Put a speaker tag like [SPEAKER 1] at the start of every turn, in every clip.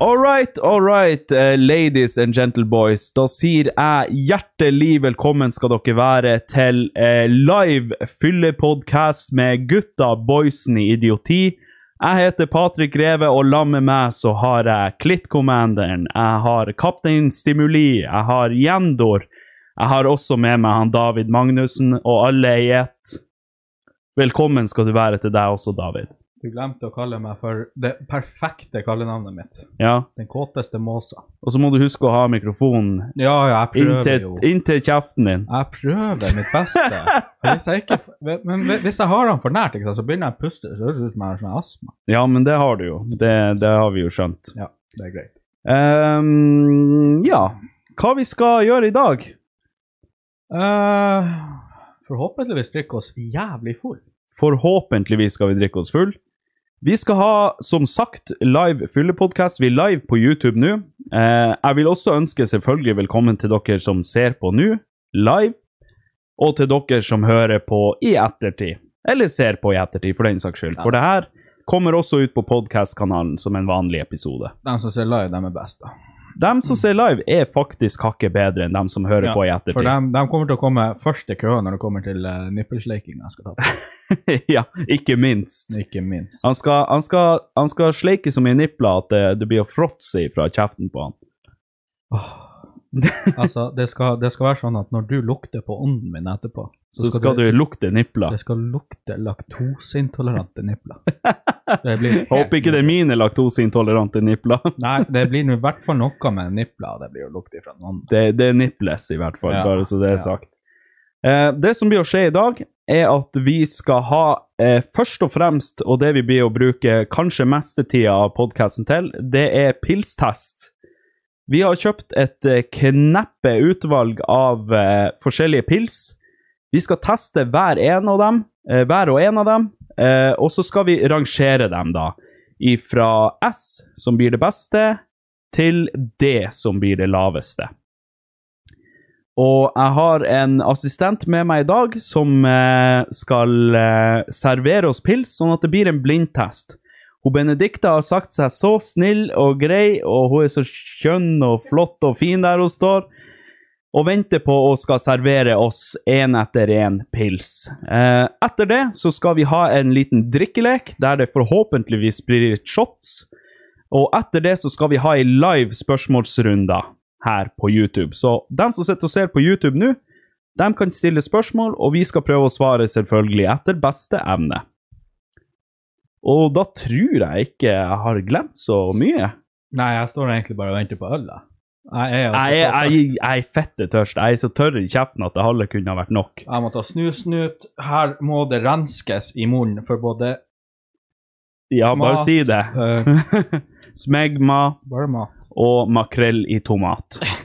[SPEAKER 1] All right, all right, eh, ladies and gentle boys. Da sier jeg hjertelig velkommen skal dere være til eh, live fyllepodkast med gutta boysen i idioti. Jeg heter Patrick Greve, og sammen med meg så har jeg Klittkommanderen, jeg har Kaptein Stimuli, jeg har Gjendor. Jeg har også med meg han David Magnussen, og alle i ett. Velkommen skal du være til deg også, David.
[SPEAKER 2] Du glemte å kalle meg for det perfekte kallenavnet mitt.
[SPEAKER 1] Ja,
[SPEAKER 2] Den kåteste måsa.
[SPEAKER 1] Og så må du huske å ha mikrofonen
[SPEAKER 2] Ja, ja, jeg prøver
[SPEAKER 1] Inntil,
[SPEAKER 2] jo.
[SPEAKER 1] inntil kjeften din.
[SPEAKER 2] Jeg prøver mitt beste. For Hvis jeg ikke, men hvis jeg har han for nært, ikke sant, så begynner jeg å puste. Så høres det ut som jeg har sånn astma.
[SPEAKER 1] Ja, men det har du jo. Det, det har vi jo skjønt.
[SPEAKER 2] Ja, det er greit.
[SPEAKER 1] Ehm, ja. Hva vi skal gjøre i dag?
[SPEAKER 2] Eh, forhåpentligvis drikker oss jævlig full.
[SPEAKER 1] Forhåpentligvis skal vi drikke oss full. Vi skal ha, som sagt, live fyllepodkast. Vi er live på YouTube nå. Eh, jeg vil også ønske selvfølgelig velkommen til dere som ser på nå, live, og til dere som hører på i ettertid. Eller ser på i ettertid, for den saks skyld. For det her kommer også ut på podkastkanalen som en vanlig episode.
[SPEAKER 2] De som ser live, de er best, da.
[SPEAKER 1] Dem som ser live, er faktisk hakket bedre enn dem som hører
[SPEAKER 2] Mm. Ja,
[SPEAKER 1] på i
[SPEAKER 2] For
[SPEAKER 1] ettertid.
[SPEAKER 2] de, de kommer til å komme først i køen når det kommer til uh, nippelsleiking jeg skal ta på.
[SPEAKER 1] ja, ikke minst.
[SPEAKER 2] Ikke minst.
[SPEAKER 1] Han skal, han, skal, han skal sleike så mye nipler at det, det blir å fråtse ifra kjeften på han.
[SPEAKER 2] Altså, det skal, det skal være sånn at når du lukter på ånden min etterpå,
[SPEAKER 1] Så skal, du, lukte nipler.
[SPEAKER 2] Det skal lukte laktoseintolerante nipler. Det blir helt-
[SPEAKER 1] Håper ikke det er mine laktoseintolerante nipler.
[SPEAKER 2] Nei, det blir nå i hvert fall noe med nipler det blir å lukte fra noen.
[SPEAKER 1] Det, det er nipples, i hvert fall,
[SPEAKER 2] Ja,
[SPEAKER 1] bare så det er
[SPEAKER 2] ja.
[SPEAKER 1] sagt. Eh, det som blir å skje i dag, er at vi skal ha eh, først og fremst, og det vi blir å bruke kanskje mestetida av podkasten til, det er pilstest. Vi har kjøpt et eh, kneppe utvalg av eh, forskjellige pils. Vi skal teste hver en av dem, eh, hver og en av dem, eh, og så skal vi rangere dem, da. Ifra S, som blir det beste, til D, som blir det laveste. Og jeg har en assistent med meg i dag som eh, skal eh, servere oss pils, sånn at det blir en blindtest. Hun Benedicte har sagt seg så snill og grei, og hun er så skjønn og flott og fin der hun står, og venter på å skal servere oss én etter én pils. Eh, etter det så skal vi ha en liten drikkelek, der det forhåpentligvis blir shots. Og etter det så skal vi ha ei live spørsmålsrunde her på YouTube. Så dem som sitter og ser på YouTube nå, dem kan stille spørsmål, og vi skal prøve å svare selvfølgelig etter beste evne. Og da tror jeg ikke jeg har glemt så mye.
[SPEAKER 2] Nei, jeg står egentlig bare og venter på øl, da. Jeg er altså
[SPEAKER 1] Jeg er,
[SPEAKER 2] så-
[SPEAKER 1] jeg, jeg er fette tørst. Jeg er så tørr i kjeften at det halve kunne ha vært nok.
[SPEAKER 2] Jeg må ta snusen ut. Her må det renskes i munnen for både
[SPEAKER 1] Ja, bare
[SPEAKER 2] mat
[SPEAKER 1] si det.
[SPEAKER 2] eh,
[SPEAKER 1] Smegma,
[SPEAKER 2] bare mat.
[SPEAKER 1] og makrell i tomat.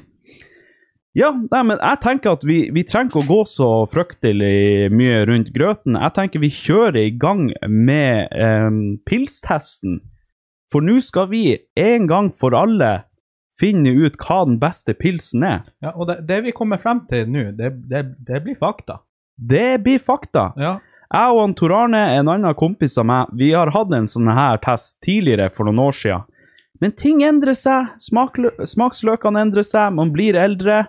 [SPEAKER 1] Ja, nei, men jeg tenker at vi, vi trenger ikke å gå så fryktelig mye rundt grøten. Jeg tenker vi kjører i gang med em, pilstesten. For nå skal vi en gang for alle finne ut hva den beste pilsen er.
[SPEAKER 2] Ja, og det, det vi kommer frem til nå, det, det, det blir fakta.
[SPEAKER 1] Det blir fakta.
[SPEAKER 2] Ja.
[SPEAKER 1] Jeg og han Tor Arne, en annen kompis av meg, vi har hatt en sånn her test tidligere for noen år siden. Men ting endrer seg, smaklø- smaksløkene endrer seg, man blir eldre.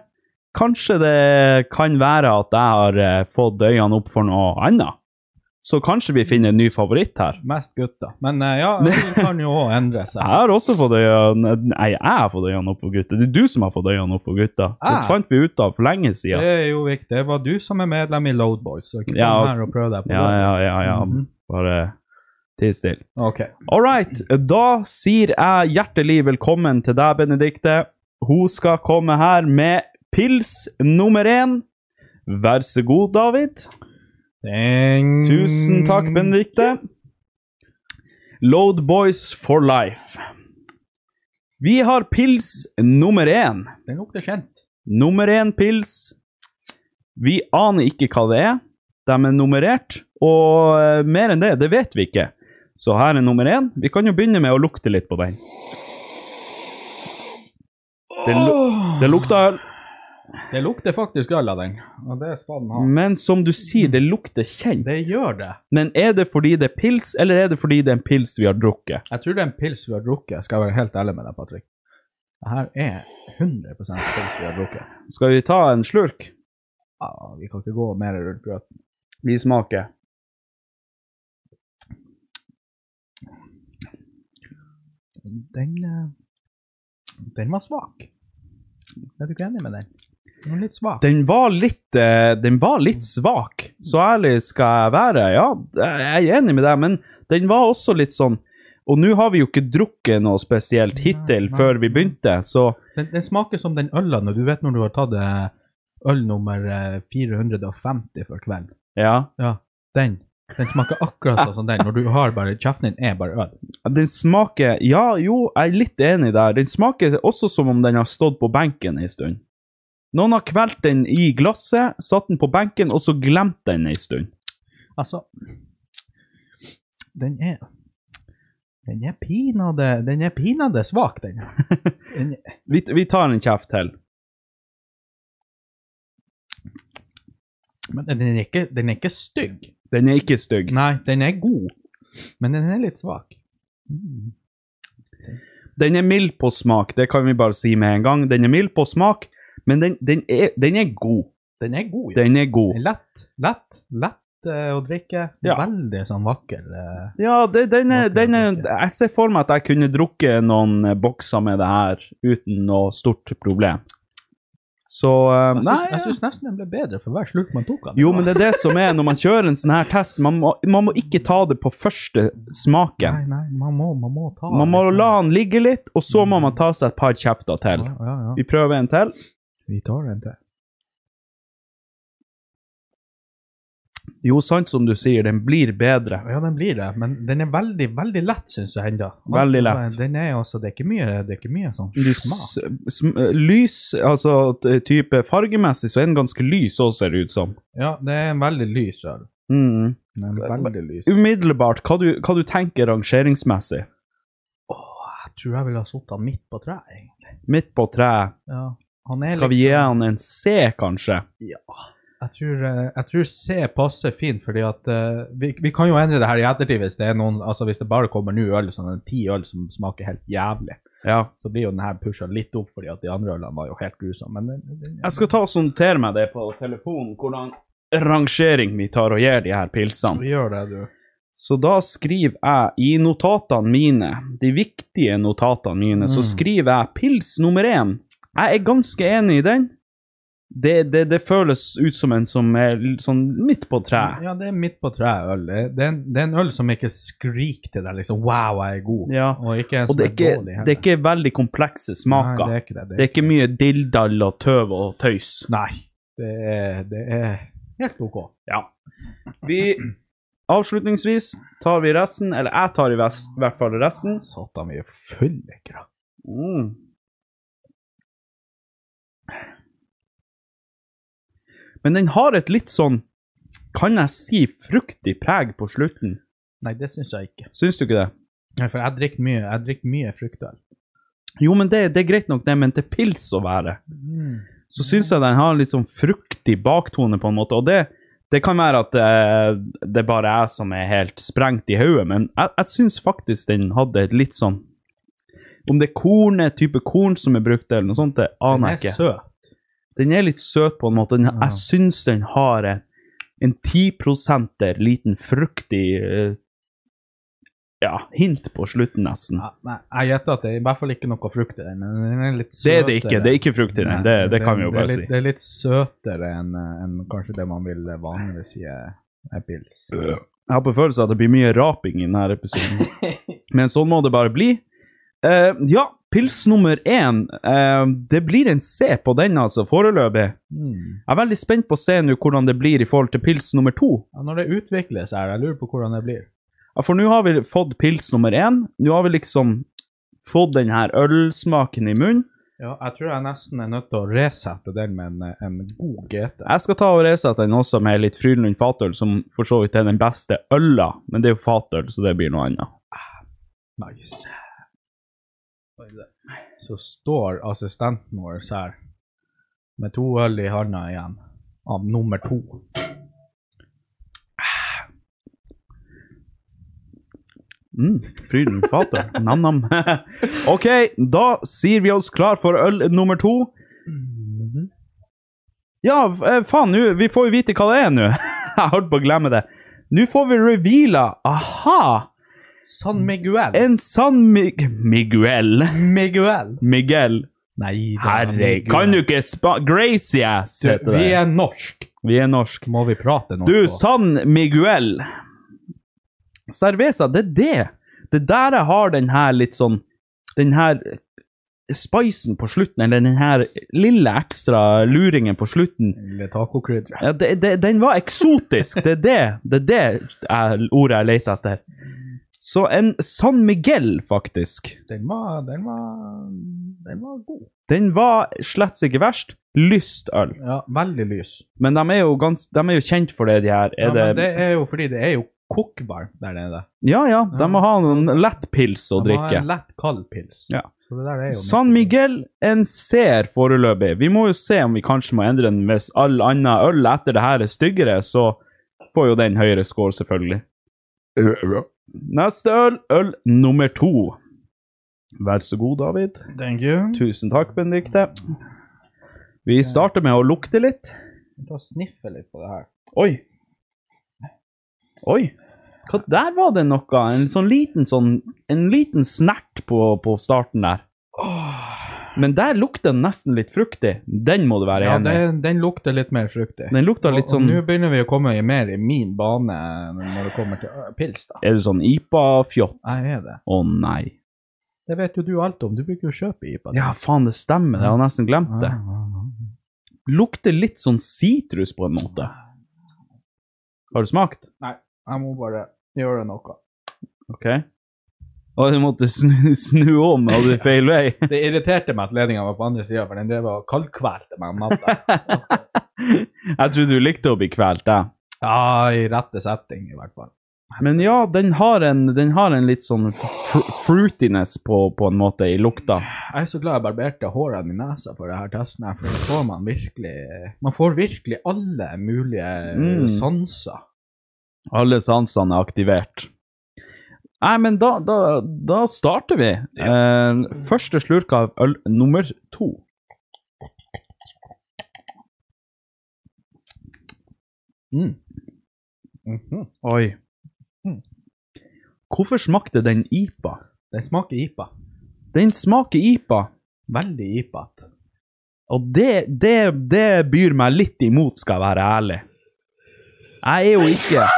[SPEAKER 1] Kanskje det kan være at jeg har eh, fått øynene opp for noe annet. Så kanskje vi finner en ny favoritt her.
[SPEAKER 2] Mest gutter. Men eh, ja, det kan jo òg endre seg.
[SPEAKER 1] Jeg har også fått øynene Nei, jeg har fått øynene opp for gutter. Det er du som har fått øynene opp for gutter. Det
[SPEAKER 2] Jeg?
[SPEAKER 1] fant vi ut av for lenge siden.
[SPEAKER 2] Det er jo viktig. Det var du som er medlem i Loadboys, så ikke
[SPEAKER 1] Ja.
[SPEAKER 2] kom her og prøv deg på
[SPEAKER 1] Ja,
[SPEAKER 2] det.
[SPEAKER 1] ja, ja. ja.
[SPEAKER 2] Mhm.
[SPEAKER 1] Bare ti stille.
[SPEAKER 2] Ok.
[SPEAKER 1] All right, da sier jeg hjertelig velkommen til deg, Benedikte. Hun skal komme her med pils nummer én. Vær så god, David.
[SPEAKER 2] Thank
[SPEAKER 1] Tusen takk,
[SPEAKER 2] Mm.
[SPEAKER 1] Benedikte. Load Boys for life. Vi har pils nummer én.
[SPEAKER 2] Den lukter kjent.
[SPEAKER 1] Nummer én pils. Vi aner ikke hva det er. De er nummerert, og eh, mer enn det, det vet vi ikke. Så her er nummer én. Vi kan jo begynne med å lukte litt på den. Det, lu
[SPEAKER 2] Åh!
[SPEAKER 1] det lukter øl,
[SPEAKER 2] Det lukter faktisk øl av den, og det skal den ha.
[SPEAKER 1] men som du sier, det lukter kjent.
[SPEAKER 2] Det gjør det.
[SPEAKER 1] Men er det fordi det er pils, eller er det fordi det er en pils vi har drukket?
[SPEAKER 2] Jeg tror det er en pils vi har drukket, skal jeg være helt ærlig med deg, Patrick. Det her er 100 pils vi har drukket.
[SPEAKER 1] Skal vi ta en slurk?
[SPEAKER 2] Ah, vi kan ikke gå mer rundt grøten.
[SPEAKER 1] Vi smaker.
[SPEAKER 2] Den, eh, den var svak. Er du ikke enig med den? Den var litt svak.
[SPEAKER 1] Den var litt, eh, den var
[SPEAKER 2] Mm.
[SPEAKER 1] litt svak. Så ærlig skal jeg være. Ja, jeg er enig med deg, men den var også litt sånn Og nå har vi jo ikke drukket noe spesielt hittil
[SPEAKER 2] nei.
[SPEAKER 1] før vi begynte, så
[SPEAKER 2] Den, den smaker som den øla når du vet når du har tatt eh, øl nummer eh, 450 for kvelden.
[SPEAKER 1] ja.
[SPEAKER 2] Den. Den smaker akkurat sånn som den, når du har bare Kjeften din er bare øl.
[SPEAKER 1] Den smaker Ja, jo, jeg er litt enig der. Den smaker også som om den har stått på benken en stund. Noen har kvelt den i glasset, satt den på benken, og så glemt den en stund.
[SPEAKER 2] Altså Den er Den er pinadø Den er pinadø svak, den. den
[SPEAKER 1] Vi, vi tar en kjeft til.
[SPEAKER 2] men den er, ikke, den er ikke stygg.
[SPEAKER 1] Den er ikke stygg.
[SPEAKER 2] Nei, den er god, men den er litt svak.
[SPEAKER 1] Den er mild på smak, det kan vi bare si med en gang. Den er mild på smak, men den, den, er, den er god.
[SPEAKER 2] Den er god, ja.
[SPEAKER 1] Den er
[SPEAKER 2] Den
[SPEAKER 1] god.
[SPEAKER 2] er lett, lett, lett eh, å drikke.
[SPEAKER 1] Ja.
[SPEAKER 2] Veldig sånn vakker. eh,
[SPEAKER 1] Ja, det, den er, den er, jeg ser for meg at jeg kunne drukket noen eh, bokser med det her uten noe stort problem. Så eh,
[SPEAKER 2] Jeg
[SPEAKER 1] Nei.
[SPEAKER 2] syns- jeg
[SPEAKER 1] ja.
[SPEAKER 2] syns nesten den ble bedre for hver slurk man tok av den.
[SPEAKER 1] Jo, men det er det som er når man kjører en sånn her test. Man må, man må ikke ta det på første smaken.
[SPEAKER 2] Nei, nei, man må, man må ta
[SPEAKER 1] Man må la den ligge litt, og så må man ta seg et par kjefter til.
[SPEAKER 2] Ja, ja, ja.
[SPEAKER 1] Vi prøver en til.
[SPEAKER 2] Vi tar en til.
[SPEAKER 1] Jo, sant som du sier, den blir bedre.
[SPEAKER 2] Ja, den blir det, men den er veldig, veldig lett, syns jeg ennå.
[SPEAKER 1] Veldig lett.
[SPEAKER 2] Den er altså, det er ikke mye, det er ikke mye sånn
[SPEAKER 1] Du
[SPEAKER 2] smak.
[SPEAKER 1] s- sm- eh, lys, altså t- type fargemessig, så er den ganske lys òg, ser det ut som.
[SPEAKER 2] Ja, det er en veldig lys øl.
[SPEAKER 1] Mm.
[SPEAKER 2] Den er Veldig lys.
[SPEAKER 1] Umiddelbart, hva du, hva du tenker rangeringsmessig?
[SPEAKER 2] Jeg tror jeg ville ha satt den midt på treet, egentlig.
[SPEAKER 1] Midt på treet.
[SPEAKER 2] Ja. Han er liksom- sånn.
[SPEAKER 1] Skal vi gi han en C, kanskje?
[SPEAKER 2] Jeg tror, eh, jeg tror C passer fint, fordi at eh, vi, vi kan jo endre det her i ettertid hvis det er noen, altså hvis det bare kommer nå øl, sånn en ti øl som smaker helt jævlig.
[SPEAKER 1] Ja.
[SPEAKER 2] så blir jo den her pusha litt opp, fordi at de andre ølene var jo helt grusomme. Men den, den,
[SPEAKER 1] Jeg skal ta og notere meg det på telefonen, hvordan rangering vi tar og gir de her pilsene.
[SPEAKER 2] vi gjør det, du.
[SPEAKER 1] Så da skriver jeg i notatene mine, de viktige notatene mine, så
[SPEAKER 2] Mm.
[SPEAKER 1] skriver jeg pils nummer én. Jeg er ganske enig i den. Det, det, det føles ut som en som er l- sånn midt på treet.
[SPEAKER 2] Ja, det er midt på treet øl. Det, det, er en, det er en øl som ikke skriker til deg liksom 'wow, jeg er god',
[SPEAKER 1] Ja.
[SPEAKER 2] og ikke en
[SPEAKER 1] Og
[SPEAKER 2] som
[SPEAKER 1] det er, ikke,
[SPEAKER 2] dårlig heller.
[SPEAKER 1] det er ikke veldig komplekse
[SPEAKER 2] Nei,
[SPEAKER 1] smaker.
[SPEAKER 2] det er ikke det.
[SPEAKER 1] Det er ikke mye dilldall og tøv og tøys.
[SPEAKER 2] Nei, det er, det er helt OK.
[SPEAKER 1] Ja. Vi Avslutningsvis tar vi resten, eller jeg tar i, ves- hvert fall resten.
[SPEAKER 2] Satan, vi er fyllikere.
[SPEAKER 1] Mm. Men den har et litt sånn, kan jeg si, fruktig preg på slutten.
[SPEAKER 2] Nei, det syns jeg ikke.
[SPEAKER 1] Syns du ikke det?
[SPEAKER 2] Nei, for jeg drikker mye, jeg drikker mye fruktøl.
[SPEAKER 1] Jo, men det, det er greit nok, det, men til pils å være.
[SPEAKER 2] Mm.
[SPEAKER 1] Så syns jeg den har en litt sånn fruktig baktone, på en måte. Og det, det kan være at eh, det er bare jeg som er helt sprengt i hodet, men jeg, jeg syns faktisk den hadde et litt sånn Om det er kornet, type korn som er brukt, eller noe sånt, det
[SPEAKER 2] Den
[SPEAKER 1] aner
[SPEAKER 2] er
[SPEAKER 1] jeg ikke.
[SPEAKER 2] søt.
[SPEAKER 1] Den er litt søt, på en måte. Den,
[SPEAKER 2] Ja.
[SPEAKER 1] jeg syns den har en, en 10 liten fruktig eh, ja, hint på slutten, nesten.
[SPEAKER 2] Ja, nei, jeg gjetter at det er i hvert fall ikke noe frukt i den, men den er litt
[SPEAKER 1] Det
[SPEAKER 2] søtere.
[SPEAKER 1] er det ikke. Det er ikke frukt i den. Det, det kan vi jo
[SPEAKER 2] er
[SPEAKER 1] bare
[SPEAKER 2] litt,
[SPEAKER 1] si.
[SPEAKER 2] Det er litt søtere enn eh, enn kanskje det man vil eh, vanligvis si er er pils.
[SPEAKER 1] Jeg har på følelse at det blir mye raping i denne episoden. Men sånn må det bare bli. Eh, ja, pils nummer én. Eh, det blir en C på den, altså, foreløpig.
[SPEAKER 2] Mm.
[SPEAKER 1] Jeg er veldig spent på å se nå hvordan det blir i forhold til pils nummer to.
[SPEAKER 2] Ja, når det utvikler seg, jeg lurer på hvordan det blir.
[SPEAKER 1] Ja, For nå har vi fått pils nummer én. Nå har vi liksom fått den her ølsmaken i munnen.
[SPEAKER 2] Ja, jeg tror jeg nesten er nødt til å resette den med en, eh, en god GT.
[SPEAKER 1] Jeg skal ta og resette den også med litt Frydenlund Fatøl, som for så vidt er den beste øla, men det er jo Fatøl, så det blir noe annet.
[SPEAKER 2] Nice. Oi, det. Så står assistenten vår her med to øl i handa igjen, av nummer to.
[SPEAKER 1] Mm, Fryden fater. Nam-nam. ok, da sier vi oss klar for øl nummer to. Ja, f- eh, faen, nå- vi får jo vite hva det er nå. Jeg holdt på å glemme det. Nå får vi reveala. Aha!
[SPEAKER 2] San Miguel.
[SPEAKER 1] En San Mig Miguel.
[SPEAKER 2] Miguel.
[SPEAKER 1] Miguel.
[SPEAKER 2] Nei, det er
[SPEAKER 1] Herre,
[SPEAKER 2] Miguel.
[SPEAKER 1] kan du ikke spa... Gracie ass
[SPEAKER 2] Du,
[SPEAKER 1] heter
[SPEAKER 2] Vi
[SPEAKER 1] det.
[SPEAKER 2] er norsk.
[SPEAKER 1] Vi er norsk.
[SPEAKER 2] Må vi prate norsk?
[SPEAKER 1] Du,
[SPEAKER 2] også?
[SPEAKER 1] San Miguel. Cerveza, det er det. Det er der jeg har den her litt sånn Den her spicen på slutten, eller den her lille ekstra luringen på slutten.
[SPEAKER 2] Eller tacokrydder.
[SPEAKER 1] Ja, det, det, den var eksotisk. Det er det, det, er det jeg, ordet jeg leter etter. Så en San Miguel, faktisk.
[SPEAKER 2] Den var, den var Den var god.
[SPEAKER 1] Den var slett ikke verst. Lystøl.
[SPEAKER 2] Ja, veldig lys.
[SPEAKER 1] Men de er jo, gans, de er jo kjent for det, de her.
[SPEAKER 2] Ja,
[SPEAKER 1] Er
[SPEAKER 2] men
[SPEAKER 1] det,
[SPEAKER 2] det er jo fordi det er jo kokbar der nede.
[SPEAKER 1] ja, ja, de må ha noen lettpils å
[SPEAKER 2] De har
[SPEAKER 1] drikke.
[SPEAKER 2] En lett kald pils.
[SPEAKER 1] Ja.
[SPEAKER 2] Så det der er jo
[SPEAKER 1] San Miguel en ser foreløpig. Vi må jo se om vi kanskje må endre den hvis all annen øl etter det her er styggere, så får jo den høyere score, selvfølgelig. Neste øl, øl nummer to. Vær så god, David.
[SPEAKER 2] Thank you.
[SPEAKER 1] Tusen takk, Benedikte. Vi starter med å lukte litt.
[SPEAKER 2] Ta og sniffe litt på det her.
[SPEAKER 1] Oi. Oi. Hva, der var det noe. En sånn liten, sånn, en liten snert på, på starten der. Men der lukter den nesten litt fruktig. Den må du være
[SPEAKER 2] Ja,
[SPEAKER 1] enig i.
[SPEAKER 2] den, den lukter litt mer fruktig.
[SPEAKER 1] Den lukta litt
[SPEAKER 2] Og- og
[SPEAKER 1] sånn
[SPEAKER 2] Nå begynner vi å komme i mer i min bane når det kommer til øh, pils, da.
[SPEAKER 1] Er du sånn IPA-fjott? Å
[SPEAKER 2] Jeg er det.
[SPEAKER 1] nei.
[SPEAKER 2] Det vet jo du alt om. Du Ah, bruker jo å kjøpe IPA.
[SPEAKER 1] Ja, faen, det stemmer. Jeg har nesten glemt det. Lukter litt sånn sitrus på en måte. Har du smakt?
[SPEAKER 2] Jeg må bare gjøre noe.
[SPEAKER 1] OK. Å, du måtte snu, snu om, hadde du feil vei?
[SPEAKER 2] Det irriterte meg at ledninga var på andre sida, for den drev og kaldkvelte meg om natta.
[SPEAKER 1] Jeg tror du likte å bli kvalt, jeg.
[SPEAKER 2] ja, i rette setting, i hvert fall.
[SPEAKER 1] Men ja, den har en, den har en litt sånn fr fruitiness på, på en måte i lukta.
[SPEAKER 2] Jeg er så glad jeg barberte hårene i nesa for det her testen her, for da får man virkelig Man får virkelig alle mulige
[SPEAKER 1] Mm.
[SPEAKER 2] sanser.
[SPEAKER 1] Alle sansene er aktivert. Nei, men da, da, da starter vi. Eh, første slurk av øl nummer to.
[SPEAKER 2] Mm. Mhm.
[SPEAKER 1] Oi. Hvorfor smakte den IPA?
[SPEAKER 2] Den smaker IPA.
[SPEAKER 1] Den smaker IPA,
[SPEAKER 2] Veldig IPA-et.
[SPEAKER 1] og det, det, det byr meg litt imot, skal jeg være ærlig. Jeg er jo ikke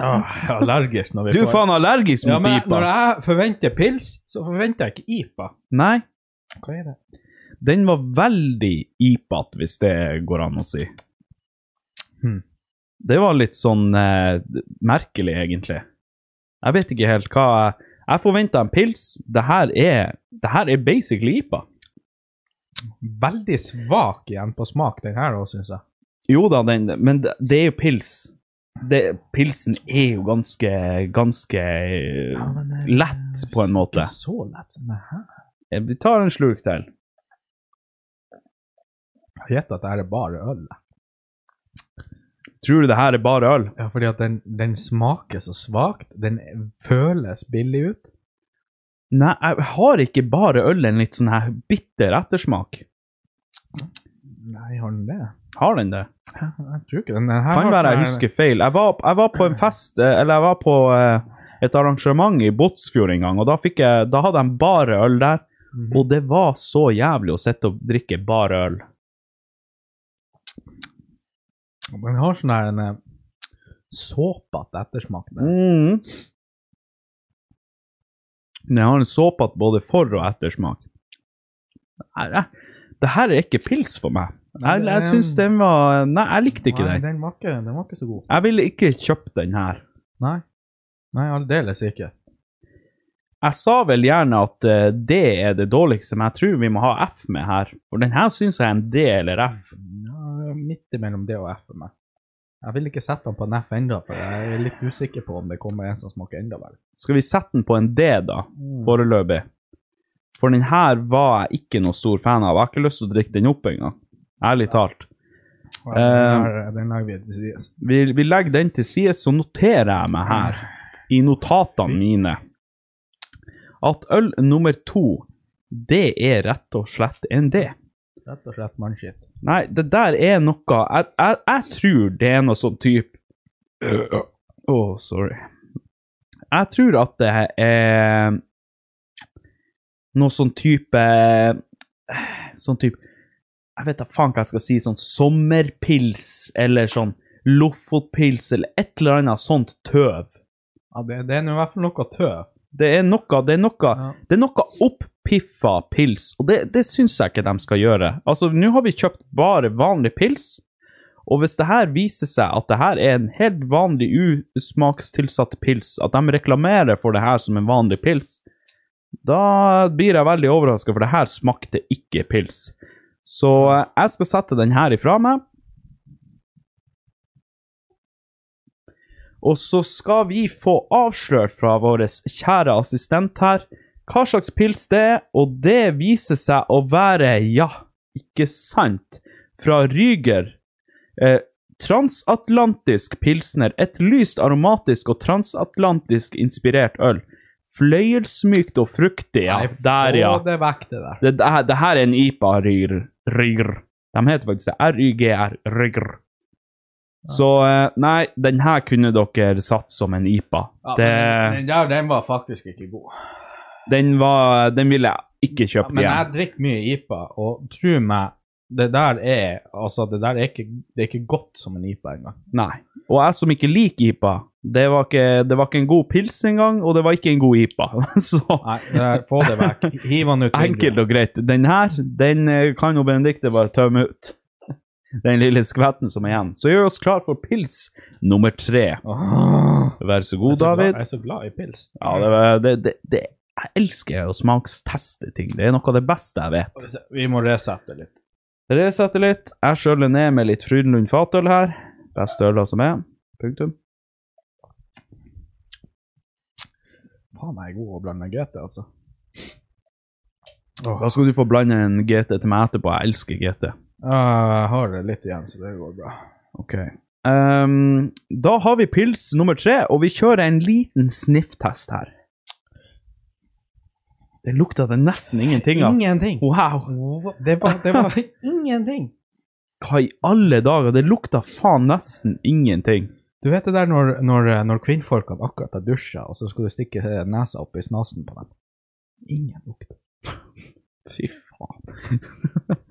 [SPEAKER 2] Ah, jeg er allergisk når vi
[SPEAKER 1] Du er
[SPEAKER 2] får
[SPEAKER 1] faen allergisk
[SPEAKER 2] ja,
[SPEAKER 1] mot
[SPEAKER 2] men
[SPEAKER 1] IPA.
[SPEAKER 2] Når jeg forventer pils, så forventer jeg ikke IPA.
[SPEAKER 1] Nei.
[SPEAKER 2] Hva er det?
[SPEAKER 1] Den var veldig IPAT, hvis det går an å si.
[SPEAKER 2] Hmm.
[SPEAKER 1] Det var litt sånn eh, merkelig, egentlig. Jeg vet ikke helt hva Jeg, jeg forventa en pils. Det her er, det her er basically IPA.
[SPEAKER 2] Veldig svak igjen på smak, den her òg, syns jeg.
[SPEAKER 1] Jo da, den, men det det er jo pils. Det, pilsen er jo ganske, ganske eh, lett, på en måte.
[SPEAKER 2] Ikke så lett som det her.
[SPEAKER 1] Eh, Vi tar en slurk til.
[SPEAKER 2] Gjett at det her er bare øl.
[SPEAKER 1] Tror du det her er bare øl?
[SPEAKER 2] Ja, fordi at den, den smaker så svakt. Den føles billig ut.
[SPEAKER 1] Nei, jeg har ikke bare øl en litt sånn her bitter ettersmak?
[SPEAKER 2] Nei, har den det?
[SPEAKER 1] Har den det?
[SPEAKER 2] Jeg jeg tror ikke den, den her
[SPEAKER 1] Kan
[SPEAKER 2] har
[SPEAKER 1] være
[SPEAKER 2] sånn
[SPEAKER 1] jeg
[SPEAKER 2] her-
[SPEAKER 1] husker feil. Jeg var, jeg var på en fest, eh, eller jeg var på eh, et arrangement i Båtsfjord en gang, og da, fikk jeg, da hadde de bare øl der,
[SPEAKER 2] Mhm.
[SPEAKER 1] og det var så jævlig å sitte og drikke bare øl.
[SPEAKER 2] Den har sånn her en eh, såpete ettersmak. Den.
[SPEAKER 1] Mm. Den har en såpete både for- og ettersmak. Nei, jeg- det her er ikke pils for meg. Jeg, jeg syns den var Nei, jeg likte ikke
[SPEAKER 2] Nei,
[SPEAKER 1] den.
[SPEAKER 2] den var ikke, den var ikke så god.
[SPEAKER 1] Jeg ville ikke kjøpt den her.
[SPEAKER 2] Nei. Nei, aldeles ikke.
[SPEAKER 1] Jeg sa vel gjerne at eh, D er det dårligste, men jeg tror vi må ha F med her. For den her syns jeg er en D eller F.
[SPEAKER 2] Ja, midt imellom det og F for meg. Jeg vil ikke sette den på en F enda, for jeg er litt usikker på om det kommer en som smaker enda verre.
[SPEAKER 1] Skal vi sette den på en D, da? Foreløpig. For den her var jeg ikke noe stor fan av. Jeg har ikke lyst til å drikke den opp engang. Ærlig talt.
[SPEAKER 2] Ja, Den, her- eh, den lager vi til siden.
[SPEAKER 1] Vi, vi legger den til side, så noterer jeg meg her, i notatene mine, at øl nummer to, det er rett og slett en D.
[SPEAKER 2] Rett og slett mannskitt.
[SPEAKER 1] Nei, det der er noe Jeg, jeg, jeg tror det er noe sånn type Å, sorry. Jeg tror at det er noe sånn type Sånn type Jeg vet da faen hva jeg skal si. Sånn sommerpils eller sånn Lofotpils eller et eller annet sånt tøv.
[SPEAKER 2] Ja, det, det er nå i hvert fall noe tøv.
[SPEAKER 1] Det er noe, det er noe,
[SPEAKER 2] Ja.
[SPEAKER 1] det er noe opppiffa pils, og det, det syns jeg ikke de skal gjøre. Altså, nå har vi kjøpt bare vanlig pils, og hvis det her viser seg at det her er en helt vanlig usmakstilsatt pils, at de reklamerer for det her som en vanlig pils, da blir jeg veldig overraska, for det her smakte ikke pils. Så eh, jeg skal sette den her ifra meg. Og så skal vi få avslørt fra vår kjære assistent her hva slags pils det er, og det viser seg å være, ja, ikke sant, fra Ryger. Eh, transatlantisk pilsner, et lyst aromatisk og transatlantisk inspirert øl. Fløyelsmykt og fruktig, ja.
[SPEAKER 2] Nei, få
[SPEAKER 1] Der, ja.
[SPEAKER 2] det vekk, det der.
[SPEAKER 1] Det, det, her, det her er en IPA, Ryr. Ryr. De heter faktisk det. R-Y-G-R. Ryr. Så eh, nei, den her kunne dere satt som en IPA.
[SPEAKER 2] Ja,
[SPEAKER 1] det,
[SPEAKER 2] men Den der, den var faktisk ikke god.
[SPEAKER 1] den, var, den ville jeg ikke
[SPEAKER 2] Ja,
[SPEAKER 1] kjøpt
[SPEAKER 2] men jeg
[SPEAKER 1] igjen.
[SPEAKER 2] drikker mye IPA, og tro meg, det der er Altså, det der er ikke, det er ikke godt som en IPA engang.
[SPEAKER 1] Nei. Og jeg som ikke liker IPA, det var ikke, det var ikke en god pils engang, og det var ikke en god IPA. Så
[SPEAKER 2] Nei, det der, få det vekk. Hiv den ut.
[SPEAKER 1] enkelt og greit. Den her, den eh, kan jo Benedicte bare tømme ut. Den lille skvetten som er igjen. Så gjør oss klar for pils nummer tre. Vær så god, David.
[SPEAKER 2] Jeg er så glad i pils.
[SPEAKER 1] Ja, det, var- det, det, det Jeg elsker å smaksteste ting. Det er noe av det beste jeg vet.
[SPEAKER 2] Vi må resette litt.
[SPEAKER 1] Resette litt. Jeg skjøller ned med litt Frydenlund fatøl her. Beste øla som er. Punktum.
[SPEAKER 2] Faen, jeg er god å blande GT, altså.
[SPEAKER 1] Da skal du få blande en GT til meg etterpå. Jeg elsker GT.
[SPEAKER 2] Ah, Jeg har det litt igjen, så det går bra.
[SPEAKER 1] Ok. Ehm, da har vi pils nummer tre, og vi kjører en liten snifftest her. Det lukta det nesten ingenting av.
[SPEAKER 2] Ingenting.
[SPEAKER 1] Wow!
[SPEAKER 2] Det var, det var ingenting.
[SPEAKER 1] Hva i alle dager? Det lukta faen nesten ingenting.
[SPEAKER 2] Du vet det der når, når, når kvinnfolk har akkurat har dusja, og så skal du stikke nesa opp i snasen på dem. Ingen lukt.
[SPEAKER 1] Fy faen.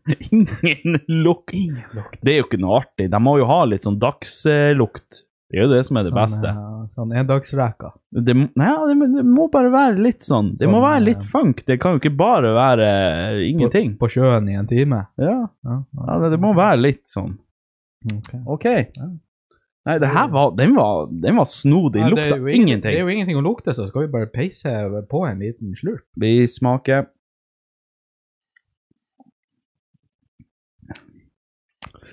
[SPEAKER 1] Ingen lukt.
[SPEAKER 2] Ingen lukt.
[SPEAKER 1] Det er jo ikke noe artig. De må jo ha litt sånn dagslukt. Det er jo det som er det beste.
[SPEAKER 2] Sånn, eh, sånn endagsreka.
[SPEAKER 1] Det, må- ja, det, må- det må bare være litt sånn. Det må
[SPEAKER 2] Sånn,
[SPEAKER 1] være
[SPEAKER 2] eh,
[SPEAKER 1] litt funk. Det kan jo ikke bare være eh, ingenting.
[SPEAKER 2] På sjøen i en time.
[SPEAKER 1] Ja,
[SPEAKER 2] Ja, ja.
[SPEAKER 1] ja, det- det må være litt sånn.
[SPEAKER 2] Ok.
[SPEAKER 1] OK. Nei, det her var Den var, den var snodig.
[SPEAKER 2] Ja, det er
[SPEAKER 1] Lukta
[SPEAKER 2] jo Det er
[SPEAKER 1] ingenting.
[SPEAKER 2] jo ingenting å lukte, så skal vi bare peise på en liten slurp.
[SPEAKER 1] Vi smaker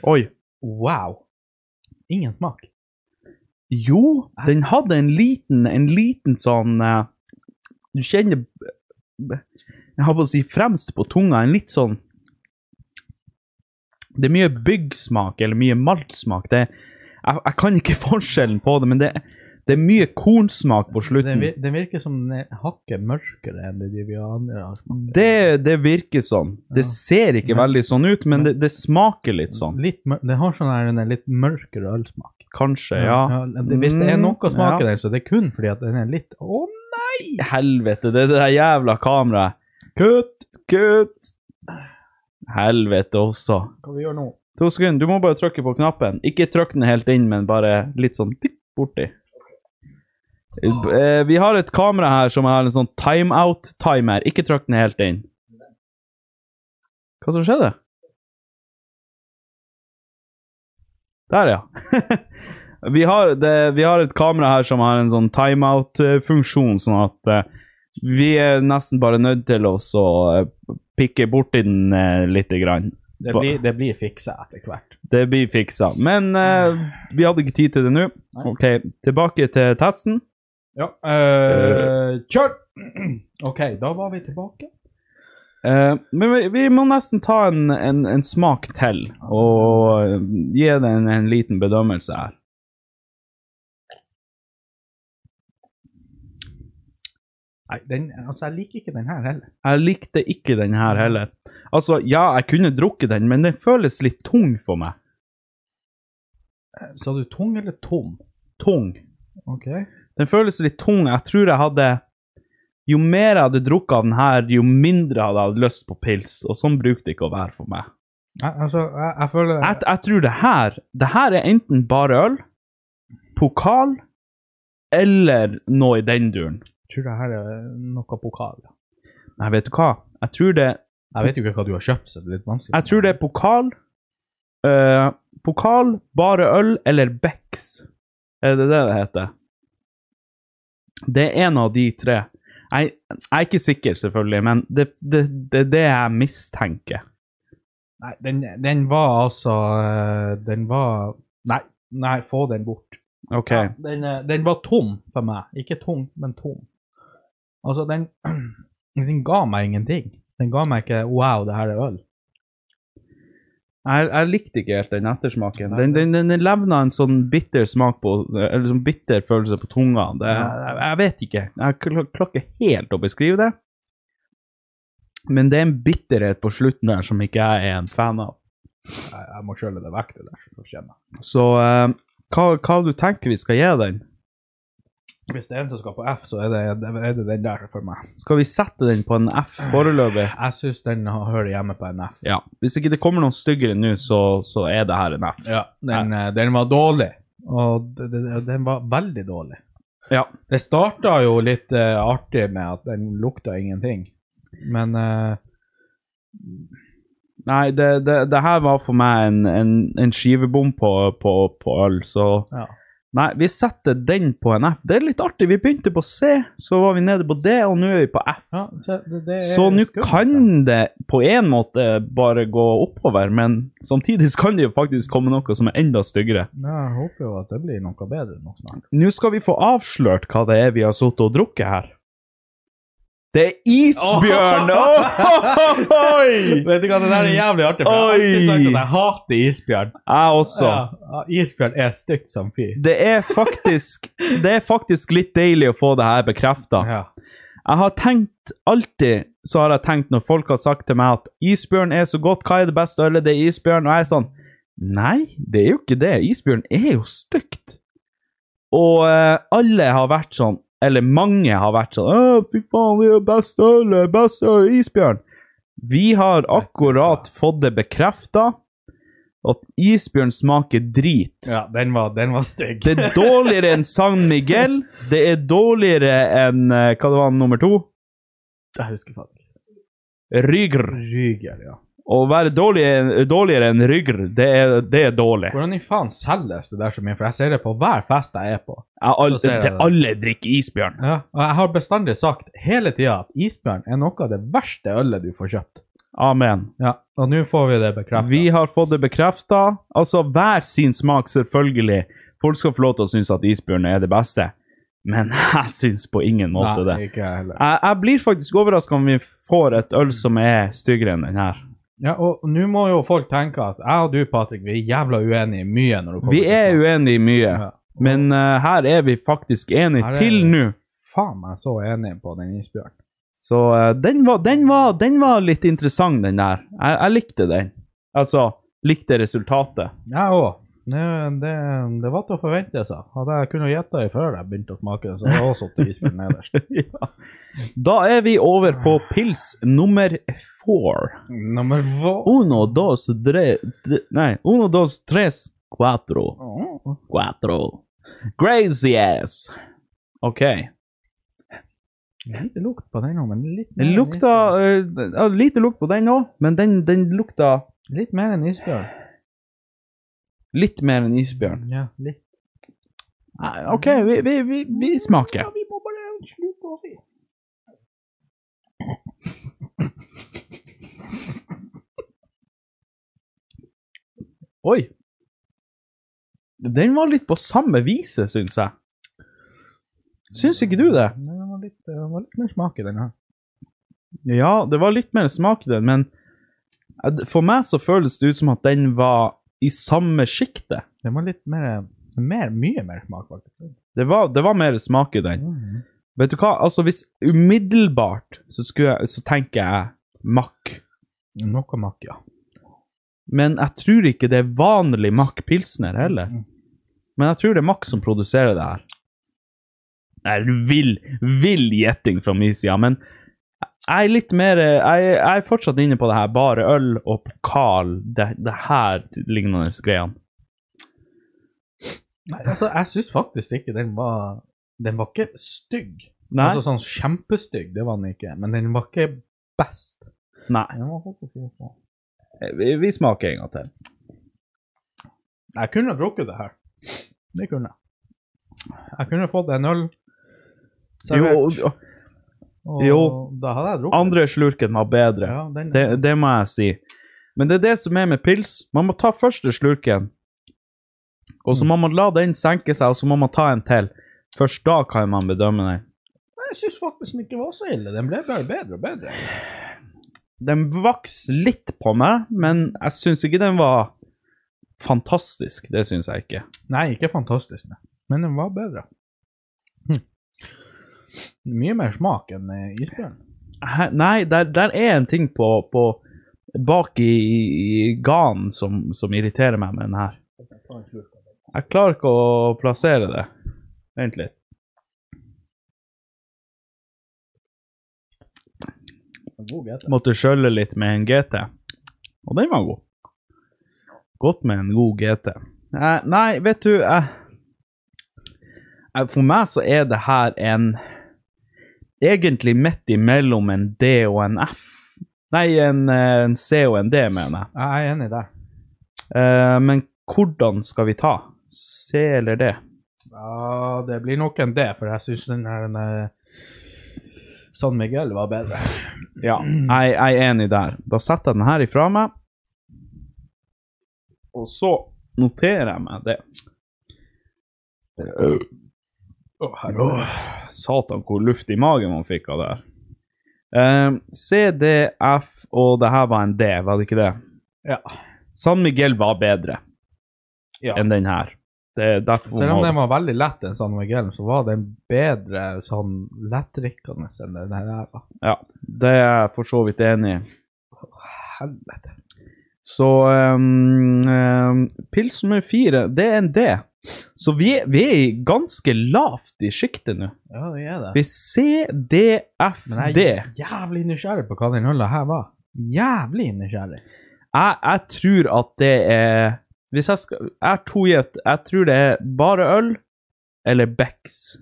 [SPEAKER 1] Oi.
[SPEAKER 2] Wow. Ingen smak.
[SPEAKER 1] Jo, den hadde en liten, en liten sånn eh, Du kjenner Jeg har på å si fremst på tunga, en litt sånn Det er mye byggsmak, eller mye maltsmak. Det, jeg, jeg kan ikke forskjellen på det, men det, det er mye kornsmak på
[SPEAKER 2] Den,
[SPEAKER 1] slutten.
[SPEAKER 2] vir- den virker som den er hakket mørkere enn det de vi andre har smakt.
[SPEAKER 1] Det, det virker sånn.
[SPEAKER 2] Ja.
[SPEAKER 1] Det ser ikke
[SPEAKER 2] Men-
[SPEAKER 1] veldig sånn ut, men det, det smaker litt sånn.
[SPEAKER 2] Litt mør den har sånn her, en litt mørkere ølsmak.
[SPEAKER 1] Kanskje, ja. Mm,
[SPEAKER 2] det, hvis det er noe smak i
[SPEAKER 1] Ja.
[SPEAKER 2] den, så det er kun fordi at den er litt Å
[SPEAKER 1] Helvete, det er det der jævla kameraet. Kutt, kutt. Helvete også.
[SPEAKER 2] Hva vi gjør nå?
[SPEAKER 1] To sekunder, du må bare trykke på knappen. Ikke trykk den helt inn, men bare litt sånn tikk borti. Eh, Vi har et kamera her som har en sånn timeout-timer. Ikke trykk den helt inn. Hva som skjedde? Der, ja. vi, har det, vi har et kamera her som har en sånn timeout-funksjon, sånn at eh, vi er nesten bare nødt til oss å eh, pikke borti den uh, lite grann.
[SPEAKER 2] Det
[SPEAKER 1] Hva-
[SPEAKER 2] blir, det blir fiksa etter hvert.
[SPEAKER 1] Det blir fiksa. Men eh, vi hadde ikke tid til det nå. OK, tilbake til testen.
[SPEAKER 2] Ja. øh, kjør! OK, da var vi tilbake.
[SPEAKER 1] Eh, men vi, vi må nesten ta en, en, en smak til og eh, gi det en, en liten bedømmelse her.
[SPEAKER 2] Nei, den, altså, jeg liker ikke den her heller.
[SPEAKER 1] Jeg likte ikke den her heller. Altså, ja, jeg kunne drukket den, men den føles litt tung for meg.
[SPEAKER 2] Sa du tung eller tom?
[SPEAKER 1] Tung.
[SPEAKER 2] OK.
[SPEAKER 1] Den føles litt tung. Jeg tror jeg hadde Jo mer jeg hadde drukket av den her, jo mindre hadde jeg hatt lyst på pils, og sånn brukte det ikke å være for meg.
[SPEAKER 2] Jeg, altså, jeg, jeg føler
[SPEAKER 1] jeg, jeg tror det her Det her er enten bare øl, pokal eller noe i den duren.
[SPEAKER 2] tror det her er noe pokal.
[SPEAKER 1] Nei, vet du hva? Jeg tror det,
[SPEAKER 2] Jeg vet jo ikke hva du har kjøpt, så det er litt vanskelig.
[SPEAKER 1] jeg tror det er pokal, eh, pokal, bare øl eller Becks. Er det det det heter? Det er en av de tre. Jeg, jeg er ikke sikker, selvfølgelig, men det er det, det, er det jeg mistenker.
[SPEAKER 2] Nei, den, den var altså øh, Den var Nei, nei, få den bort.
[SPEAKER 1] OK.
[SPEAKER 2] Ja, den, øh, den var tom for meg. Ikke tung, men tom. Altså, den Den ga meg ingenting. Den ga meg ikke 'wow, det her er øl'.
[SPEAKER 1] Jeg, jeg likte ikke helt den ettersmaken.
[SPEAKER 2] Nei.
[SPEAKER 1] Den, den, den, den levna en sånn bitter smak på Eller sånn bitter følelse på tunga.
[SPEAKER 2] eh,
[SPEAKER 1] Det, jeg, jeg vet ikke. Jeg kl- klarer ikke helt å beskrive det. Men det er en bitterhet på slutten der som ikke jeg er en fan av.
[SPEAKER 2] Jeg, jeg må kjøle det vekk, det der. for å kjenne.
[SPEAKER 1] Så eh, hva, hva du tenker vi skal gi den?
[SPEAKER 2] Hvis det er en som skal på F, så er det, er det den der for meg.
[SPEAKER 1] Skal vi sette den på en F foreløpig?
[SPEAKER 2] Jeg syns den har- hører hjemme på en F.
[SPEAKER 1] Ja. Hvis ikke det kommer noen styggere nå, så, så er det her en F.
[SPEAKER 2] Ja, den, eh, den var dårlig. Og d- d- den var veldig dårlig.
[SPEAKER 1] Ja.
[SPEAKER 2] Det starta jo litt eh, artig med at den lukta ingenting, men eh,
[SPEAKER 1] Nei, det, det, det her var for meg en, en, en skivebom på, på, på øl, så
[SPEAKER 2] ja.
[SPEAKER 1] Nei, vi setter den på en F. Det er litt artig. Vi begynte på C, så var vi nede på D, og nå er vi på F.
[SPEAKER 2] ja så det, det er
[SPEAKER 1] Så nå
[SPEAKER 2] skummelt, da.
[SPEAKER 1] kan det på en måte bare gå oppover, men samtidig så kan det jo faktisk komme noe som er enda styggere.
[SPEAKER 2] ja, Jeg håper jo at det blir noe bedre nå snart.
[SPEAKER 1] Nå skal vi få avslørt hva det er vi har sittet og drukket her. Det er isbjørn! Oi!
[SPEAKER 2] Vet du hva, det der er jævlig artig,
[SPEAKER 1] for jeg har alltid sagt at jeg
[SPEAKER 2] hater isbjørn.
[SPEAKER 1] Jeg også.
[SPEAKER 2] isbjørn er stygt som fy.
[SPEAKER 1] Det er faktisk, det er faktisk litt deilig å få det her bekrefta.
[SPEAKER 2] Ja.
[SPEAKER 1] Jeg har tenkt alltid så har jeg tenkt når folk har sagt til meg at isbjørn er så godt, hva er det beste ølet? Det er isbjørn. Og jeg er sånn Nei, det er jo ikke det. Isbjørn er jo stygt. Og eh, alle har vært sånn, eller mange har vært sånn Å, fy faen, det er best øl, det er best øl, isbjørn. Vi har akkurat fått det bekrefta at isbjørn smaker drit.
[SPEAKER 2] ja, den var, den var stygg.
[SPEAKER 1] Det er dårligere enn San Miguel. Det er dårligere enn eh, Hva det var nummer to?
[SPEAKER 2] Jeg husker faktisk.
[SPEAKER 1] Rygr.
[SPEAKER 2] Ryger, ja.
[SPEAKER 1] Å være dårlig, eh, dårligere enn rygger, det er, det er dårlig.
[SPEAKER 2] Hvordan i faen selges det der så mye? For jeg ser det på hver fest jeg er på.
[SPEAKER 1] Jeg, all,
[SPEAKER 2] Så ser jeg
[SPEAKER 1] det,
[SPEAKER 2] det.
[SPEAKER 1] alle drikker isbjørn.
[SPEAKER 2] Ja, og jeg har bestandig sagt hele tida at isbjørn er noe av det verste ølet du får kjøpt.
[SPEAKER 1] Amen.
[SPEAKER 2] Ja, og nå får vi det bekreftet.
[SPEAKER 1] Vi har fått det bekrefta. Altså, hver sin smak, selvfølgelig. Folk skal få lov til å synes at isbjørn er det beste, men jeg syns på ingen måte
[SPEAKER 2] Nei,
[SPEAKER 1] det.
[SPEAKER 2] ikke jeg heller.
[SPEAKER 1] Jeg, jeg blir faktisk overraska om vi får et øl som er styggere enn den her.
[SPEAKER 2] Ja, og nå må jo folk tenke at jeg og du, Patrick, vi er jævla uenige i mye når det kommer
[SPEAKER 1] Vi er
[SPEAKER 2] smak.
[SPEAKER 1] uenige i mye,
[SPEAKER 2] Ja.
[SPEAKER 1] men eh, her er vi faktisk enige
[SPEAKER 2] Her er
[SPEAKER 1] til
[SPEAKER 2] vi.
[SPEAKER 1] nå.
[SPEAKER 2] Faen meg så enig på den isbjørnen.
[SPEAKER 1] Så eh, den, var, den, var, den var litt interessant, den der. Jeg, jeg likte den. Altså, likte resultatet.
[SPEAKER 2] Jeg òg. Det, det, det var til å forvente seg. Hadde jeg kunnet gjette det før jeg begynte å smake det, så hadde jeg også satt isbjørn nederst.
[SPEAKER 1] ja. Da er vi over på pils nummer four.
[SPEAKER 2] Nummer få.
[SPEAKER 1] Uno, dos, tre, d- Nei, uno, dos, tres, cuatro. Oh. Cuatro. Crazy ass. OK.
[SPEAKER 2] Lite lukt på den òg, men litt
[SPEAKER 1] Det
[SPEAKER 2] mer
[SPEAKER 1] lukta
[SPEAKER 2] enn
[SPEAKER 1] eh, ja, Lite lukt på den òg, men den, den lukta
[SPEAKER 2] isbjørn. Litt mer enn isbjørn.
[SPEAKER 1] litt mer enn isbjørn.
[SPEAKER 2] Ja, litt.
[SPEAKER 1] Nei, OK, vi, vi, vi, vi smaker.
[SPEAKER 2] vi må bare slutte å si.
[SPEAKER 1] Oi. Den var litt på samme viset, syns jeg. Syns ikke du det?
[SPEAKER 2] Nei, Det var litt, det var litt mer smak i den her.
[SPEAKER 1] Ja, det var litt mer smak i den, men for meg så føles det ut som at den var i samme sjiktet.
[SPEAKER 2] Den var litt mer, mer Mye mer smak, faktisk.
[SPEAKER 1] Det var, det var mer smak i den.
[SPEAKER 2] Mhm.
[SPEAKER 1] Vet du hva, altså hvis umiddelbart så, skulle jeg, så tenker jeg makk.
[SPEAKER 2] Noe makk, ja.
[SPEAKER 1] Men jeg tror ikke det er vanlig makk pilsner heller.
[SPEAKER 2] Mhm.
[SPEAKER 1] Men jeg tror det er makk som produserer det her. Nei, vill, vill gjetting fra min side, men jeg er litt mer eh, jeg, jeg er fortsatt inne på det her bare øl og pokal, det, det her lignende greiene.
[SPEAKER 2] Nei, altså, jeg syns faktisk ikke den var Den var ikke stygg.
[SPEAKER 1] Nei?
[SPEAKER 2] Altså sånn kjempestygg, det var den ikke. Men den var ikke best.
[SPEAKER 1] Nei.
[SPEAKER 2] Den var faktisk ikke bra.
[SPEAKER 1] Vi, vi smaker en gang til.
[SPEAKER 2] Jeg kunne ha drukket det her. Det kunne jeg. Jeg kunne fått en øl servert,
[SPEAKER 1] Jo,
[SPEAKER 2] og
[SPEAKER 1] jo.
[SPEAKER 2] da hadde jeg drukket
[SPEAKER 1] andre slurken var bedre.
[SPEAKER 2] Ja, den,
[SPEAKER 1] Det, det må jeg si. Men det er det som er med pils. Man må ta første slurken, og så må man la den senke seg, og så må man ta en til. Først da kan man bedømme den.
[SPEAKER 2] Nei, Jeg syns faktisk den ikke var så ille. Den ble bare bedre og bedre.
[SPEAKER 1] Den vaks litt på meg, men jeg syns ikke den var fantastisk. Det syns jeg ikke.
[SPEAKER 2] Nei, ikke fantastisk, nei. men den var bedre. Hm. Mye mer smak enn eh, isbjørn.
[SPEAKER 1] Hæ? Nei, der, der er en ting på, på bak i, i, i ganen som, som irriterer meg med den her. Jeg klarer ikke å plassere det. Vent litt.
[SPEAKER 2] God GT.
[SPEAKER 1] Måtte skjølle litt med en GT. Og den var god. Godt med en god GT. Eh, nei, vet du eh, eh, For meg så er det her en Egentlig midt imellom en D og en F. Nei, en, eh, en C og en D, mener jeg.
[SPEAKER 2] Jeg er enig der.
[SPEAKER 1] Eh, men hvordan skal vi ta? C eller D?
[SPEAKER 2] Ja, det blir nok en D, for jeg syns den her den, eh, San Miguel var bedre.
[SPEAKER 1] Ja, jeg, jeg er enig der. Da setter jeg den her ifra meg. Og så noterer jeg meg det. Å, herre Satan, hvor luft i magen man fikk av det her. Um, C, D, F, og det her var en D, var det ikke det?
[SPEAKER 2] Ja.
[SPEAKER 1] San Miguel var bedre
[SPEAKER 2] Ja.
[SPEAKER 1] enn den her. Det er derfor
[SPEAKER 2] Selv om den var veldig lett, den San Miguel, så var den bedre sånn lettdrikkende enn den her. da.
[SPEAKER 1] Ja, det er jeg for så vidt enig i.
[SPEAKER 2] Helvete.
[SPEAKER 1] Så um, um, pils nummer fire, det er en D. Så vi, vi er i ganske lavt i sjiktet nå.
[SPEAKER 2] Ja, det er
[SPEAKER 1] Vi
[SPEAKER 2] det.
[SPEAKER 1] er CDFD.
[SPEAKER 2] Men jeg
[SPEAKER 1] Jeg,
[SPEAKER 2] er jævlig nysgjerrig på hva den øla her var. Jævlig nysgjerrig.
[SPEAKER 1] jeg tror at det er Hvis jeg skal Jeg har to gjett. Jeg tror det er bare øl eller Becks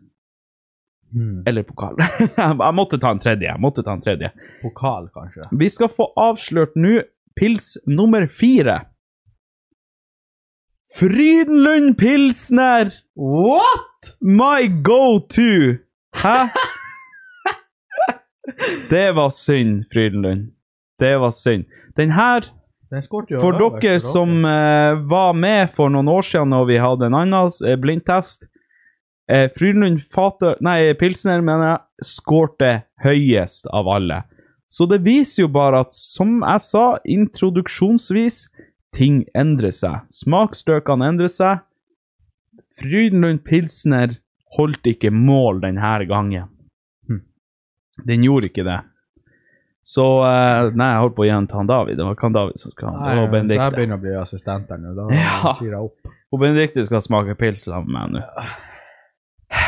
[SPEAKER 2] Hmm.
[SPEAKER 1] eller pokal. jeg måtte ta en tredje. Jeg måtte ta en tredje.
[SPEAKER 2] Pokal, kanskje.
[SPEAKER 1] Vi skal få avslørt nå pils nummer fire. Frydenlund Pilsner!
[SPEAKER 2] What?!
[SPEAKER 1] My go-to! Hæ? Det var synd, Frydenlund. Det var synd. Den her,
[SPEAKER 2] Den skårte jo
[SPEAKER 1] for
[SPEAKER 2] Høyberg
[SPEAKER 1] dere som eh, var med for noen år siden når vi hadde en annen eh, blindtest eh, Frydlund Fatø... Nei, Pilsner, mener jeg, skårte høyest av alle. Så det viser jo bare at, som jeg sa introduksjonsvis, ting endrer seg. Smaksstøkene endrer seg. Frydenlund Pilsner holdt ikke mål denne gangen.
[SPEAKER 2] Hm.
[SPEAKER 1] Den gjorde ikke det. Så eh, Nei, jeg holdt på å gi den til han David. Det var ikke han David som skulle ha
[SPEAKER 2] Nei,
[SPEAKER 1] den. Det var
[SPEAKER 2] så jeg
[SPEAKER 1] Benedicte.
[SPEAKER 2] begynner å bli assistent der nå. Da
[SPEAKER 1] Ja.
[SPEAKER 2] sier jeg opp.
[SPEAKER 1] Og Benedicte skal smake pils sammen med meg nå.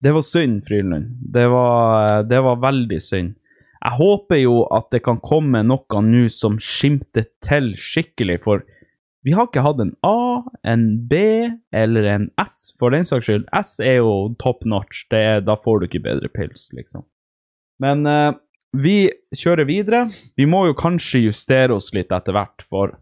[SPEAKER 1] Det var synd, Frydlund. Det, var- det var veldig synd. Jeg håper jo at det kan komme noe nå som skimter til skikkelig, for vi har ikke hatt en A, en B eller en S, for den saks skyld. S er jo top notch, det er, da får du ikke bedre pils, liksom. Men eh, vi kjører videre. Vi må jo kanskje justere oss litt etter hvert, for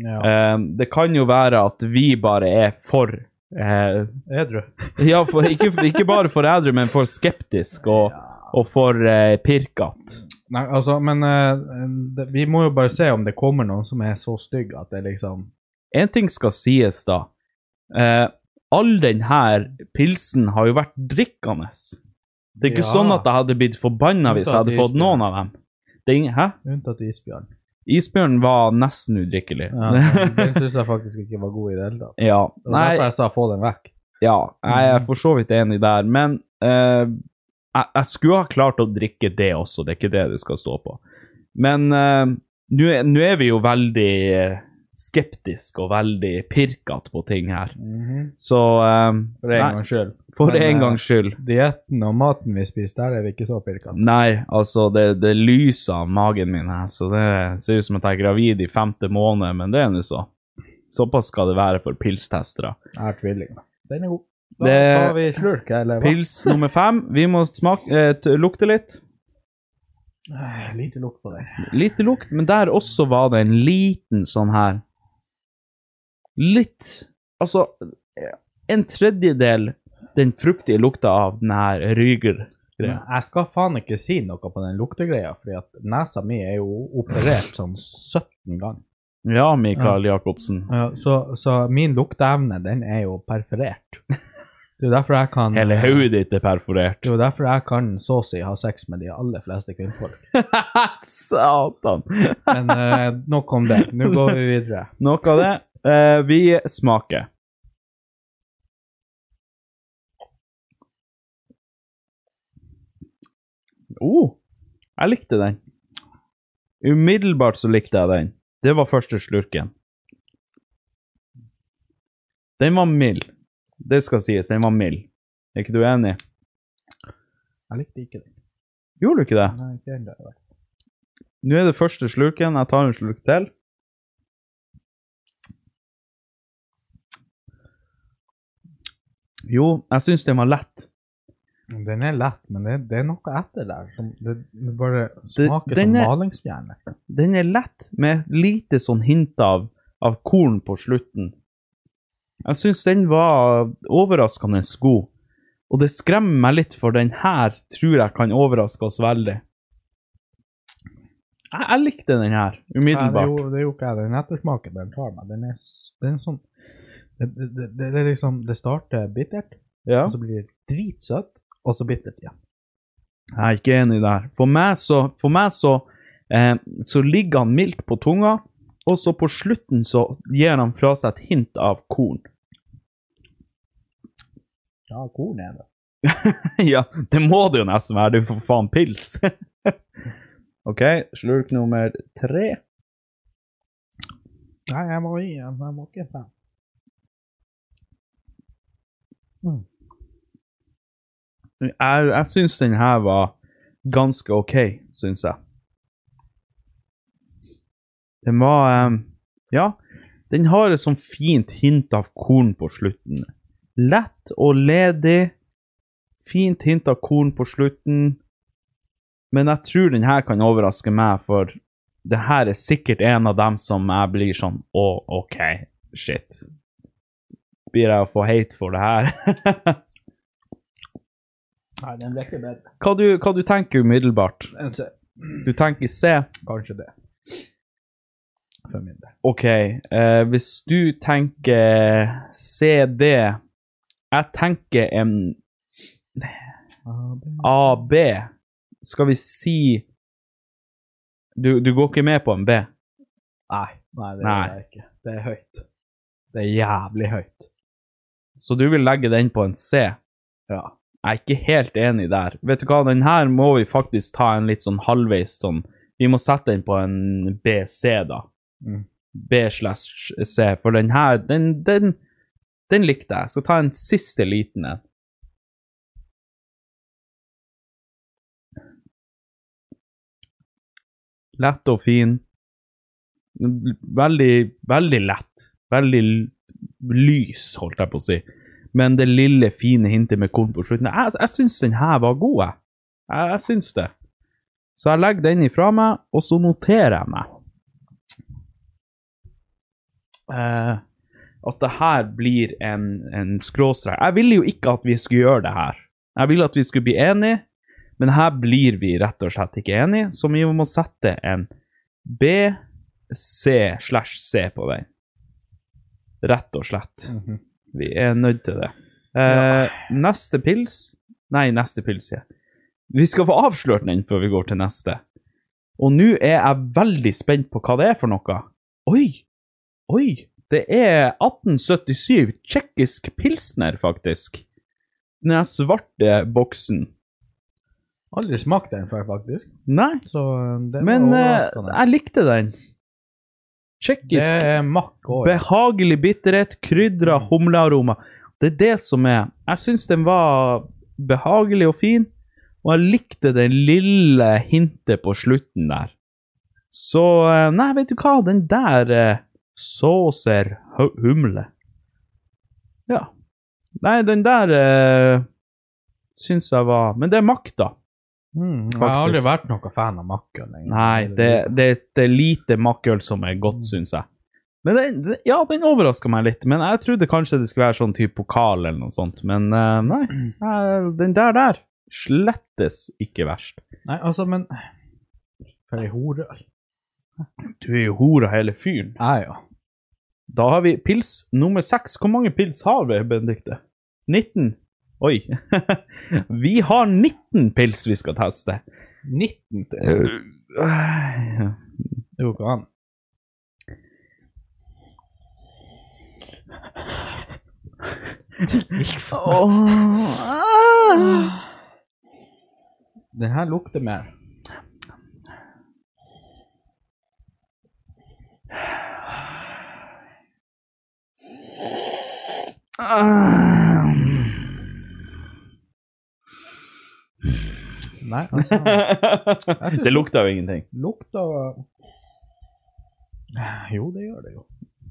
[SPEAKER 2] Ja.
[SPEAKER 1] Eh, det kan jo være at vi bare er for eh,
[SPEAKER 2] Edru.
[SPEAKER 1] Ja, for, ikke, ikke bare for ædru, men for skeptisk og, og for eh, pirkete.
[SPEAKER 2] Nei, altså, men eh, det, vi må jo bare se om det kommer noen som er så stygg at det liksom
[SPEAKER 1] En ting skal sies, da. Eh, all denne pilsen har jo vært drikkende. Det er ikke
[SPEAKER 2] Ja.
[SPEAKER 1] sånn at jeg hadde blitt forbanna hvis jeg hadde fått noen av dem. Det er ingen, hæ?
[SPEAKER 2] Unntatt isbjørn.
[SPEAKER 1] Isbjørnen var nesten udrikkelig.
[SPEAKER 2] Ja, men den syns jeg faktisk ikke var god i det hele tatt.
[SPEAKER 1] ja.
[SPEAKER 2] Det var
[SPEAKER 1] Nei,
[SPEAKER 2] derfor jeg sa få den vekk.
[SPEAKER 1] Ja, jeg
[SPEAKER 2] Mhm.
[SPEAKER 1] er for så vidt enig der, men eh, jeg, jeg skulle ha klart å drikke det også, det er ikke det det skal stå på. Men eh, nå er- nå er vi jo veldig eh, skeptisk og veldig pirkete på ting her, så eh,
[SPEAKER 2] For en
[SPEAKER 1] nei,
[SPEAKER 2] gangs skyld.
[SPEAKER 1] for
[SPEAKER 2] Men, eh,
[SPEAKER 1] en gangs skyld.
[SPEAKER 2] Dietten og maten vi spiser, der er vi ikke så pirkete.
[SPEAKER 1] Nei, altså, det, det lyser av magen min her, så det ser ut som at jeg er gravid i femte måned, men det er nå så. Såpass skal det være for pilstestere.
[SPEAKER 2] Jeg er tvilling. Den er god. Da
[SPEAKER 1] Det-
[SPEAKER 2] tar vi slurk, eller hva?
[SPEAKER 1] Pils nummer fem, vi må smake, eh, t- lukte litt.
[SPEAKER 2] Eh, Lite lukt på den.
[SPEAKER 1] Lite lukt, men der også var det en liten sånn her Litt Altså, en tredjedel den fruktige lukta av den her Ryger.
[SPEAKER 2] Men Jeg skal faen ikke si noe på den luktegreia, fordi at nesa mi er jo operert sånn 17 ganger.
[SPEAKER 1] Ja, Mikael Jacobsen.
[SPEAKER 2] Ja, så, så min lukteevne, den er jo perforert. Det er jo derfor jeg kan
[SPEAKER 1] Hele hodet ditt er perforert.
[SPEAKER 2] Det er jo derfor jeg kan så å si ha sex med de aller fleste kvinnfolk.
[SPEAKER 1] Satan!
[SPEAKER 2] Men eh, nok om det. Nå går vi videre.
[SPEAKER 1] Noe av det. Eh, vi smaker. Oh, jeg likte den. Umiddelbart så likte jeg den. Det var første slurken. Den var mild. Det skal sies, den var mild. Er ikke du enig?
[SPEAKER 2] Jeg likte ikke den.
[SPEAKER 1] Gjorde du ikke det?
[SPEAKER 2] Nei, ikke den der, vel.
[SPEAKER 1] Nå er det første slurken. Jeg tar en slurk til. Jo, jeg syns den var lett.
[SPEAKER 2] Den er lett, men det, det er noe etter der. Som, det, det bare
[SPEAKER 1] Det-
[SPEAKER 2] smaker
[SPEAKER 1] den
[SPEAKER 2] som
[SPEAKER 1] er-
[SPEAKER 2] malingsfjerne.
[SPEAKER 1] Den er lett, med et lite sånn hint av, av korn på slutten. Jeg syns den var overraskende god. Og det skremmer meg litt, for den her tror jeg kan overraske oss veldig. Jeg, jeg likte den her,
[SPEAKER 2] Nei, Det,
[SPEAKER 1] umiddelbart.
[SPEAKER 2] gjorde- det gjorde ikke jeg. Den ettersmaken den tar meg, den er, s- den er sånn det, det, det, det er liksom Det starter bittert,
[SPEAKER 1] Ja.
[SPEAKER 2] og så blir det dritsøtt, og så bittert igjen.
[SPEAKER 1] Jeg er ikke enig der. For meg så, for meg så, eh, så ligger han mildt på tunga, og så på slutten så gir han fra seg et hint av korn.
[SPEAKER 2] Ja, korn er det.
[SPEAKER 1] ja, det må det jo nesten være, det er jo for faen pils. ok, slurk nummer tre.
[SPEAKER 2] Nei, jeg må gi en. Jeg må ikke ta.
[SPEAKER 1] Jeg, jeg syns den her var ganske ok, syns jeg. Den var eh, Ja, den har et sånn fint hint av korn på slutten. Lett og ledig. Fint hint av korn på slutten. Men jeg tror den her kan overraske meg, for det her er sikkert en av dem som jeg blir sånn Å, OK, shit. Blir jeg å få hate for det her?
[SPEAKER 2] Nei, den ble ikke bedre.
[SPEAKER 1] Hva du, hva du tenker umiddelbart?
[SPEAKER 2] En se-
[SPEAKER 1] Du tenker C.
[SPEAKER 2] Kanskje det. For min del.
[SPEAKER 1] OK, eh, hvis du tenker CD Jeg tenker en
[SPEAKER 2] Ah,
[SPEAKER 1] AB. Skal vi si du, du går ikke med på en B?
[SPEAKER 2] Nei, nei, det
[SPEAKER 1] Ah. Nei.
[SPEAKER 2] gjør jeg ikke. Det er høyt. Det er jævlig høyt.
[SPEAKER 1] Så du vil legge den på en C?
[SPEAKER 2] Ja.
[SPEAKER 1] Jeg er ikke helt enig der. Vet du hva, den her må vi faktisk ta en litt sånn halvveis sånn Vi må sette den på en BC, da.
[SPEAKER 2] Mm.
[SPEAKER 1] B slash C, for den her, den, den, den likte jeg. Jeg skal ta en siste liten en. Lett og fin. Veldig, veldig lett. Veldig l- lys, holdt jeg på å si. Men det lille, fine hintet med korn på slutten Jeg, jeg syns den her var god, jeg. Jeg, jeg syns det. Så jeg legger den ifra meg, og så noterer jeg meg eh, at det her blir en, en skråstrek. Jeg ville jo ikke at vi skulle gjøre det her. Jeg ville at vi skulle bli enige, men her blir vi rett og slett ikke enige, så vi må sette en B, C slash C på den. Rett og slett.
[SPEAKER 2] Mhm.
[SPEAKER 1] Vi er nødt til det. Eh, Neste pils Nei, neste pils, ja. Vi skal få avslørt den før vi går til neste. Og nå er jeg veldig spent på hva det er for noe. Oi! Oi! Det er 1877 tsjekkisk pilsner, faktisk. Den her svarte boksen.
[SPEAKER 2] Aldri smakt den før, faktisk.
[SPEAKER 1] Nei,
[SPEAKER 2] Så eh, det var
[SPEAKER 1] men eh,
[SPEAKER 2] overraskende.
[SPEAKER 1] jeg likte den.
[SPEAKER 2] det
[SPEAKER 1] Tsjekkisk
[SPEAKER 2] er makk òg.
[SPEAKER 1] Behagelig bitterhet, krydra humlearoma. Det er det som er Jeg syns den var behagelig og fin, og jeg likte det lille hintet på slutten der. Så eh, Nei, vet du hva, den der eh, Sauser hu- humle. Ja. Nei, den der eh, syns jeg var Men det er makta.
[SPEAKER 2] Mm, jeg har aldri
[SPEAKER 1] faktisk.
[SPEAKER 2] vært noen fan av makkøl. egentlig.
[SPEAKER 1] Nei, det, det, det er lite makkøl som er godt, syns jeg. Men den, den- ja, den overraska meg litt. Men jeg trodde kanskje det skulle være sånn type pokal eller noe sånt. Men eh, nei, eh, den der der slettes ikke verst.
[SPEAKER 2] Nei, altså, men For ei hore.
[SPEAKER 1] Du er jo hora hele fyren.
[SPEAKER 2] Jeg, ja.
[SPEAKER 1] Da har vi pils nummer seks. Hvor mange pils har vi, Benedikte? 19? Oi. vi har 19 pils vi skal teste.
[SPEAKER 2] 19 til.
[SPEAKER 1] Øh,
[SPEAKER 2] Det går ikke an. Den her lukter mer. Nei, altså
[SPEAKER 1] Det lukta jo ingenting.
[SPEAKER 2] Lukta Jo, det gjør det jo.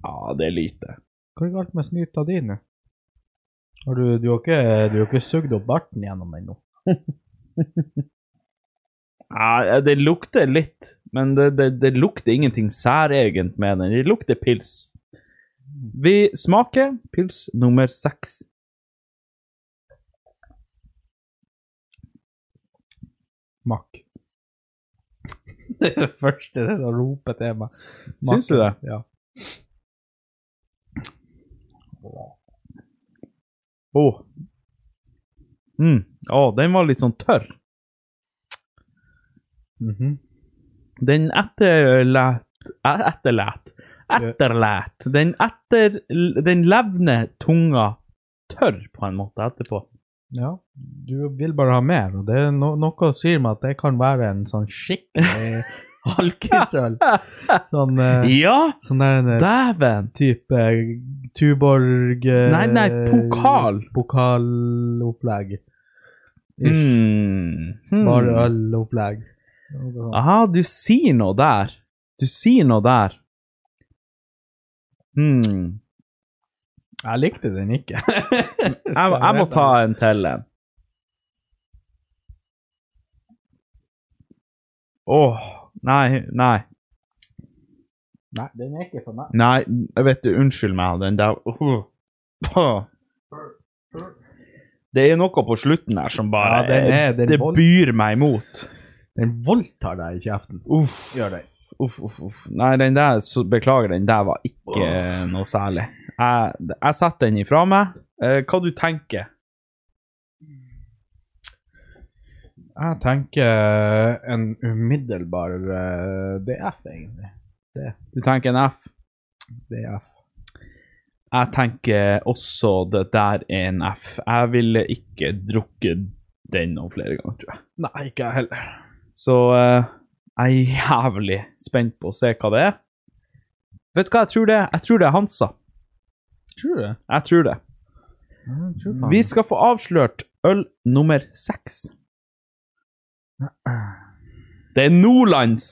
[SPEAKER 1] Ja, det er lite.
[SPEAKER 2] Hva er galt med snyta di nå? Har du, du har ikke, du har ikke sugd opp barten gjennom den nå?
[SPEAKER 1] Ja, det lukter litt, men det, det, det lukter ingenting særegent med den. Det lukter pils. Vi smaker pils nummer seks.
[SPEAKER 2] Makk. Det er det første det som roper til meg.
[SPEAKER 1] Syns du det?
[SPEAKER 2] Ja.
[SPEAKER 1] Å. Mm. Å, den var litt sånn tørr.
[SPEAKER 2] Mhm.
[SPEAKER 1] Den etterlät eh, Etterlät. Etterlät. Den etter... Den levner tunga tørr, på en måte, etterpå.
[SPEAKER 2] Ja. Du vil bare ha mer, og det er no noe sier meg at det kan være en sånn skikkelig halkesøl. Sånn, eh,
[SPEAKER 1] Ja!
[SPEAKER 2] sånn der en eh,
[SPEAKER 1] Dæven!
[SPEAKER 2] type eh, Tuborg eh,
[SPEAKER 1] Nei, nei, pokal.
[SPEAKER 2] Pokalopplegg. Ish.
[SPEAKER 1] Mm. Hmm.
[SPEAKER 2] Bare ølopplegg.
[SPEAKER 1] Aha, du sier noe der. Du sier noe der. Hmm.
[SPEAKER 2] Jeg likte den ikke.
[SPEAKER 1] Jeg, jeg må ta en til en. Åh, nei, nei,
[SPEAKER 2] Nei, den er ikke for meg.
[SPEAKER 1] nei, jeg vet du, unnskyld meg, den der. Åh. Åh. Det er noe på slutten her som bare,
[SPEAKER 2] Ja, den er- den
[SPEAKER 1] det
[SPEAKER 2] vold-
[SPEAKER 1] byr meg imot.
[SPEAKER 2] Den voldtar deg i kjeften.
[SPEAKER 1] Uff,
[SPEAKER 2] Gjør den.
[SPEAKER 1] uff, uff. uff. Nei, den der, så, beklager, den der var ikke eh, noe særlig. Jeg, jeg setter den ifra meg. Eh, hva du tenker?
[SPEAKER 2] Jeg tenker eh, en umiddelbar eh, DF, egentlig.
[SPEAKER 1] Du tenker en F?
[SPEAKER 2] DF.
[SPEAKER 1] Jeg tenker også det der er en F. Jeg ville ikke drukket den noen flere ganger, tror jeg.
[SPEAKER 2] Nei, ikke jeg heller.
[SPEAKER 1] Så eh, jeg er jævlig spent på å se hva det er. Vet du hva jeg tror det er? Jeg tror det er Hansa.
[SPEAKER 2] Tror du det?
[SPEAKER 1] Jeg tror det.
[SPEAKER 2] Jeg tror
[SPEAKER 1] Vi skal få avslørt øl nummer seks. Det er Nordlands!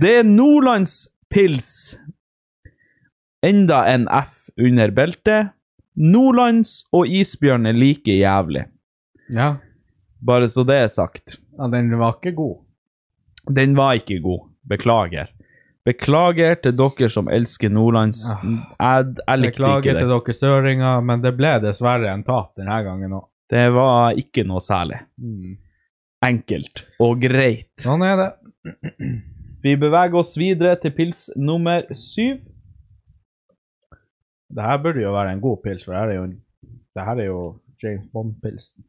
[SPEAKER 1] det er Nordlands pils. Enda en F under beltet. Nordlands og isbjørn er like jævlig.
[SPEAKER 2] ja.
[SPEAKER 1] Bare så det er sagt.
[SPEAKER 2] ja, den var ikke god.
[SPEAKER 1] Den var ikke god. Beklager. Beklager til dere som elsker Nordlands. Jeg, jeg likte
[SPEAKER 2] Ah. Beklager
[SPEAKER 1] ikke
[SPEAKER 2] til
[SPEAKER 1] det.
[SPEAKER 2] dere søringer, men det ble dessverre en tap denne gangen òg.
[SPEAKER 1] Det var ikke noe særlig. Enkelt og greit.
[SPEAKER 2] Sånn er det.
[SPEAKER 1] Vi beveger oss videre til pils nummer syv.
[SPEAKER 2] Det her burde jo være en god pils, for det her er jo, en- det her er jo James Bond-pilsen.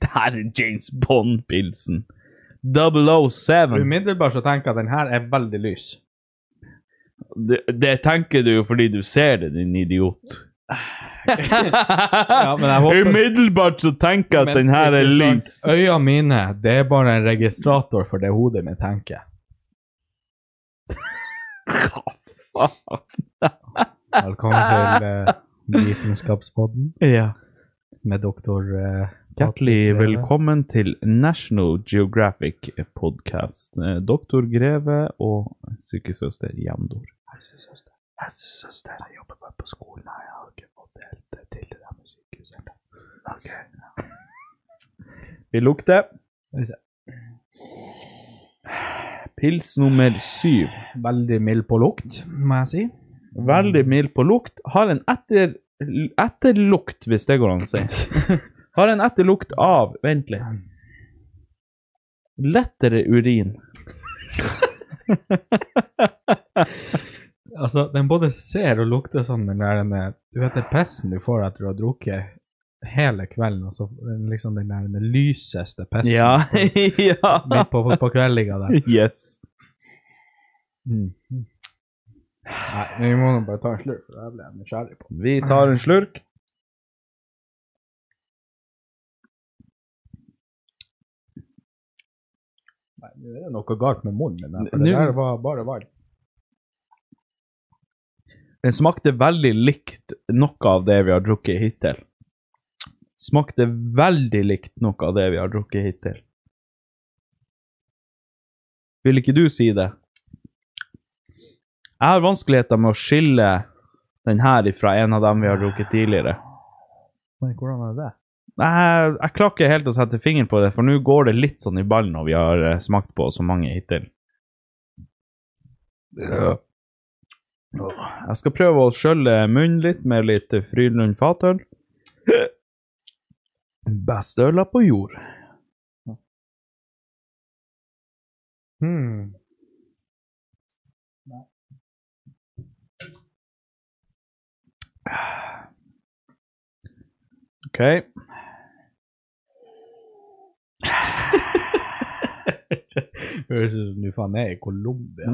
[SPEAKER 1] Det her er James Bond-pilsen. 007.
[SPEAKER 2] Umiddelbart så tenker jeg at den her er veldig lys.
[SPEAKER 1] Det, det tenker du jo fordi du ser det, din idiot.
[SPEAKER 2] men jeg håper-
[SPEAKER 1] Umiddelbart så tenker jeg at den her er
[SPEAKER 2] Ikke
[SPEAKER 1] lys.
[SPEAKER 2] sant? Øya mine, det er bare en registrator for det hodet mitt tenker.
[SPEAKER 1] Hva faen?
[SPEAKER 2] Velkommen til eh, Vitenskapspodden
[SPEAKER 1] Ja.
[SPEAKER 2] med doktor eh,
[SPEAKER 1] Hjertelig
[SPEAKER 2] Patrick Greve.
[SPEAKER 1] velkommen til National Geographic podcast. Eh, Doktor Greve og sykesøster Jandor. Helsesøster. Helsesøster. Jeg jobber bare på skolen. her. Jeg har ikke fått helt det til det der med sykehus ennå. Vi lukter.
[SPEAKER 2] Skal vi se.
[SPEAKER 1] Pils nummer syv.
[SPEAKER 2] Veldig mild på lukt, må jeg si.
[SPEAKER 1] Veldig mild på lukt. Har en etter, etterlukt, hvis det går an å si. Har en etterlukt av Vent litt. Lettere urin.
[SPEAKER 2] Altså, den både ser og lukter sånn den der den der- Du vet det pessen du får etter å ha drukket hele kvelden, og så liksom den der den lyseste pessen
[SPEAKER 1] Ja. ja.
[SPEAKER 2] midt på, på, på kveldinga der.
[SPEAKER 1] Yes.
[SPEAKER 2] Nei, vi må nå bare ta en slurk, for det her ble jeg nysgjerrig på.
[SPEAKER 1] Vi tar en slurk.
[SPEAKER 2] Nei, nå er det noe galt med munnen min, her, for
[SPEAKER 1] Nå-
[SPEAKER 2] det der var bare varmt.
[SPEAKER 1] Den smakte veldig likt noe av det vi har drukket hittil. Smakte veldig likt noe av det vi har drukket hittil. Vil ikke du si det? Jeg har vanskeligheter med å skille den her ifra en av dem vi har drukket tidligere.
[SPEAKER 2] Men hvordan er det?
[SPEAKER 1] Jeg, jeg klarer ikke helt å sette fingeren på det, for nå går det litt sånn i ballen når vi har eh, smakt på så mange hittil. Jeg skal prøve å skjølle munnen litt med litt Frydlund Fatøl. Beste øla på jord.
[SPEAKER 2] Hmm.
[SPEAKER 1] OK.
[SPEAKER 2] Høres ut som du faen er i Colombia.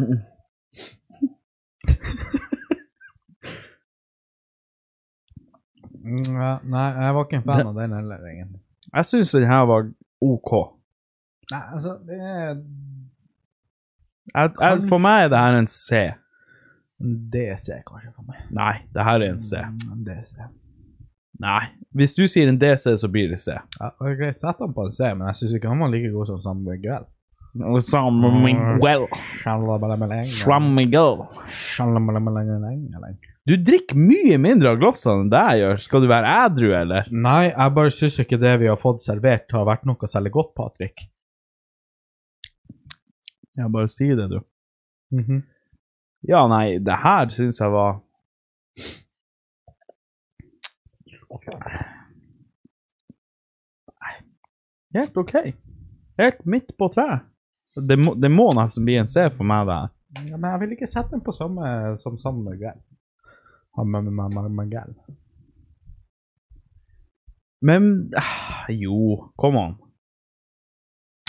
[SPEAKER 2] Mm, ja, nei, jeg var ikke en fan
[SPEAKER 1] Det-
[SPEAKER 2] av den heller, egentlig.
[SPEAKER 1] Jeg syns den her var OK.
[SPEAKER 2] Nei, altså, det er
[SPEAKER 1] Jeg, jeg, for meg er det her en C.
[SPEAKER 2] en DC, kanskje, for meg. Mm,
[SPEAKER 1] Nei, det her er en C.
[SPEAKER 2] En DC.
[SPEAKER 1] Nei. Hvis du sier en DC, så blir det C.
[SPEAKER 2] Ja, det er greit, sett han på en C, men jeg syns ikke han var like god som San Miguel.
[SPEAKER 1] Sammen Miguel.
[SPEAKER 2] Shalabalabaleng.
[SPEAKER 1] From Miguel.
[SPEAKER 2] Shalabalabaleng, eller?
[SPEAKER 1] Du drikker mye mindre av glassene enn det jeg gjør. Skal du være ædru, eller?
[SPEAKER 2] Nei, jeg bare syns ikke det vi har fått servert, har vært noe særlig godt, Patrick.
[SPEAKER 1] Ja, bare si det, du. Mhm. Ja, nei, det her syns jeg var Helt OK. Helt midt på treet. Det må, det må nesten bli en C for meg, det her.
[SPEAKER 2] Ja, men jeg vil ikke sette den på samme som samme Miguel. Han med- med- med- med Miguel.
[SPEAKER 1] Men ah, Jo, come on.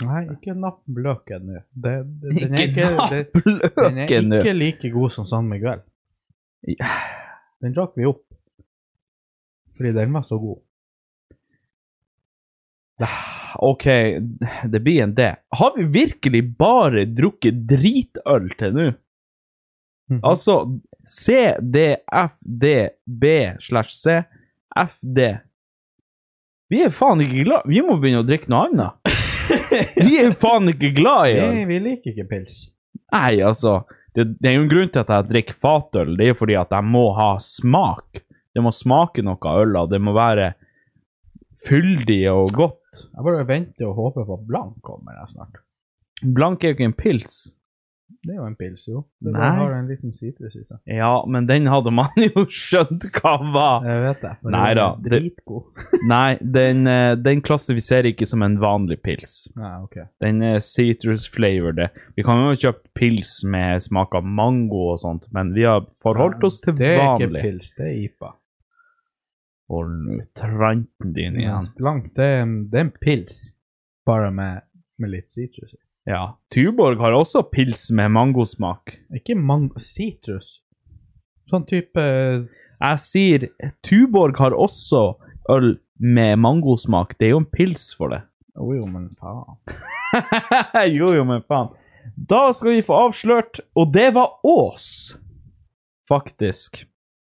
[SPEAKER 2] Nei, ikke napp løken nå. Det, det, den er
[SPEAKER 1] Ikke
[SPEAKER 2] ikke, det, den er
[SPEAKER 1] løken nå!
[SPEAKER 2] ikke like god som San Miguel. Den drakk vi opp. Fordi den var så god.
[SPEAKER 1] OK, det blir en D. Har vi virkelig bare drukket dritøl til nå? Altså C, D, F, D, B slash C, F, D. Vi er faen ikke glad Vi må begynne å drikke noe annet. Vi er faen ikke glad i øl.
[SPEAKER 2] Vi, vi liker ikke pils.
[SPEAKER 1] Nei, altså. Det, det er jo en grunn til at jeg drikker fatøl. Det er jo fordi at jeg må ha smak. Det må smake noe av øla. Det må være fyldig og godt.
[SPEAKER 2] Jeg bare venter og håper på at Blanc kommer her snart.
[SPEAKER 1] Blank er jo ikke en pils.
[SPEAKER 2] Det er jo en pils, jo. Det
[SPEAKER 1] Nei.
[SPEAKER 2] bare har en liten sitrus i seg.
[SPEAKER 1] Ja, men den hadde man jo skjønt hva var.
[SPEAKER 2] Jeg vet det. men
[SPEAKER 1] Nei
[SPEAKER 2] den er
[SPEAKER 1] da, det-
[SPEAKER 2] Dritgod.
[SPEAKER 1] Nei, den, eh, den klassifiserer ikke som en vanlig pils.
[SPEAKER 2] Nei, ok.
[SPEAKER 1] Den er citrus flavored. Vi kan jo ha kjøpt pils med smak av mango og sånt, men vi har forholdt oss til
[SPEAKER 2] det Det er ikke
[SPEAKER 1] vanlig.
[SPEAKER 2] pils, det er IPA.
[SPEAKER 1] Hold nå tranten din igjen.
[SPEAKER 2] Mens Blanc, det er, en- det er en pils, bare med, med litt sitrus i.
[SPEAKER 1] Ja. Tuborg har også pils med mangosmak.
[SPEAKER 2] Ikke mango, sitrus. Sånn type
[SPEAKER 1] Jeg sier Tuborg har også øl med mangosmak. Det er jo en pils for det.
[SPEAKER 2] Jo, jo, men faen.
[SPEAKER 1] jo, jo, men faen. Da skal vi få avslørt, og det var Ås, faktisk.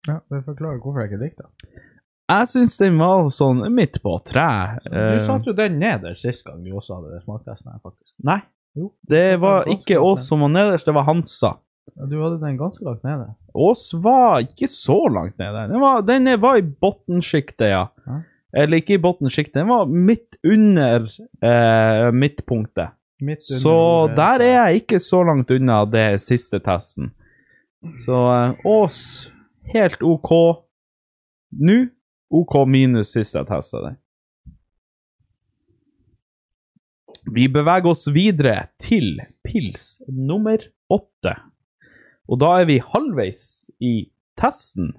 [SPEAKER 2] Ja, det forklarer hvorfor jeg ikke likte det.
[SPEAKER 1] Jeg syns den var sånn midt på treet.
[SPEAKER 2] Du
[SPEAKER 1] Eh,
[SPEAKER 2] satte jo den ned der sist gang vi også hadde smaktesten her, faktisk.
[SPEAKER 1] Nei,
[SPEAKER 2] Jo.
[SPEAKER 1] det var
[SPEAKER 2] var
[SPEAKER 1] ikke
[SPEAKER 2] ganske
[SPEAKER 1] Ås som var nederst, det var Hansa.
[SPEAKER 2] Ja, Du hadde den ganske langt nede.
[SPEAKER 1] Ås var ikke så langt nede. Den var, den var i bunnskiktet, ja.
[SPEAKER 2] Ja.
[SPEAKER 1] Eller ikke i bunnskiktet, den var midt under eh, midtpunktet.
[SPEAKER 2] Midt under
[SPEAKER 1] Så
[SPEAKER 2] ordet-
[SPEAKER 1] der er jeg ikke så langt unna det siste testen. Så eh, Ås, helt OK nå. OK minus sist jeg testa den. Vi beveger oss videre til pils nummer åtte. Og da er vi halvveis i testen.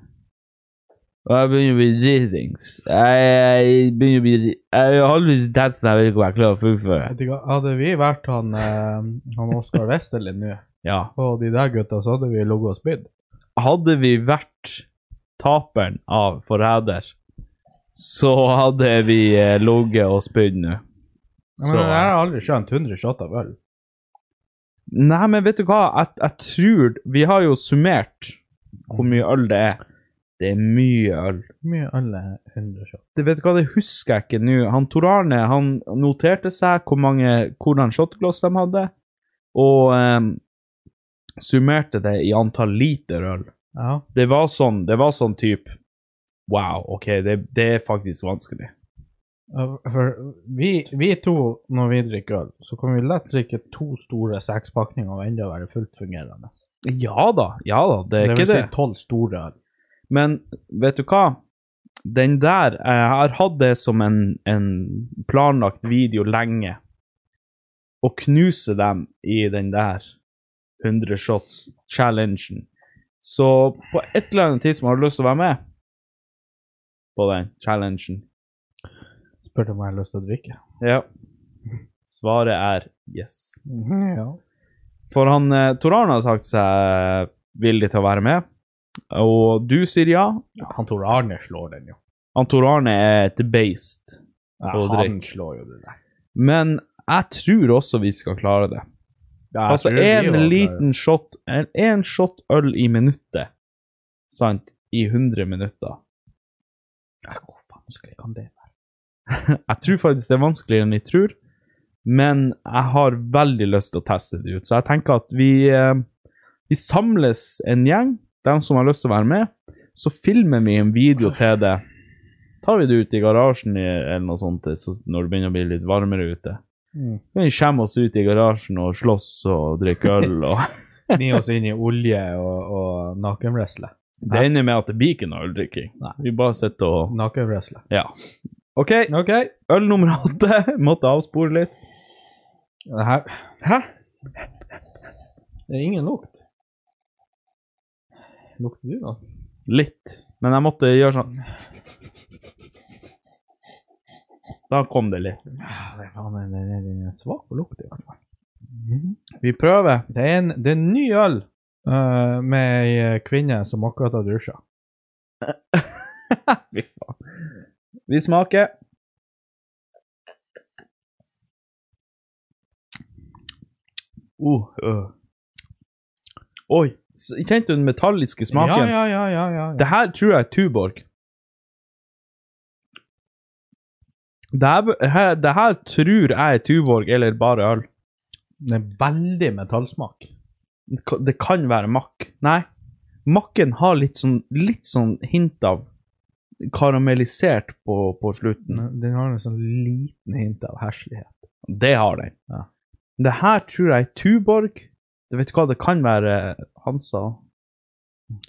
[SPEAKER 1] Og jeg begynner å bli dritings. Jeg, jeg begynner å bli Jeg er halvveis i testen, jeg vet ikke om jeg klarer å fullføre.
[SPEAKER 2] Vet du hva, Hadde vi vært han, eh, han Oskar Westerlin nå,
[SPEAKER 1] Ja.
[SPEAKER 2] og de der gutta, så hadde vi ligget og spydd.
[SPEAKER 1] hadde vi vært taperen av forræder, så hadde vi eh, ligget og spydd nå.
[SPEAKER 2] Ja, Men
[SPEAKER 1] Så-
[SPEAKER 2] jeg har aldri skjønt 100 shot av øl.
[SPEAKER 1] Nei, men vet du hva? Jeg, jeg tror Vi har jo summert hvor mye øl det er. Det er mye øl.
[SPEAKER 2] Hvor mye øl er 100 shot?
[SPEAKER 1] Det, vet du hva, det husker jeg ikke nå. Han Tor Arne han noterte seg hvor mange, hvordan shotglass de hadde, og eh, summerte det i antall liter øl.
[SPEAKER 2] Ja.
[SPEAKER 1] det var sånn, det var sånn type Wow, OK, det, det er faktisk vanskelig.
[SPEAKER 2] For vi, vi to, når vi drikker øl, så kan vi lett drikke to store sekspakninger og enda være fullt fungerende.
[SPEAKER 1] Ja da, ja da, det er ikke
[SPEAKER 2] vil
[SPEAKER 1] det.
[SPEAKER 2] si tolv store øl.
[SPEAKER 1] Men vet du hva? Den der eh, Jeg har hatt det som en, en planlagt video lenge. Å knuse dem i den der 100 shots-challengen. Så på et eller annet tidspunkt har du lyst til å være med på den challengen.
[SPEAKER 2] Spurte om jeg har lyst til å drikke.
[SPEAKER 1] Ja. Svaret er yes. Mhm,
[SPEAKER 2] ja.
[SPEAKER 1] For han, eh, Tor Arne har sagt seg villig til å være med, og du sier ja.
[SPEAKER 2] ja. Han Tor Arne slår den jo.
[SPEAKER 1] Han Tor Arne er et beist,
[SPEAKER 2] Ja,
[SPEAKER 1] Og
[SPEAKER 2] han
[SPEAKER 1] drikk.
[SPEAKER 2] slår jo det der.
[SPEAKER 1] men jeg tror også vi skal klare det.
[SPEAKER 2] Ja, jeg
[SPEAKER 1] Altså,
[SPEAKER 2] tror vi
[SPEAKER 1] en
[SPEAKER 2] var der.
[SPEAKER 1] liten shot, en, en shot øl i minuttet, sant, i 100 minutter.
[SPEAKER 2] Ja, Hvor vanskelig kan det være?
[SPEAKER 1] Jeg tror faktisk det er vanskeligere enn vi tror, men jeg har veldig lyst til å teste det ut. Så jeg tenker at vi, eh, vi samles en gjeng, dem som har lyst til å være med, så filmer vi en video til det. Tar vi det ut i garasjen i- eller noe sånt så når det begynner å bli litt varmere ute.
[SPEAKER 2] Mm.
[SPEAKER 1] Så kan vi skjemme oss ut i garasjen og slåss og drikke øl og
[SPEAKER 2] Ni oss inn i olje og, og nakenwrestle.
[SPEAKER 1] Det ender med at det blir ikke noe øldrikking. Vi bare sitter og
[SPEAKER 2] Nakenwrestle.
[SPEAKER 1] Ja. OK,
[SPEAKER 2] OK.
[SPEAKER 1] øl nummer åtte. Måtte avspore litt.
[SPEAKER 2] Det her
[SPEAKER 1] Hæ?
[SPEAKER 2] Det er ingen lukt. Lukter du noe?
[SPEAKER 1] Litt. Men jeg måtte gjøre sånn. Da kom det litt.
[SPEAKER 2] Ja, det er faen, den- den den- den er svak på lukt, i hvert fall.
[SPEAKER 1] Vi prøver.
[SPEAKER 2] Det er en, det er en ny øl eh, med ei eh, kvinne som akkurat har dusja.
[SPEAKER 1] Fy faen. Vi smaker. Uh, øh. Oi. s- Kjente du den metalliske smaken?
[SPEAKER 2] Ja, ja, ja, ja, ja. ja.
[SPEAKER 1] Det her tror jeg er Tuborg. Det her, her- det her tror jeg er Tuborg eller bare øl.
[SPEAKER 2] Det er veldig metallsmak.
[SPEAKER 1] Det kan- Det kan være makk. Nei, makken har litt sånn, litt sånn hint av karamellisert på, på slutten.
[SPEAKER 2] Den den har en sånn liten hint av heslighet.
[SPEAKER 1] Det har den.
[SPEAKER 2] Ja.
[SPEAKER 1] Det her tror jeg er Tuborg. Du vet hva, det kan være Hansa.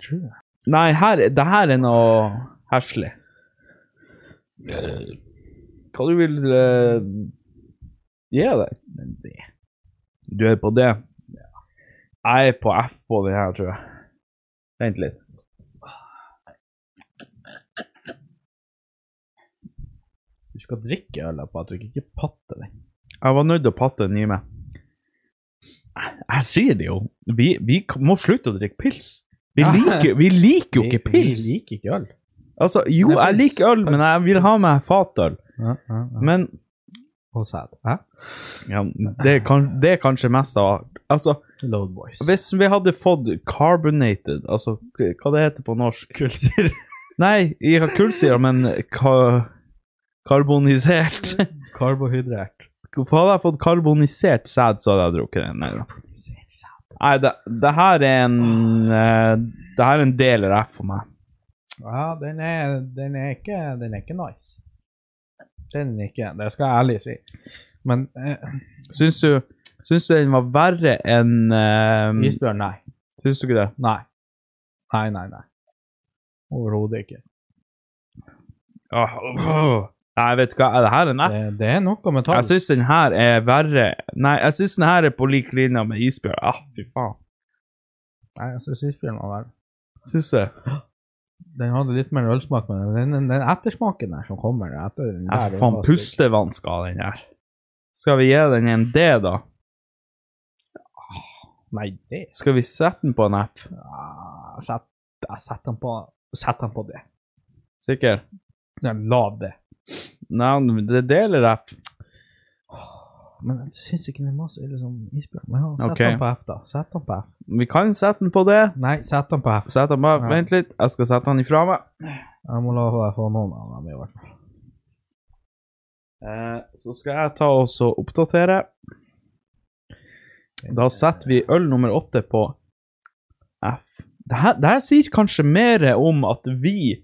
[SPEAKER 2] Tror jeg.
[SPEAKER 1] Nei, her, det her er noe heslig. Hva du vil eh, gi deg? Men det- Du er på det? Jeg er på F på den her, tror jeg. Vent litt.
[SPEAKER 2] Du skal drikke øla, Patrick, ikke patte den.
[SPEAKER 1] Jeg var nødt til å patte den i meg. Jeg- Jeg sier det jo. Vi, vi k- må slutte å drikke pils. Vi
[SPEAKER 2] Ja.
[SPEAKER 1] liker, vi liker jo
[SPEAKER 2] Vi-
[SPEAKER 1] ikke pils.
[SPEAKER 2] Vi liker ikke øl.
[SPEAKER 1] Altså, jo,
[SPEAKER 2] Nei,
[SPEAKER 1] jeg
[SPEAKER 2] pils.
[SPEAKER 1] liker øl, men jeg vil ha meg fatøl.
[SPEAKER 2] Men,
[SPEAKER 1] Men
[SPEAKER 2] og sæd. Hæ?
[SPEAKER 1] ja, det, er kan, det er kanskje mest av Altså,
[SPEAKER 2] Load Boys.
[SPEAKER 1] Hvis vi hadde fått carbonated, altså k- hva det heter på norsk? Kullsyre. Nei, ikke kullsyre, men ka karbonisert.
[SPEAKER 2] Karbohydrert.
[SPEAKER 1] Hadde jeg fått karbonisert sæd, så hadde jeg drukket den. Nei, da. Nei det, det her er en eh, Det her er en del av F for meg.
[SPEAKER 2] Ja, den er, den, er ikke, den er ikke nice. Den er ikke Det skal jeg ærlig si. Men eh,
[SPEAKER 1] Syns du, syns du den var verre enn eh,
[SPEAKER 2] isbjørn, nei.
[SPEAKER 1] Syns du ikke det?
[SPEAKER 2] Nei. Nei, nei, nei. Overhodet ikke.
[SPEAKER 1] Åh, åh. Nei, vet du hva, det her er en F.
[SPEAKER 2] Det, det er noe metall.
[SPEAKER 1] Jeg syns den her er verre Nei, jeg syns den her er på lik linje med isbjørn. Ah, fy faen.
[SPEAKER 2] Nei, altså, jeg syns isbjørn var verre.
[SPEAKER 1] Syns jeg.
[SPEAKER 2] Den hadde litt mer ølsmak, men den, den, den ettersmaken der som kommer etter den der
[SPEAKER 1] Jeg faen
[SPEAKER 2] var stygg.
[SPEAKER 1] pustevansker av den her. Skal vi gi den en D, da?
[SPEAKER 2] Nei, det
[SPEAKER 1] Skal vi sette den på en app?
[SPEAKER 2] Ah, sett, Jeg setter den på Sett den på det.
[SPEAKER 1] Sikker?
[SPEAKER 2] Ja, Lav det.
[SPEAKER 1] Nei, det deler app.
[SPEAKER 2] Men jeg syns ikke den var så ille som isbjørn. Men ja, sett
[SPEAKER 1] Ok.
[SPEAKER 2] den på F, da. Sett den på F.
[SPEAKER 1] Vi kan sette den på det.
[SPEAKER 2] Nei, sett den på F.
[SPEAKER 1] Sett den bare,
[SPEAKER 2] Ja.
[SPEAKER 1] Vent litt, jeg skal sette den ifra meg.
[SPEAKER 2] Jeg må la deg få noen av dem i hvert fall.
[SPEAKER 1] Eh, så skal jeg ta og så oppdatere. Da setter vi øl nummer åtte på F. Det her, det her sier kanskje mer om at vi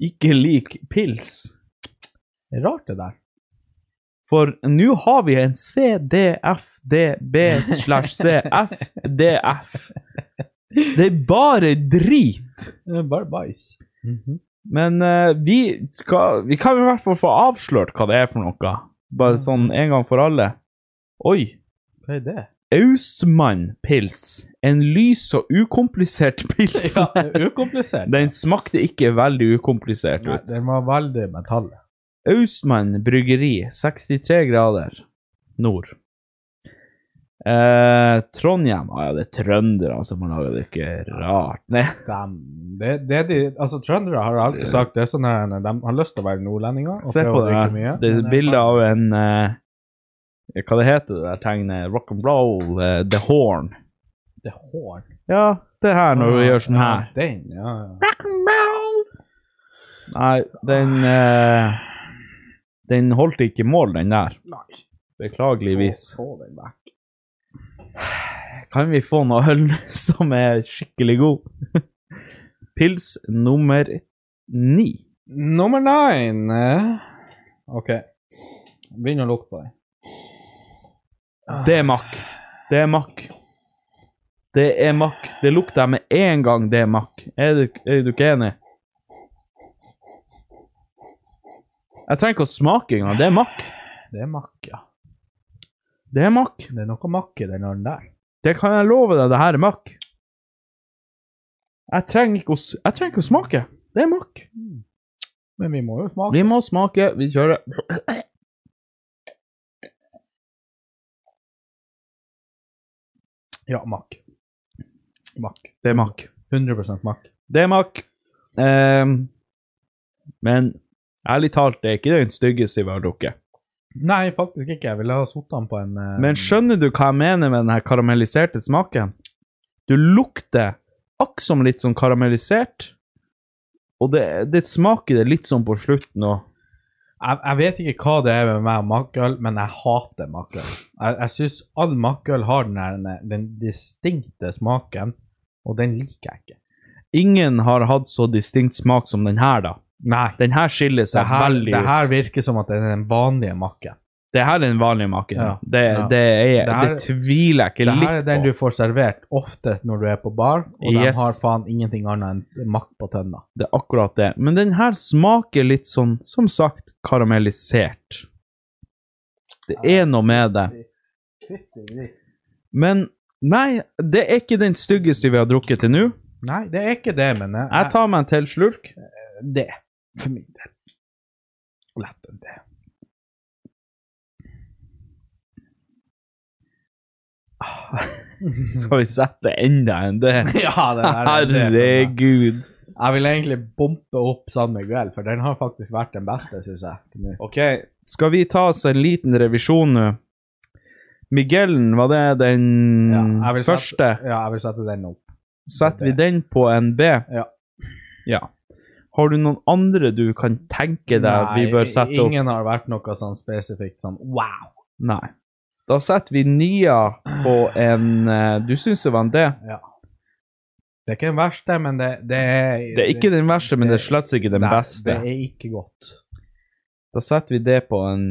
[SPEAKER 1] ikke liker pils.
[SPEAKER 2] Det er Rart det der.
[SPEAKER 1] For nå har vi en CDFDB slash CFDF. Det er bare drit.
[SPEAKER 2] Det er Bare bæsj. Mhm.
[SPEAKER 1] Men eh, vi, skal, vi kan i hvert fall få avslørt hva det er for noe. Bare sånn en gang for alle. Oi.
[SPEAKER 2] Hva er det?
[SPEAKER 1] Austmann-pils. En lys og ukomplisert pils.
[SPEAKER 2] Ja, det er ukomplisert.
[SPEAKER 1] Den smakte ikke veldig ukomplisert
[SPEAKER 2] Nei,
[SPEAKER 1] ut.
[SPEAKER 2] den var veldig metallet.
[SPEAKER 1] Austmann bryggeri, 63 grader nord. Eh, Trondheim ah, ja, Det er trønderne som har laga det, ikke rart. Nei.
[SPEAKER 2] Dem- det, det er de, altså, trøndere har alltid sagt det er sånn her, de har lyst til å være nordlendinger. og
[SPEAKER 1] Se
[SPEAKER 2] prøve
[SPEAKER 1] på
[SPEAKER 2] å
[SPEAKER 1] det.
[SPEAKER 2] drikke
[SPEAKER 1] her.
[SPEAKER 2] mye,
[SPEAKER 1] Det
[SPEAKER 2] men
[SPEAKER 1] er bilde av en eh, Hva det heter det der tegnet? Rock and roll, eh, The Horn.
[SPEAKER 2] Det er hår.
[SPEAKER 1] Ja, det er her når du gjør sånn her.
[SPEAKER 2] Ah, Ja, den, ja, ja.
[SPEAKER 1] Nei, den eh, Den holdt ikke mål, den der. Beklageligvis.
[SPEAKER 2] Få- få den vekk.
[SPEAKER 1] Kan vi få noe øl som er skikkelig god? Pils nummer ni.
[SPEAKER 2] Nummer nine. OK. Begynn å lukte på den.
[SPEAKER 1] Det er makk. Det er makk. Det er makk. Det lukter jeg med en gang det er makk. Er du, er du ikke enig? Jeg trenger ikke å smake engang. Det er makk.
[SPEAKER 2] Det er makk, ja.
[SPEAKER 1] Det er makk.
[SPEAKER 2] Det er noe makk i den ølen der.
[SPEAKER 1] Det kan jeg love deg, det her er makk. Jeg trenger ikke å, s- jeg trenger ikke å smake. Det er makk.
[SPEAKER 2] Mm. Men vi må jo smake.
[SPEAKER 1] Vi må smake. Vi kjører.
[SPEAKER 2] Ja, makk. Makk.
[SPEAKER 1] Det er makk.
[SPEAKER 2] 100 makk.
[SPEAKER 1] Det er makk. Ehm, men ærlig talt, det er ikke den styggeste vi har drukket.
[SPEAKER 2] Nei, faktisk ikke. Jeg ville ha satt den på en eh,
[SPEAKER 1] Men skjønner du hva jeg mener med den her karamelliserte smaken? Du lukter akk som litt sånn karamellisert, og det, det smaker det litt sånn på slutten òg.
[SPEAKER 2] jeg, jeg vet ikke hva det er med meg og makkøl, men jeg hater makkøl. Jeg, jeg syns all makkøl har den, her, den- den distinkte smaken, og den liker jeg ikke.
[SPEAKER 1] Ingen har hatt så distinkt smak som den her, da.
[SPEAKER 2] Nei.
[SPEAKER 1] Den her skiller
[SPEAKER 2] Det
[SPEAKER 1] seg
[SPEAKER 2] her,
[SPEAKER 1] veldig
[SPEAKER 2] det
[SPEAKER 1] ut.
[SPEAKER 2] her virker som at det er den vanlige makken.
[SPEAKER 1] Det her er den vanlige maken.
[SPEAKER 2] Ja.
[SPEAKER 1] Det,
[SPEAKER 2] Ja.
[SPEAKER 1] det, er,
[SPEAKER 2] Det
[SPEAKER 1] det,
[SPEAKER 2] her-
[SPEAKER 1] tviler jeg ikke
[SPEAKER 2] Det her er
[SPEAKER 1] litt
[SPEAKER 2] den
[SPEAKER 1] på.
[SPEAKER 2] du får servert ofte når du er på bar, og
[SPEAKER 1] Yes.
[SPEAKER 2] de har faen ingenting annet enn makk på tønna.
[SPEAKER 1] Det er akkurat det. Men den her smaker litt sånn, som sagt, karamellisert. Det er noe med det. Men nei, det er ikke den styggeste vi har drukket til nå.
[SPEAKER 2] Nei, det er ikke det, men jeg,
[SPEAKER 1] Jeg tar meg en til slurk.
[SPEAKER 2] det. For min del. Lett enn det. Mm.
[SPEAKER 1] Skal vi sette enda en det?
[SPEAKER 2] ja, det der er det.
[SPEAKER 1] Herregud.
[SPEAKER 2] Jeg vil egentlig bompe opp San Miguel, for den har faktisk vært den beste, syns jeg. til nå.
[SPEAKER 1] Ok, skal vi ta oss en liten revisjon nå? Miguelen, var det den
[SPEAKER 2] Ja, jeg vil
[SPEAKER 1] Mm, første?
[SPEAKER 2] Sette, ja, jeg vil sette den opp.
[SPEAKER 1] Setter vi den på en B?
[SPEAKER 2] Ja.
[SPEAKER 1] Ja. Har du noen andre du kan tenke deg vi bør sette opp?
[SPEAKER 2] Ingen har vært noe sånn spesifikt sånn wow.
[SPEAKER 1] Nei. Da setter vi Nia på en eh, Du syns det var en D?
[SPEAKER 2] Det er ikke den verste, men det, det er
[SPEAKER 1] Det er ikke den verste, men det er slett ikke den
[SPEAKER 2] Nei,
[SPEAKER 1] beste.
[SPEAKER 2] Det er ikke godt.
[SPEAKER 1] Da setter vi det på en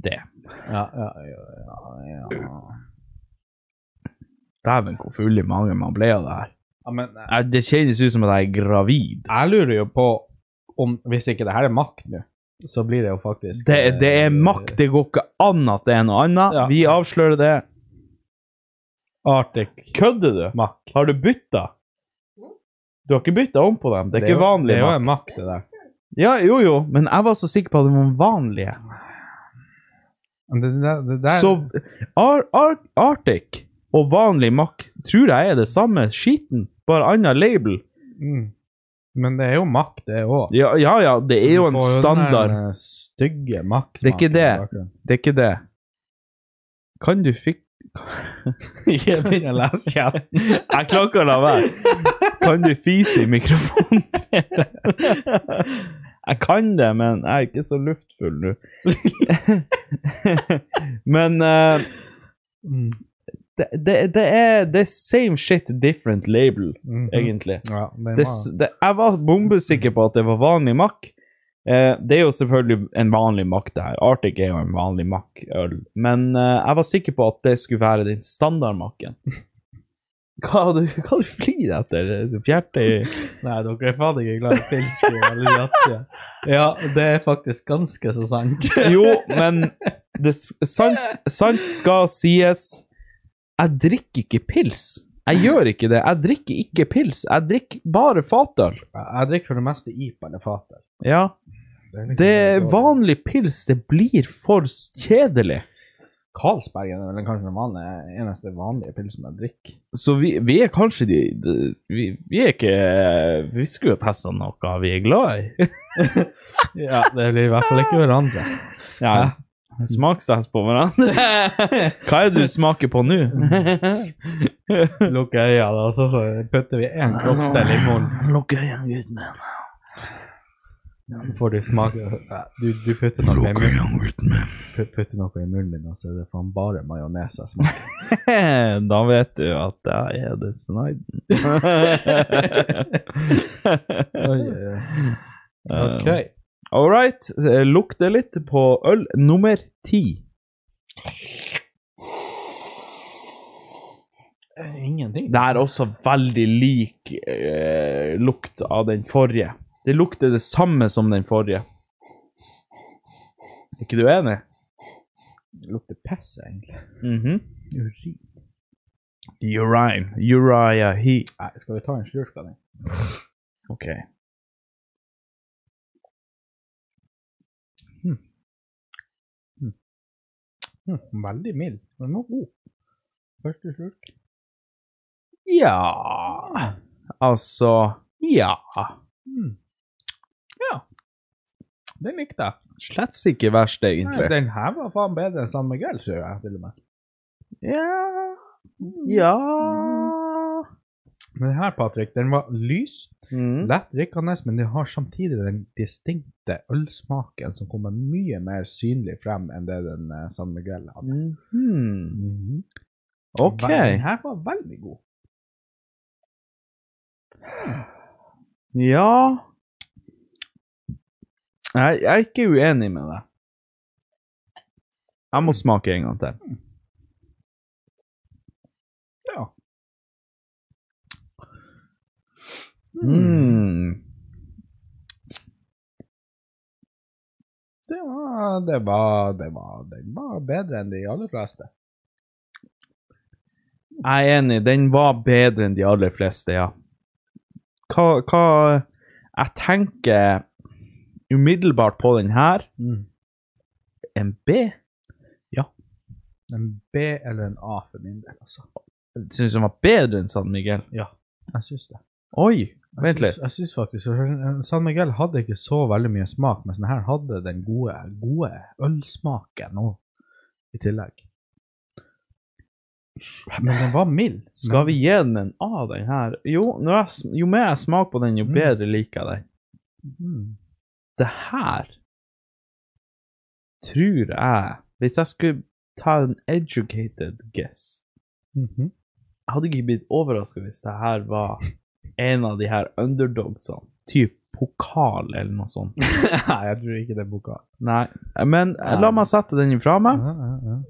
[SPEAKER 1] D.
[SPEAKER 2] Ja, ja, ja, ja, ja.
[SPEAKER 1] Dæven, hvor full i magen man ble av det her.
[SPEAKER 2] ja men eh,
[SPEAKER 1] Eh, Det kjennes ut som at jeg er gravid.
[SPEAKER 2] jeg lurer jo på om Hvis ikke det her er makt nå, så blir det jo faktisk
[SPEAKER 1] Det, det
[SPEAKER 2] eh,
[SPEAKER 1] er makt. Det går ikke an at det er noe annet.
[SPEAKER 2] Ja.
[SPEAKER 1] Vi avslører det.
[SPEAKER 2] Arctic
[SPEAKER 1] Kødder du?
[SPEAKER 2] makt.
[SPEAKER 1] Har du bytta? Du har ikke bytta om på dem. Det er,
[SPEAKER 2] jo-
[SPEAKER 1] ikke vanlig.
[SPEAKER 2] Det er jo
[SPEAKER 1] makt.
[SPEAKER 2] en makt, det der.
[SPEAKER 1] Ja, jo, jo, men jeg var så sikker på at det var vanlige.
[SPEAKER 2] Men det, det, det der
[SPEAKER 1] Så Ar Ar Arctic og vanlig Mack tror jeg er det samme skiten, bare annet label.
[SPEAKER 2] mm. Men det er jo makt, det òg.
[SPEAKER 1] Ja, ja, ja det er jo en standard.
[SPEAKER 2] eh, Stygge makt.
[SPEAKER 1] Det er ikke det. Det er ikke det. Kan du fikk...
[SPEAKER 2] Jeg begynner å lese chat.
[SPEAKER 1] Jeg klarer ikke å la være. Kan du fise i mikrofonen? Jeg kan det, men jeg er ikke så luftfull nå. Men eh,
[SPEAKER 2] Mm.
[SPEAKER 1] det, det, det er det er same shit, different label,
[SPEAKER 2] Mhm.
[SPEAKER 1] egentlig.
[SPEAKER 2] Ja, det
[SPEAKER 1] Det,
[SPEAKER 2] var-
[SPEAKER 1] det, jeg var bombesikker på at det var vanlig makk. Eh, det er jo selvfølgelig en vanlig makk, det her. Arctic er jo en vanlig makkøl. Men eh, jeg var sikker på at det skulle være den standardmakken. Hva du, hva du flirer etter? Det er så Fjerte i
[SPEAKER 2] Nei, dere er faen ikke glad i pilskur eller yatzy. Ja, det er faktisk ganske så sant.
[SPEAKER 1] Jo, men det, s- sant, sant skal sies. Jeg drikker ikke pils. Jeg gjør ikke det. Jeg drikker ikke pils. Jeg drikker bare fatøl.
[SPEAKER 2] Jeg drikker for det meste IPA eller fatet.
[SPEAKER 1] Ja.
[SPEAKER 2] liksom
[SPEAKER 1] Det vanlig pils, det blir for s- kjedelig.
[SPEAKER 2] Carlsbergen er vel kanskje den vanlige, eneste vanlige pilsen jeg drikker.
[SPEAKER 1] Så vi, vi er kanskje de, de vi, vi er ikke Vi skulle jo testa noe vi er glad i.
[SPEAKER 2] Ja, det blir i hvert fall ikke hverandre.
[SPEAKER 1] Ja. Smakstest på hverandre. Hva er det du smaker på nå?
[SPEAKER 2] Lukker øynene, og så, så putter vi én kroppsdel i munnen.
[SPEAKER 1] Lukk øynene, gutten min.
[SPEAKER 2] Får du smake Nei, Du, du putter, noe i munnen,
[SPEAKER 1] gutten min.
[SPEAKER 2] pu- putter noe i munnen min, og så er det faen bare majones jeg smaker.
[SPEAKER 1] Da vet du at da er det Sniden.
[SPEAKER 2] Oi, oi, oi.
[SPEAKER 1] Eh,
[SPEAKER 2] OK.
[SPEAKER 1] All right. Lukter litt på øl nummer ti. Eh,
[SPEAKER 2] Ingenting.
[SPEAKER 1] Det er også veldig lik eh, lukt av den forrige. Det lukter det samme som den forrige. Er ikke du enig?
[SPEAKER 2] Det lukter piss, egentlig.
[SPEAKER 1] Mhm.
[SPEAKER 2] Urin.
[SPEAKER 1] Urine. Uriah Heat.
[SPEAKER 2] Nei, skal vi ta en slurk av den?
[SPEAKER 1] OK.
[SPEAKER 2] Hm, veldig mild, men den var god. Første slurk.
[SPEAKER 1] Ja Altså Ja.
[SPEAKER 2] Ah. Hm. Ja. Den likte jeg.
[SPEAKER 1] Slett ikke verst,
[SPEAKER 2] Nei,
[SPEAKER 1] egentlig.
[SPEAKER 2] den her var faen bedre enn San Miguel, sier jeg til og med.
[SPEAKER 1] Ja Hm. Ja
[SPEAKER 2] Men den her, Patrick, den var lys,
[SPEAKER 1] mm.
[SPEAKER 2] lett drikkende, men den har samtidig den distinkte ølsmaken som kommer mye mer synlig frem enn det den eh, San Miguel hadde.
[SPEAKER 1] Mhm.
[SPEAKER 2] Mhm.
[SPEAKER 1] OK.
[SPEAKER 2] Den her var veldig god.
[SPEAKER 1] Ja jeg, jeg er ikke uenig med deg. Jeg må smake en gang til.
[SPEAKER 2] Ja.
[SPEAKER 1] Mm.
[SPEAKER 2] Det var, det var, det var, den var bedre enn de aller fleste.
[SPEAKER 1] Jeg er enig, den var bedre enn de aller fleste, ja. Hva, hva Jeg tenker umiddelbart på den her.
[SPEAKER 2] Mm.
[SPEAKER 1] En B?
[SPEAKER 2] En B eller en A for min del, altså.
[SPEAKER 1] Syns den var bedre enn San Miguel?
[SPEAKER 2] Jeg syns det.
[SPEAKER 1] Oi,
[SPEAKER 2] Jeg
[SPEAKER 1] vent
[SPEAKER 2] syns-
[SPEAKER 1] litt.
[SPEAKER 2] Jeg syns faktisk eh, San Miguel hadde ikke så veldig mye smak, mens den her hadde den gode, gode ølsmaken nå, i tillegg. Men den var mild.
[SPEAKER 1] Skal vi
[SPEAKER 2] Mm.
[SPEAKER 1] gi den en A, den her? Jo, når jeg, sm- jo mer jeg smaker på den, jo
[SPEAKER 2] Mm.
[SPEAKER 1] bedre liker jeg den.
[SPEAKER 2] Mm.
[SPEAKER 1] Det her tror jeg Hvis jeg skulle ta en educated guess
[SPEAKER 2] Mhm.
[SPEAKER 1] Jeg hadde ikke blitt overraska hvis det her var en av de her underdogsene. Typ pokal eller noe sånt.
[SPEAKER 2] Nei, jeg tror ikke det er boka.
[SPEAKER 1] Nei, men eh, la meg sette den ifra meg.
[SPEAKER 2] Ja, ja,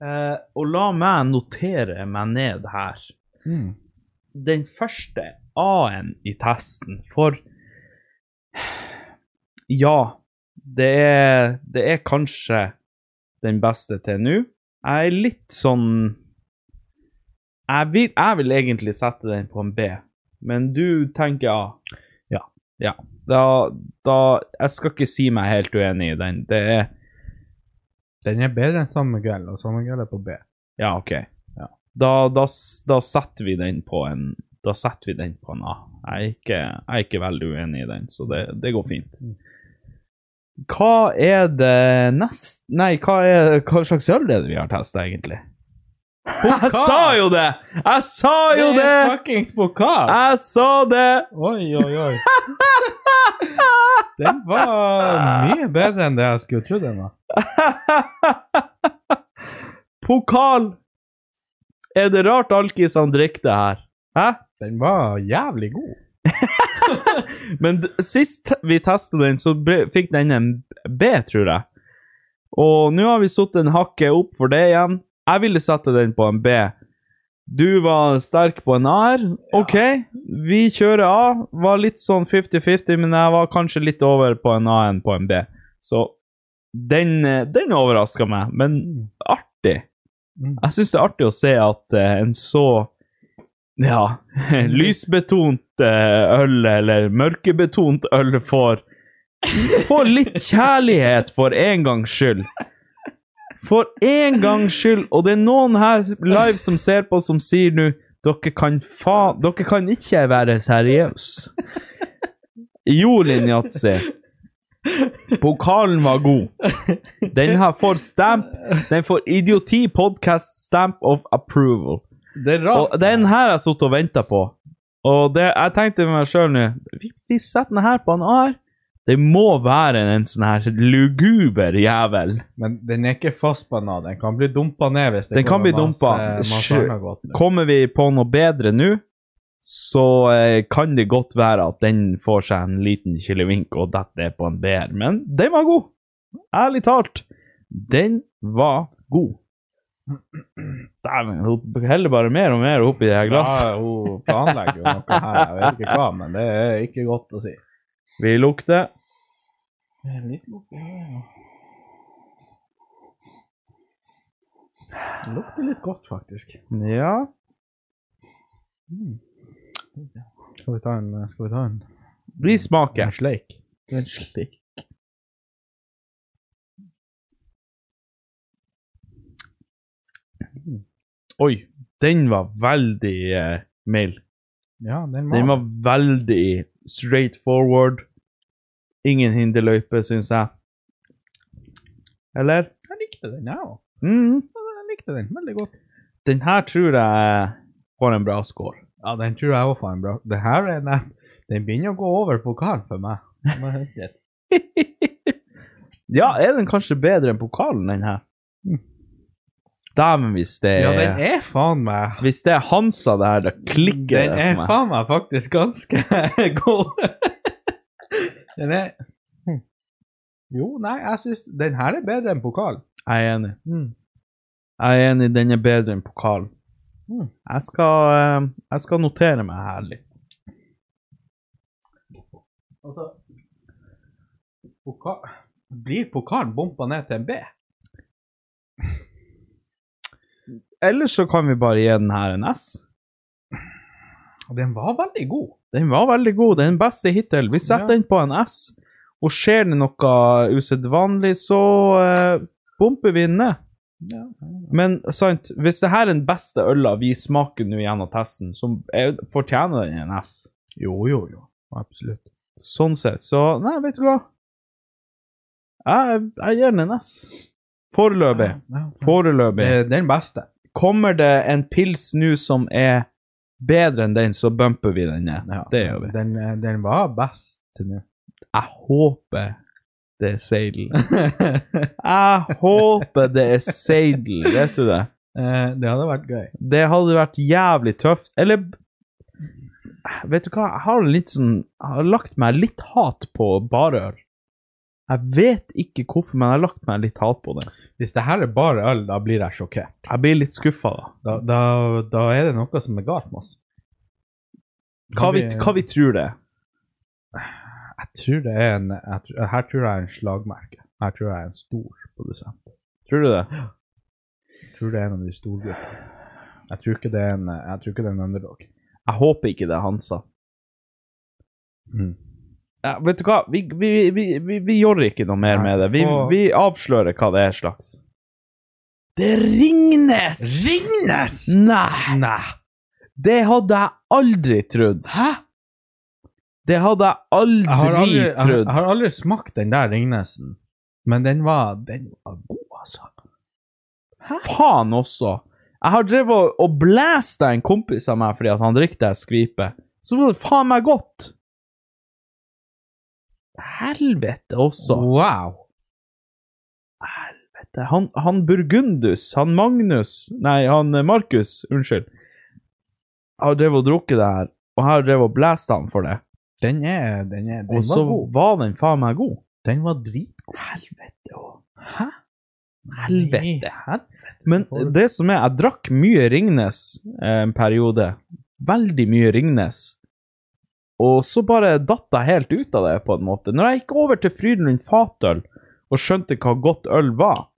[SPEAKER 2] ja, ja.
[SPEAKER 1] eh, Og la meg notere meg ned her.
[SPEAKER 2] Mm.
[SPEAKER 1] den første A-en i testen, for ja, det er, det er kanskje den beste til nå. Jeg er litt sånn jeg vil, jeg vil egentlig sette den på en B, men du tenker A. Ja. ja. Da, da Jeg skal ikke si meg helt uenig i den. Det er
[SPEAKER 2] Den er bedre enn San Miguel, og San Miguel er på B.
[SPEAKER 1] Ja, OK. Da, da, s- da setter vi den på en Da setter vi den på en A. Jeg er ikke, jeg er ikke veldig uenig i den, så det, det går fint. Hva er det nest... Nei, hva, er, hva slags øl er det vi har testa, egentlig? Jeg sa jo det! Jeg sa jo
[SPEAKER 2] Det
[SPEAKER 1] det!
[SPEAKER 2] er fuckings pokal!
[SPEAKER 1] Jeg sa det!
[SPEAKER 2] Oi, oi, oi. Den
[SPEAKER 1] Ah.
[SPEAKER 2] var mye bedre enn det jeg skulle tro den var.
[SPEAKER 1] Pokal! Er det rart alkisene drikker det her? Hæ?
[SPEAKER 2] Den var jævlig god.
[SPEAKER 1] Men d- sist vi testet den, så ble, fikk den en B, tror jeg. Og nå har vi satt en hakke opp for det igjen. Jeg ville sette den på en B. Du var sterk på en A-er. OK, vi kjører A. Var litt sånn 50-50, men jeg var kanskje litt over på en A enn på en B. Så den, eh, den overraska meg, men artig.
[SPEAKER 2] Mm.
[SPEAKER 1] Jeg syns det er artig å se at eh, en så ja, lysbetont eh, øl, eller mørkebetont øl, får, får litt kjærlighet for en gangs skyld. For en gangs skyld. Og det er noen her live som ser på, som sier nå dere kan faen Dere kan ikke være seriøse. Jo, Linjatsi. Pokalen var god. Den her får stamp. Den får Idioti Podcast Stamp of Approval.
[SPEAKER 2] Det er
[SPEAKER 1] Og den her har jeg sittet og venta på. Og det, jeg tenkte med meg sjøl nå vi, vi setter den her på en AR. Det må være en sånn her luguber jævel.
[SPEAKER 2] Men den er ikke fast på noe. Den kan bli dumpa ned hvis det
[SPEAKER 1] Den kan
[SPEAKER 2] kommer
[SPEAKER 1] bli dumpa.
[SPEAKER 2] Masse, eh, masse
[SPEAKER 1] Sjø-
[SPEAKER 2] annet godt med.
[SPEAKER 1] Kommer vi på noe bedre nå, så eh, kan det godt være at den får seg en liten kilevink og detter ned på en BR, men den var god. Ærlig talt. Den var god. Dæven, hun heller bare mer og mer oppi det her glasset.
[SPEAKER 2] Ja, hun planlegger jo noe her, jeg vet ikke hva, men det er ikke godt å si.
[SPEAKER 1] Vi lukter.
[SPEAKER 2] Det er litt lukt i øynene. Det lukter litt godt, faktisk. Mm.
[SPEAKER 1] Ja.
[SPEAKER 2] Skal vi ta en, skal vi ta en
[SPEAKER 1] Vi smaker.
[SPEAKER 2] En sleik. En sleik.
[SPEAKER 1] Oi, den var veldig eh, mild.
[SPEAKER 2] Ja, den var,
[SPEAKER 1] Den var veldig straight forward. Ingen hinderløype, syns jeg. Eller?
[SPEAKER 2] Jeg likte den, jeg òg.
[SPEAKER 1] Mm.
[SPEAKER 2] Jeg likte den veldig godt.
[SPEAKER 1] Den her tror jeg får en bra score.
[SPEAKER 2] Ja, den tror jeg òg får en bra. Det her er den, den begynner å gå over pokalen for meg. Må jeg høre det.
[SPEAKER 1] Ja, er den kanskje bedre enn pokalen, den her? Dæven, hvis det
[SPEAKER 2] Mm. Ja, den er faen meg
[SPEAKER 1] Hvis det er Hansa, det her, da klikker
[SPEAKER 2] Den
[SPEAKER 1] det
[SPEAKER 2] er
[SPEAKER 1] for meg.
[SPEAKER 2] faen meg faktisk ganske god. den er Hm. Jo, nei, jeg syns den her er bedre enn pokalen.
[SPEAKER 1] Jeg er enig. Jeg er enig, den er bedre enn pokalen.
[SPEAKER 2] Mm.
[SPEAKER 1] Jeg, skal, eh, jeg skal notere meg her litt.
[SPEAKER 2] Altså, poka Blir pokalen bompa ned til en B?
[SPEAKER 1] Ellers så kan vi bare gi den her en S.
[SPEAKER 2] Den var veldig god.
[SPEAKER 1] Den var veldig god. Den beste hittil. Vi setter
[SPEAKER 2] Ja.
[SPEAKER 1] den på en S. Og skjer det noe usedvanlig, så eh, bumper vi den ned.
[SPEAKER 2] Ja.
[SPEAKER 1] Men sant, hvis det her er den beste øla vi smaker nå gjennom testen, så er- fortjener den en S.
[SPEAKER 2] Jo, jo, jo. Absolutt.
[SPEAKER 1] Sånn sett. Så nei, vet du hva? Jeg, jeg gir den en S. Foreløpig.
[SPEAKER 2] Ja, ja.
[SPEAKER 1] Foreløpig.
[SPEAKER 2] Det er den beste.
[SPEAKER 1] Kommer det en pils nå som er bedre enn den, så bumper vi den ned. Det gjør vi.
[SPEAKER 2] Den, eh, den var best til nå.
[SPEAKER 1] Jeg håper det er Ah. seidel. Jeg håper det er seidel, vet du det?
[SPEAKER 2] Eh, det hadde vært gøy.
[SPEAKER 1] Det hadde vært jævlig tøft. Eller Vet du hva, jeg har litt sånn Jeg har lagt meg litt hat på barøl. Jeg vet ikke hvorfor, men jeg har lagt meg litt hat på det.
[SPEAKER 2] Hvis det her er bare øl, da blir jeg sjokkert.
[SPEAKER 1] Jeg blir litt skuffa, da.
[SPEAKER 2] Da, da, da er det noe som er galt med oss.
[SPEAKER 1] Hva vi, hva vi tror det er.
[SPEAKER 2] Jeg tror det er en jeg, tror- Her tror jeg er en slagmerke. Her tror jeg er en stor produsent.
[SPEAKER 1] Tror du det?
[SPEAKER 2] Jeg tror det er en av de storgruppene. Jeg tror ikke det er en, jeg tror ikke det er en underdog.
[SPEAKER 1] Jeg håper ikke det er Hansa.
[SPEAKER 2] Mm.
[SPEAKER 1] Ja, vet du hva, vi, vi, vi, vi, vi gjør ikke noe mer
[SPEAKER 2] Nei,
[SPEAKER 1] med det. Vi,
[SPEAKER 2] få-
[SPEAKER 1] vi avslører hva det er slags. Det er Ringnes!
[SPEAKER 2] Ringnes!
[SPEAKER 1] Nei!
[SPEAKER 2] Nei.
[SPEAKER 1] Det hadde jeg aldri trodd. Hæ? Det hadde jeg aldri,
[SPEAKER 2] Jeg har aldri, jeg,
[SPEAKER 1] trodd.
[SPEAKER 2] jeg har aldri smakt den der Ringnesen, men den var, den var god, altså.
[SPEAKER 1] Faen også. Jeg har drevet og, og blæsta en kompis av meg fordi at han drikker det skvipet. Så var det faen meg godt. Helvete også.
[SPEAKER 2] Wow.
[SPEAKER 1] Helvete. Han, han Burgundus, han Magnus Nei, han eh, Markus, unnskyld. Jeg har drevet og drukket det her, og jeg har drevet og blæsta han for det.
[SPEAKER 2] Den er, den er, den
[SPEAKER 1] Og så
[SPEAKER 2] var god.
[SPEAKER 1] var den faen meg god.
[SPEAKER 2] Den var dritgod.
[SPEAKER 1] Helvete òg.
[SPEAKER 2] Hæ?
[SPEAKER 1] Helvete.
[SPEAKER 2] Helvete.
[SPEAKER 1] Men det som er, jeg drakk mye Ringnes eh, en periode. Veldig mye Ringnes. Og så bare datt jeg helt ut av det, på en måte. Når jeg gikk over til Frydenlund Fatøl og skjønte hva godt øl var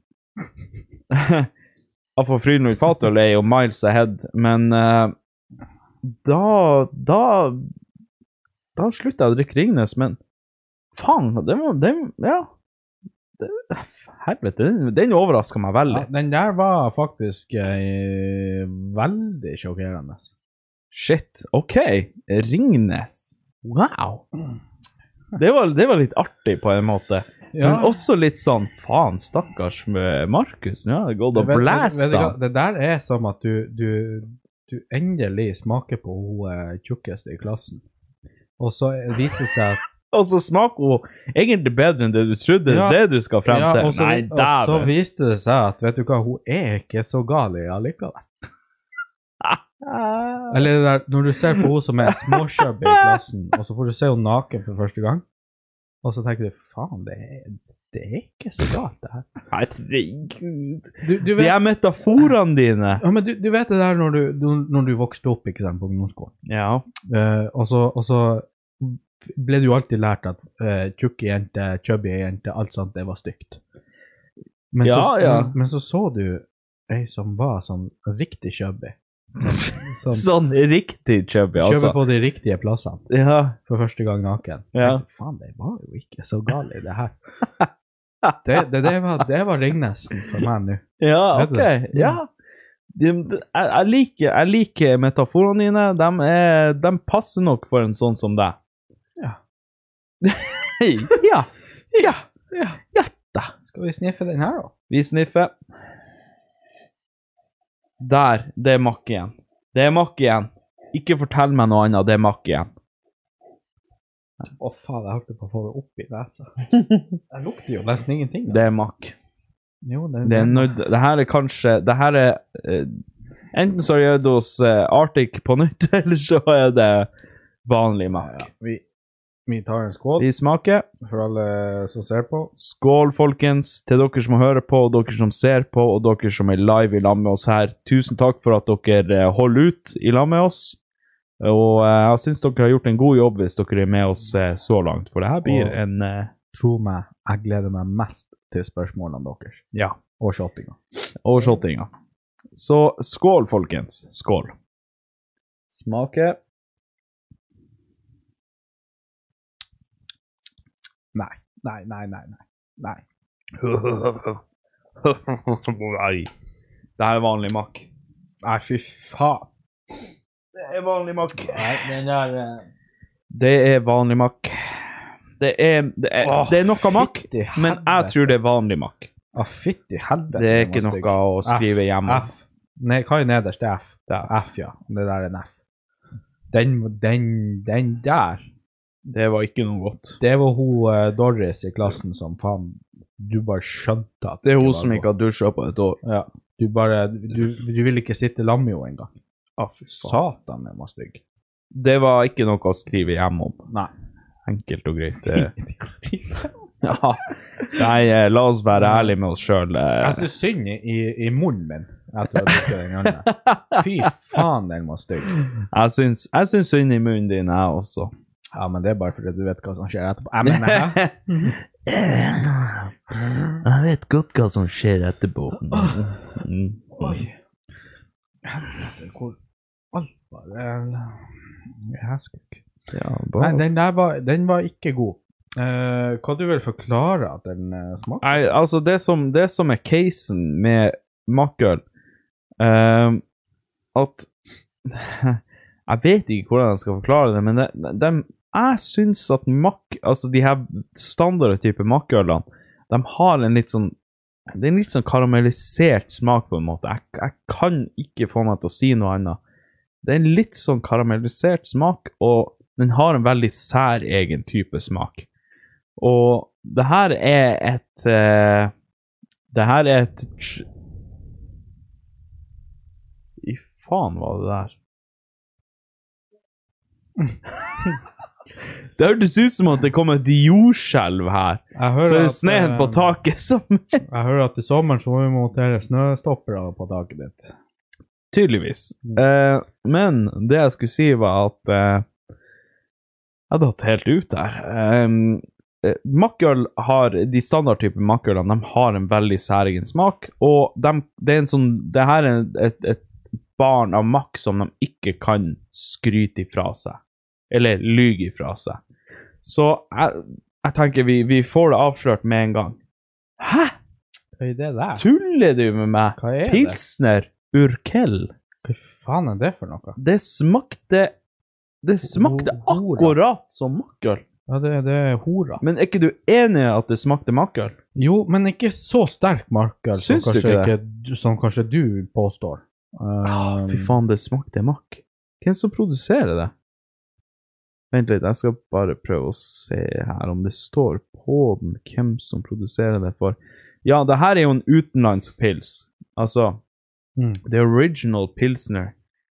[SPEAKER 1] Ja, For Frydenlund Fatøl er jo miles ahead, men eh, da Da Da slutta jeg å drikke Ringnes, men faen, det var den, Ja. Det, helvete, den, den overraska meg veldig.
[SPEAKER 2] Ja, den der var faktisk eh, veldig sjokkerende.
[SPEAKER 1] Shit. OK. Ringnes. Wow. Det var, det var litt artig, på en måte.
[SPEAKER 2] Ja.
[SPEAKER 1] Men også litt sånn Faen, stakkars med Markus. Nå har det gått og
[SPEAKER 2] Vet- vet- vet du
[SPEAKER 1] blæsta.
[SPEAKER 2] hva? Det der er som at du, du, du endelig smaker på hun eh, tjukkeste i klassen. Og så viser det seg at
[SPEAKER 1] Og så smaker hun egentlig bedre enn det du trodde.
[SPEAKER 2] Ja.
[SPEAKER 1] Det er det du skal frem
[SPEAKER 2] Ja,
[SPEAKER 1] til.
[SPEAKER 2] og så,
[SPEAKER 1] Nei,
[SPEAKER 2] og så
[SPEAKER 1] dæven.
[SPEAKER 2] viste det seg at vet du hva, hun er ikke så gal i allikevel. Eller det der, når du ser på hun som er småkjøp i klassen, og så får du se henne naken for første gang, og så tenker du faen, det er, det er ikke så galt, det her.
[SPEAKER 1] Herregud.
[SPEAKER 2] Du, du,
[SPEAKER 1] Det
[SPEAKER 2] vet,
[SPEAKER 1] er metaforene dine.
[SPEAKER 2] ja, men du, du vet det der når du, du, når du vokste opp ikke sant, på ungdomsskolen,
[SPEAKER 1] Ja.
[SPEAKER 2] eh, og, så, og så ble det jo alltid lært at eh, tjukke jenter, chubby jenter, alt sånt, det var stygt. Men,
[SPEAKER 1] Ja,
[SPEAKER 2] så,
[SPEAKER 1] ja.
[SPEAKER 2] Men, men så så du ei som var sånn riktig chubby. Sånn,
[SPEAKER 1] Sånn riktig chubby,
[SPEAKER 2] chubby
[SPEAKER 1] altså.
[SPEAKER 2] på de riktige plassene
[SPEAKER 1] Ja.
[SPEAKER 2] for første gang naken. Så
[SPEAKER 1] Ja.
[SPEAKER 2] tenkte jeg, Faen, det var jo ikke så gal i det her. Det, det, det var, det var Ringnesen for meg nå.
[SPEAKER 1] Ja,
[SPEAKER 2] Vet
[SPEAKER 1] ok.
[SPEAKER 2] du det?
[SPEAKER 1] Ja. De, de, jeg, jeg, liker, jeg liker metaforene dine. De, er, de passer nok for en sånn som deg.
[SPEAKER 2] Ja.
[SPEAKER 1] ja. Ja.
[SPEAKER 2] Skal vi sniffe den her, da?
[SPEAKER 1] Vi sniffer. Der. Det er makk igjen. Det er makk igjen. Ikke fortell meg noe annet. Det er makk igjen.
[SPEAKER 2] Å, faen, jeg holdt på å få det opp i nesa. Jeg lukter jo nesten ingenting.
[SPEAKER 1] Det er makk.
[SPEAKER 2] jo, det,
[SPEAKER 1] Det er nødt Det her er kanskje Det her er eh, Enten så er det hos eh, Arctic på nytt, eller så er det vanlig makk.
[SPEAKER 2] Vi, vi tar en skål
[SPEAKER 1] Vi smaker.
[SPEAKER 2] for alle som ser på.
[SPEAKER 1] Skål, folkens, til dere som hører på, og dere som ser på, og dere som er live i lag med oss her. Tusen takk for at dere eh, holder ut i lag med oss. Og eh, jeg syns dere har gjort en god jobb hvis dere er med oss eh, så langt, for det her blir
[SPEAKER 2] Og-
[SPEAKER 1] en eh,
[SPEAKER 2] Tro meg, jeg gleder meg mest til spørsmålene deres.
[SPEAKER 1] Ja.
[SPEAKER 2] Og shoppinga.
[SPEAKER 1] overshottinga. Så skål, folkens. Skål. Smake.
[SPEAKER 2] Nei, nei, nei, nei. nei. nei.
[SPEAKER 1] Nei. Det her er vanlig makk.
[SPEAKER 2] Nei, fy faen.
[SPEAKER 1] Det er vanlig makk.
[SPEAKER 2] Nei, den der eh,
[SPEAKER 1] Det er vanlig makk. Det er, det er,
[SPEAKER 2] Åh,
[SPEAKER 1] Eh, det er noe makk,
[SPEAKER 2] fytti
[SPEAKER 1] men jeg
[SPEAKER 2] helvete.
[SPEAKER 1] tror det er vanlig makk.
[SPEAKER 2] Å, fytti helvete.
[SPEAKER 1] Det er
[SPEAKER 2] den var
[SPEAKER 1] ikke
[SPEAKER 2] stygg.
[SPEAKER 1] noe å skrive
[SPEAKER 2] F,
[SPEAKER 1] hjemme.
[SPEAKER 2] F. Nei, hva er nederst? Det er F. Det er F, ja. Det der er en F. Den, den, den der.
[SPEAKER 1] Det var ikke noe godt.
[SPEAKER 2] Det var hun eh, Doris i klassen som faen Du bare skjønte at
[SPEAKER 1] Det er hun
[SPEAKER 2] var
[SPEAKER 1] som
[SPEAKER 2] god.
[SPEAKER 1] ikke har dusja på et år.
[SPEAKER 2] Ja. Du bare Du, du vil ikke sitte i lag med henne engang.
[SPEAKER 1] Ah, fy faen.
[SPEAKER 2] Satan, den var stygg.
[SPEAKER 1] Det var ikke noe å skrive hjemme om.
[SPEAKER 2] Nei.
[SPEAKER 1] Enkelt og greit. eh. ja. Nei, eh, la oss være ærlige med oss eh. sjøl.
[SPEAKER 2] Jeg syns synd i, i munnen min etter å ha drukket den andre. Fy faen, den var stygg.
[SPEAKER 1] Jeg syns jeg syns synd i munnen din, jeg også.
[SPEAKER 2] Ja, men det er bare fordi du vet hva som skjer etterpå. Jeg mener, hæ?
[SPEAKER 1] Jeg vet godt hva som skjer etterpå. Mm.
[SPEAKER 2] Oi. Helvete, hvor alt bare Jeg skal ikke
[SPEAKER 1] Ja,
[SPEAKER 2] Nei,
[SPEAKER 1] bare
[SPEAKER 2] den der var, den var ikke god. Eh, hva du vil forklare at den eh, smaker?
[SPEAKER 1] Nei, altså det som, det som er casen med makkøl ehm, At Jeg vet ikke hvordan jeg skal forklare det, men det, dem- jeg syns at makk Altså de her standard type makkølene, de har en litt sånn det er en litt sånn karamellisert smak, på en måte. Jeg, jeg kan ikke få meg til å si noe annet. Det er en litt sånn karamellisert smak, og den har en veldig særegen type smak. Og det her er et eh, Det her er et ch- I faen var det der? det hørtes ut som at det kom et jordskjelv her. Så
[SPEAKER 2] Jeg
[SPEAKER 1] er det
[SPEAKER 2] at,
[SPEAKER 1] sneen
[SPEAKER 2] eh,
[SPEAKER 1] på taket som
[SPEAKER 2] Jeg hører at i sommeren så må vi montere snøstoppere på taket ditt. Mm.
[SPEAKER 1] Tydeligvis. Eh, men det jeg skulle si, var at eh, Jeg datt helt ut der. Um, eh, makkøl har De standardtype makkølene de har en veldig særegen smak, og de, det er en sånn Det her er et, et barn av makk som de ikke kan skryte ifra seg. Eller lyge ifra seg. Så jeg, jeg tenker vi, vi får det avslørt med en gang. Hæ?
[SPEAKER 2] Hva er det der?
[SPEAKER 1] Tuller du med meg?
[SPEAKER 2] Hva er det?
[SPEAKER 1] Pilsner Urkel?
[SPEAKER 2] Hva faen er det for noe?
[SPEAKER 1] Det smakte Det smakte
[SPEAKER 2] Hora.
[SPEAKER 1] akkurat som makkøl.
[SPEAKER 2] Ja, det, det er hora.
[SPEAKER 1] Men er ikke du enig i at det smakte makkøl?
[SPEAKER 2] Jo, men ikke så sterk marker som,
[SPEAKER 1] Syns du
[SPEAKER 2] kanskje
[SPEAKER 1] ikke
[SPEAKER 2] ikke du- som kanskje du påstår. Um,
[SPEAKER 1] Ah, Fy faen, det smakte makk. Hvem som produserer det? Vent litt, jeg skal bare prøve å se her om det står på den hvem som produserer det for. Ja, det her er jo en utenlandsk pils. Altså
[SPEAKER 2] Mm.
[SPEAKER 1] The Original Pilsner.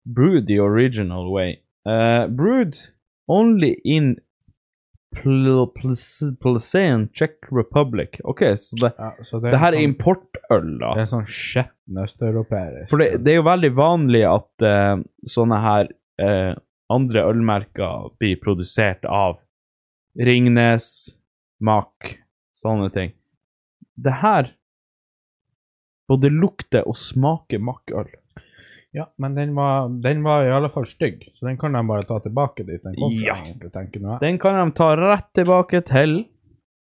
[SPEAKER 1] Brewed the original way. Eh, brewed only in Pl- Pl- Plzeň, Czech Republic. Ok, så det,
[SPEAKER 2] Ja, så
[SPEAKER 1] det her er
[SPEAKER 2] en sånn,
[SPEAKER 1] importøl, da.
[SPEAKER 2] Det er en sånn skitten østeuropeisk eh,
[SPEAKER 1] For det, det er jo veldig vanlig at eh, sånne her eh, andre ølmerker blir produsert av Ringnes, Mak, sånne ting. Det her både lukter og smaker makkøl.
[SPEAKER 2] Ja, men den var, den var i alle fall stygg, så den kan de bare ta tilbake dit den kom fra.
[SPEAKER 1] Ja.
[SPEAKER 2] egentlig, tenker nå jeg.
[SPEAKER 1] Den kan de ta rett tilbake til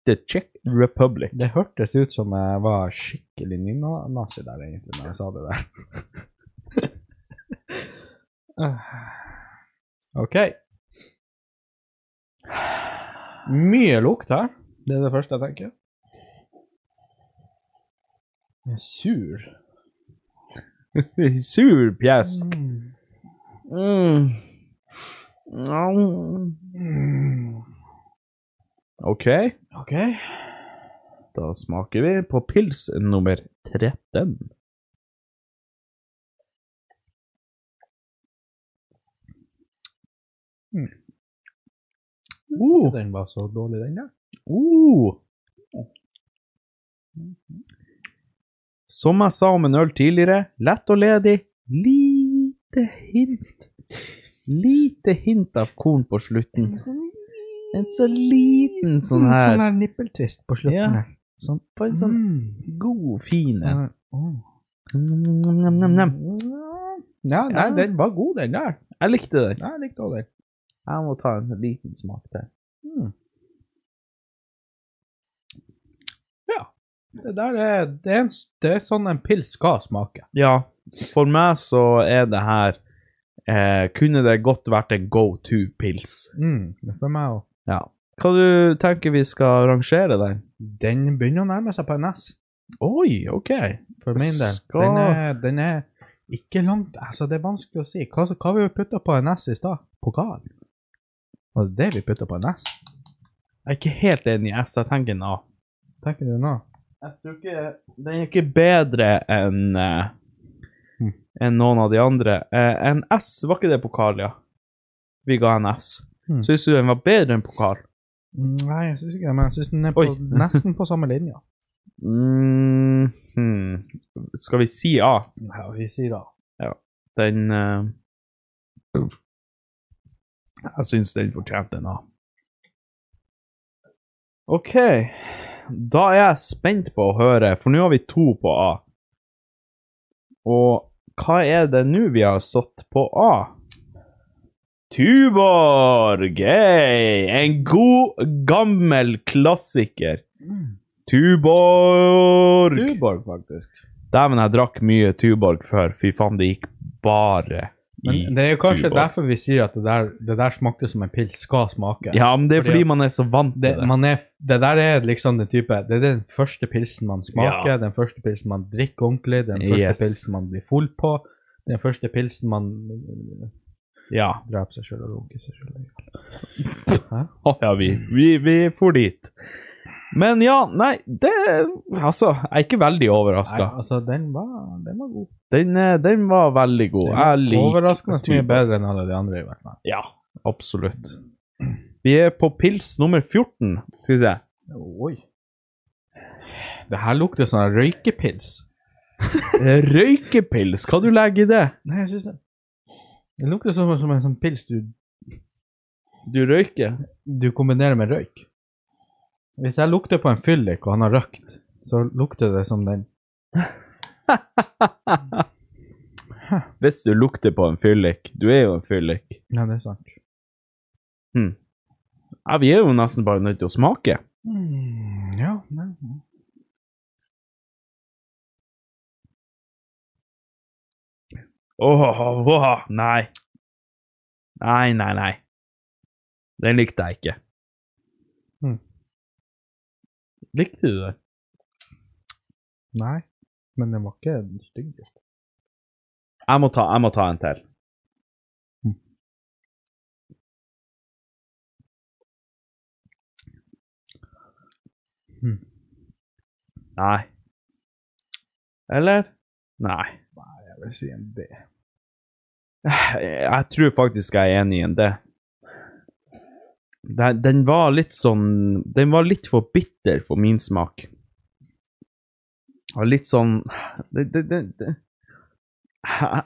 [SPEAKER 1] The Czech Republic.
[SPEAKER 2] Det hørtes ut som jeg var skikkelig nynazi der, egentlig, når jeg sa det der. OK. Mye lukt her. Det er det første jeg tenker. Jeg er sur.
[SPEAKER 1] Sur pjesk. Mm. OK,
[SPEAKER 2] OK.
[SPEAKER 1] da smaker vi på pils nummer 13. Mm.
[SPEAKER 2] Uh. Den var så dårlig, den der.
[SPEAKER 1] Uh. Som jeg sa om en øl tidligere, lett og ledig, lite hint. Lite hint av korn på slutten. En så liten sånn
[SPEAKER 2] Mm,
[SPEAKER 1] her,
[SPEAKER 2] nippeltvist på
[SPEAKER 1] slutten
[SPEAKER 2] Ja.
[SPEAKER 1] her. sånn, på en
[SPEAKER 2] Mm,
[SPEAKER 1] sånn god, fin
[SPEAKER 2] sånn
[SPEAKER 1] en. Nam, nam, nam.
[SPEAKER 2] Ja, nei,
[SPEAKER 1] Ja.
[SPEAKER 2] den var god, den der.
[SPEAKER 1] Jeg likte den.
[SPEAKER 2] Nei, Jeg likte også den. Hmm.
[SPEAKER 1] Jeg må ta en liten smak til.
[SPEAKER 2] Det der er, det er, en, det er sånn en pils skal smake.
[SPEAKER 1] Ja, for meg så er det her eh, Kunne det godt vært en go to-pils?
[SPEAKER 2] Mm, det er for meg også.
[SPEAKER 1] Ja. Hva du tenker vi skal rangere den?
[SPEAKER 2] Den begynner å nærme seg på en S,
[SPEAKER 1] Oi, OK.
[SPEAKER 2] for min del.
[SPEAKER 1] Skal-
[SPEAKER 2] Den er, den er ikke langt Altså, det er vanskelig å si. Hva, hva vi putta på en S i stad? Pokal. Var det det vi putta på en S?
[SPEAKER 1] Jeg er ikke helt enig i S. Jeg tenker en A.
[SPEAKER 2] Tenker du nå?
[SPEAKER 1] Jeg tror ikke Den er ikke bedre enn eh, enn noen av de andre. Eh, en S var ikke det pokal, ja. Vi ga en S.
[SPEAKER 2] Mm.
[SPEAKER 1] Syns du den var bedre enn pokal?
[SPEAKER 2] Nei, jeg syns ikke det, men jeg syns den er på,
[SPEAKER 1] Oi.
[SPEAKER 2] nesten på samme linje.
[SPEAKER 1] Mm, hmm. Skal vi si A?
[SPEAKER 2] Ja, vi sier da.
[SPEAKER 1] Den eh, Jeg syns den fortjente en A. OK. Da er jeg spent på å høre, for nå har vi to på A. Og hva er det nå vi har satt på A? Tuborg! Hey! En god, gammel klassiker. Tuborg!
[SPEAKER 2] Hmm. Tuborg, faktisk.
[SPEAKER 1] Dæven, jeg drakk mye Tuborg før. Fy faen, det gikk bare i
[SPEAKER 2] Men det er jo kanskje
[SPEAKER 1] Tuborg.
[SPEAKER 2] derfor vi sier at det der, det der smakte som en pils skal smake.
[SPEAKER 1] Ja, men det er fordi
[SPEAKER 2] Fordi-
[SPEAKER 1] man er så vant til
[SPEAKER 2] Det,
[SPEAKER 1] det.
[SPEAKER 2] man er, det der er liksom den type Det er den første pilsen man smaker, den første pilsen man drikker ordentlig, den første
[SPEAKER 1] Yes.
[SPEAKER 2] pilsen man blir full på, den første pilsen man
[SPEAKER 1] Ja.
[SPEAKER 2] dreper seg sjøl og runker seg sjøl.
[SPEAKER 1] Å, ja, vi, vi, vi for dit. Men ja, nei, det Altså, jeg er ikke veldig overraska.
[SPEAKER 2] Altså, den var, den var god.
[SPEAKER 1] Den, eh, den var veldig god.
[SPEAKER 2] Den var
[SPEAKER 1] Jeg liker
[SPEAKER 2] Overraskende mye
[SPEAKER 1] Tuborg.
[SPEAKER 2] bedre enn alle de andre, i hvert fall.
[SPEAKER 1] Ja, absolutt. Vi er på pils nummer 14, skal vi se.
[SPEAKER 2] Oi. Det her lukter sånn røykepils.
[SPEAKER 1] Eh, Røykepils, hva du legger i det?
[SPEAKER 2] Nei, jeg syns det Det lukter som, som en sånn pils du
[SPEAKER 1] Du røyker?
[SPEAKER 2] du kombinerer med røyk. Hvis jeg lukter på en fyllik, og han har røykt, så lukter det som den.
[SPEAKER 1] Hvis du lukter på en fyllik Du er jo en fyllik. Hm.
[SPEAKER 2] Ja, det er sant.
[SPEAKER 1] Ja, vi er jo nesten bare nødt til å smake.
[SPEAKER 2] Mm, ja, nei.
[SPEAKER 1] Åh, åh, nei. Nei, nei, nei. Den likte jeg ikke.
[SPEAKER 2] Mm.
[SPEAKER 1] Likte du det?
[SPEAKER 2] nei. Men den var ikke stygg.
[SPEAKER 1] Jeg må ta, jeg må ta en til.
[SPEAKER 2] Mm.
[SPEAKER 1] Hmm. Nei. Eller? Nei.
[SPEAKER 2] Jeg vil si en B.
[SPEAKER 1] Jeg tror faktisk jeg er enig i en det. Den- Den var litt sånn Den var litt for bitter for min smak. Og litt sånn Det, det, det, det.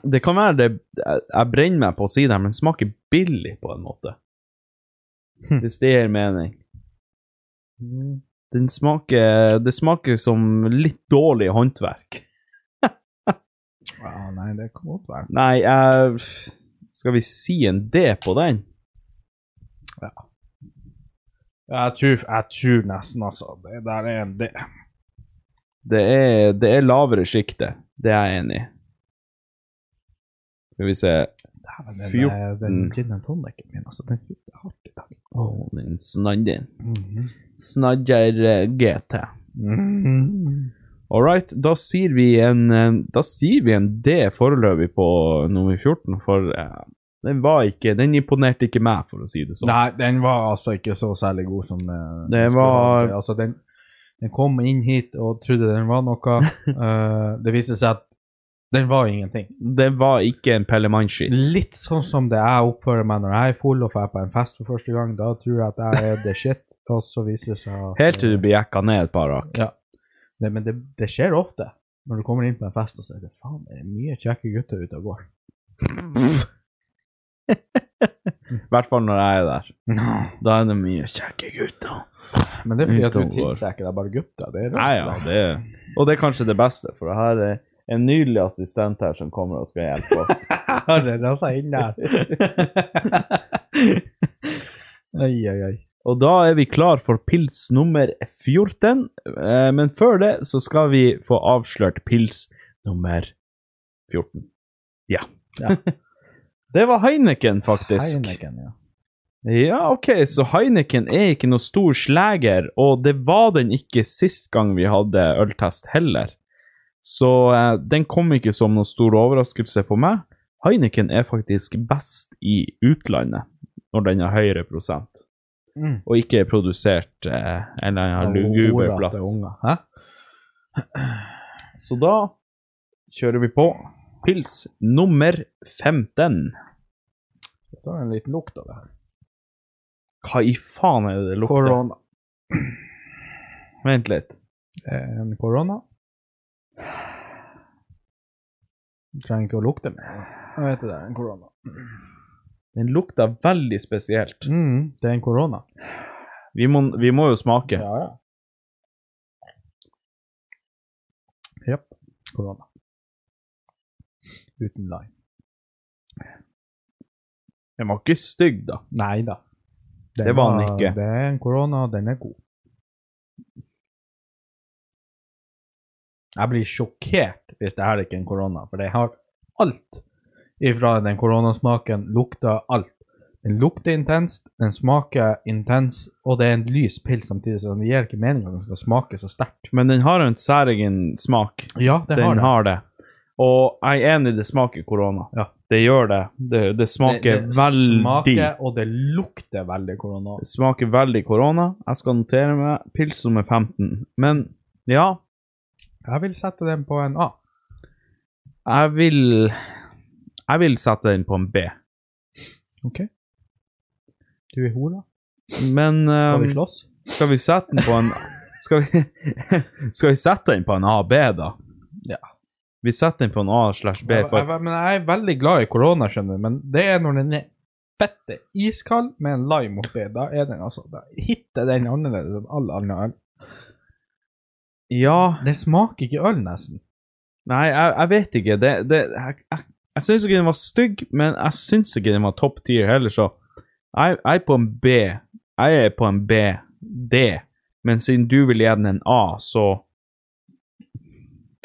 [SPEAKER 1] det kan være det jeg- Jeg brenner meg på å si det, her, men smaker billig på en måte.
[SPEAKER 2] Hm.
[SPEAKER 1] Hvis det gir mening. Den smaker, det smaker som litt dårlig håndverk.
[SPEAKER 2] Ja, nei, det kan godt være.
[SPEAKER 1] Nei, jeg Skal vi si en D på den?
[SPEAKER 2] Ja, Jeg tror, jeg tror nesten, altså. Det der er en D.
[SPEAKER 1] Det er, det er lavere sjiktet. Det er jeg enig i. Skal vi se
[SPEAKER 2] Dæven, den,
[SPEAKER 1] Fjorten. Mm.
[SPEAKER 2] eh, Den gin and tonicen min, altså. Den hitter hardt i Mm. dag.
[SPEAKER 1] Å, den snadder. Snadder eh, GT.
[SPEAKER 2] Mhm.
[SPEAKER 1] All right, da sier vi en, eh, da sier vi en D foreløpig på nummer 14, for eh, den var ikke Den imponerte ikke meg, for å si det sånn.
[SPEAKER 2] Nei, den var altså ikke så særlig god som eh,
[SPEAKER 1] Det
[SPEAKER 2] den skulle
[SPEAKER 1] var-
[SPEAKER 2] være. Altså, den, den kom inn hit og trodde den var noe. Eh, det viste seg at den var ingenting.
[SPEAKER 1] Det var ikke en Pelle Mann-skitt.
[SPEAKER 2] Litt sånn som det jeg oppfører meg når jeg er full og drar på en fest for første gang. Da tror jeg at jeg er the shit, og så viser det seg at eh,
[SPEAKER 1] Helt til du blir jekka ned et par hakk.
[SPEAKER 2] Ja. Nei, men det, det skjer ofte. Når du kommer inn på en fest, og så er det faen, det er mye kjekke gutter ute og går.
[SPEAKER 1] I hvert fall når jeg er der.
[SPEAKER 2] No.
[SPEAKER 1] Da er det mye kjekke gutter.
[SPEAKER 2] Men det er fordi at
[SPEAKER 1] Ute
[SPEAKER 2] du
[SPEAKER 1] og går.
[SPEAKER 2] tiltrekker deg bare gutter. Det er rart.
[SPEAKER 1] Nei, ja, det Og det er kanskje det beste, for jeg har eh, en nydelig assistent her som kommer og skal hjelpe oss.
[SPEAKER 2] Ja, det rasa inn der. Oi, oi, oi.
[SPEAKER 1] Og da er vi klar for pils nummer 14, eh, men før det så skal vi få avslørt pils nummer 14. Ja.
[SPEAKER 2] Ja.
[SPEAKER 1] det var Heineken, faktisk.
[SPEAKER 2] Heineken, ja.
[SPEAKER 1] Ja, ok, så Heineken er ikke noe stor sleger, og det var den ikke sist gang vi hadde øltest heller. Så eh, den kom ikke som noen stor overraskelse på meg. Heineken er faktisk best i utlandet når den har høyere prosent
[SPEAKER 2] Mm.
[SPEAKER 1] og ikke er produsert eh, en eller annen luguber plass.
[SPEAKER 2] Hæ?
[SPEAKER 1] Så da kjører vi på pils nummer 15.
[SPEAKER 2] Jeg tar en liten lukt av det her.
[SPEAKER 1] Hva i faen er det det lukter?
[SPEAKER 2] Korona.
[SPEAKER 1] Vent litt.
[SPEAKER 2] Eh, En korona. Du trenger ikke å lukte mer. Jeg vet det, det er en korona.
[SPEAKER 1] Den lukter veldig spesielt.
[SPEAKER 2] Mm, det er en korona.
[SPEAKER 1] Vi må, vi må jo smake.
[SPEAKER 2] Ja, ja. Jepp. Korona. Uten lime.
[SPEAKER 1] Den var ikke stygg, da.
[SPEAKER 2] Nei da.
[SPEAKER 1] Det var den ikke.
[SPEAKER 2] Det er en korona, den er god. Jeg blir sjokkert hvis det her ikke er en korona, for det har alt ifra den koronasmaken, lukter alt. Den lukter intenst, den smaker intens, og det er en lys pils samtidig, så det gir ikke mening at den skal smake så sterkt.
[SPEAKER 1] Men den har en særegen smak.
[SPEAKER 2] Ja, det
[SPEAKER 1] den
[SPEAKER 2] har det.
[SPEAKER 1] har det. Og jeg er enig, det smaker korona.
[SPEAKER 2] Ja.
[SPEAKER 1] Det gjør det. Det, det smaker
[SPEAKER 2] det, det
[SPEAKER 1] veldig
[SPEAKER 2] Smaker, og det lukter veldig korona.
[SPEAKER 1] Det smaker veldig korona. Jeg skal notere meg pils nummer 15. Men ja,
[SPEAKER 2] Jeg vil sette den på en A.
[SPEAKER 1] jeg vil Jeg vil sette den på en B.
[SPEAKER 2] Ok. Du er hora.
[SPEAKER 1] Men
[SPEAKER 2] Skal
[SPEAKER 1] ehm,
[SPEAKER 2] vi slåss?
[SPEAKER 1] skal vi sette den på en Skal vi, skal vi sette den på en AB, da?
[SPEAKER 2] Ja.
[SPEAKER 1] Vi setter den på en A slash B.
[SPEAKER 2] Jeg,
[SPEAKER 1] For,
[SPEAKER 2] jeg, men jeg er veldig glad i korona, skjønner du, men det er når den er fette iskald med en lime oppi. Da er den altså Da hitter den annerledes enn all annen øl.
[SPEAKER 1] ja
[SPEAKER 2] Den smaker ikke øl, nesten.
[SPEAKER 1] Nei, jeg, jeg vet ikke. Det, det, jeg jeg, jeg syns ikke den var stygg, men jeg syns ikke den var topp tier heller, så jeg, jeg er på en B. Jeg er på en B. D. Men siden du vil gi den en A, så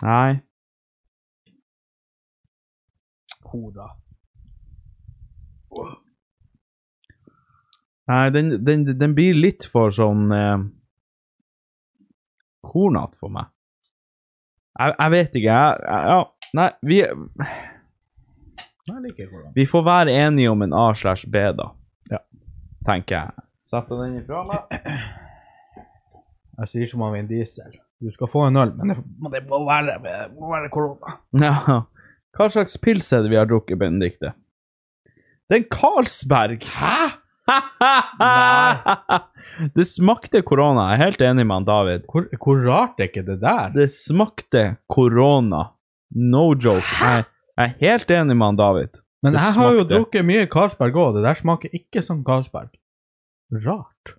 [SPEAKER 1] Nei.
[SPEAKER 2] Hora.
[SPEAKER 1] Nei, den, den, den blir litt for sånn eh, Hornete for meg. Jeg, jeg vet ikke. Jeg, jeg, ja, nei, vi,
[SPEAKER 2] Jeg liker korona.
[SPEAKER 1] vi får være enige om en A slash B, da.
[SPEAKER 2] Ja.
[SPEAKER 1] Tenker jeg. Setter den ifra meg.
[SPEAKER 2] Jeg sier som av en diesel. Du skal få en øl, men det, men det må være det må være korona.
[SPEAKER 1] Ja. Hva slags pils er det vi har drukket, Benedikte? Det er en Carlsberg! Hæ?! det smakte korona. Jeg er helt enig med han David.
[SPEAKER 2] Hvor, hvor rart er ikke det der?
[SPEAKER 1] Det smakte korona. No joke. Jeg, jeg er helt enig med han David.
[SPEAKER 2] Men
[SPEAKER 1] det
[SPEAKER 2] jeg har jo
[SPEAKER 1] smakte.
[SPEAKER 2] drukket mye Carlsberg òg, det der smaker ikke som Carlsberg. Rart.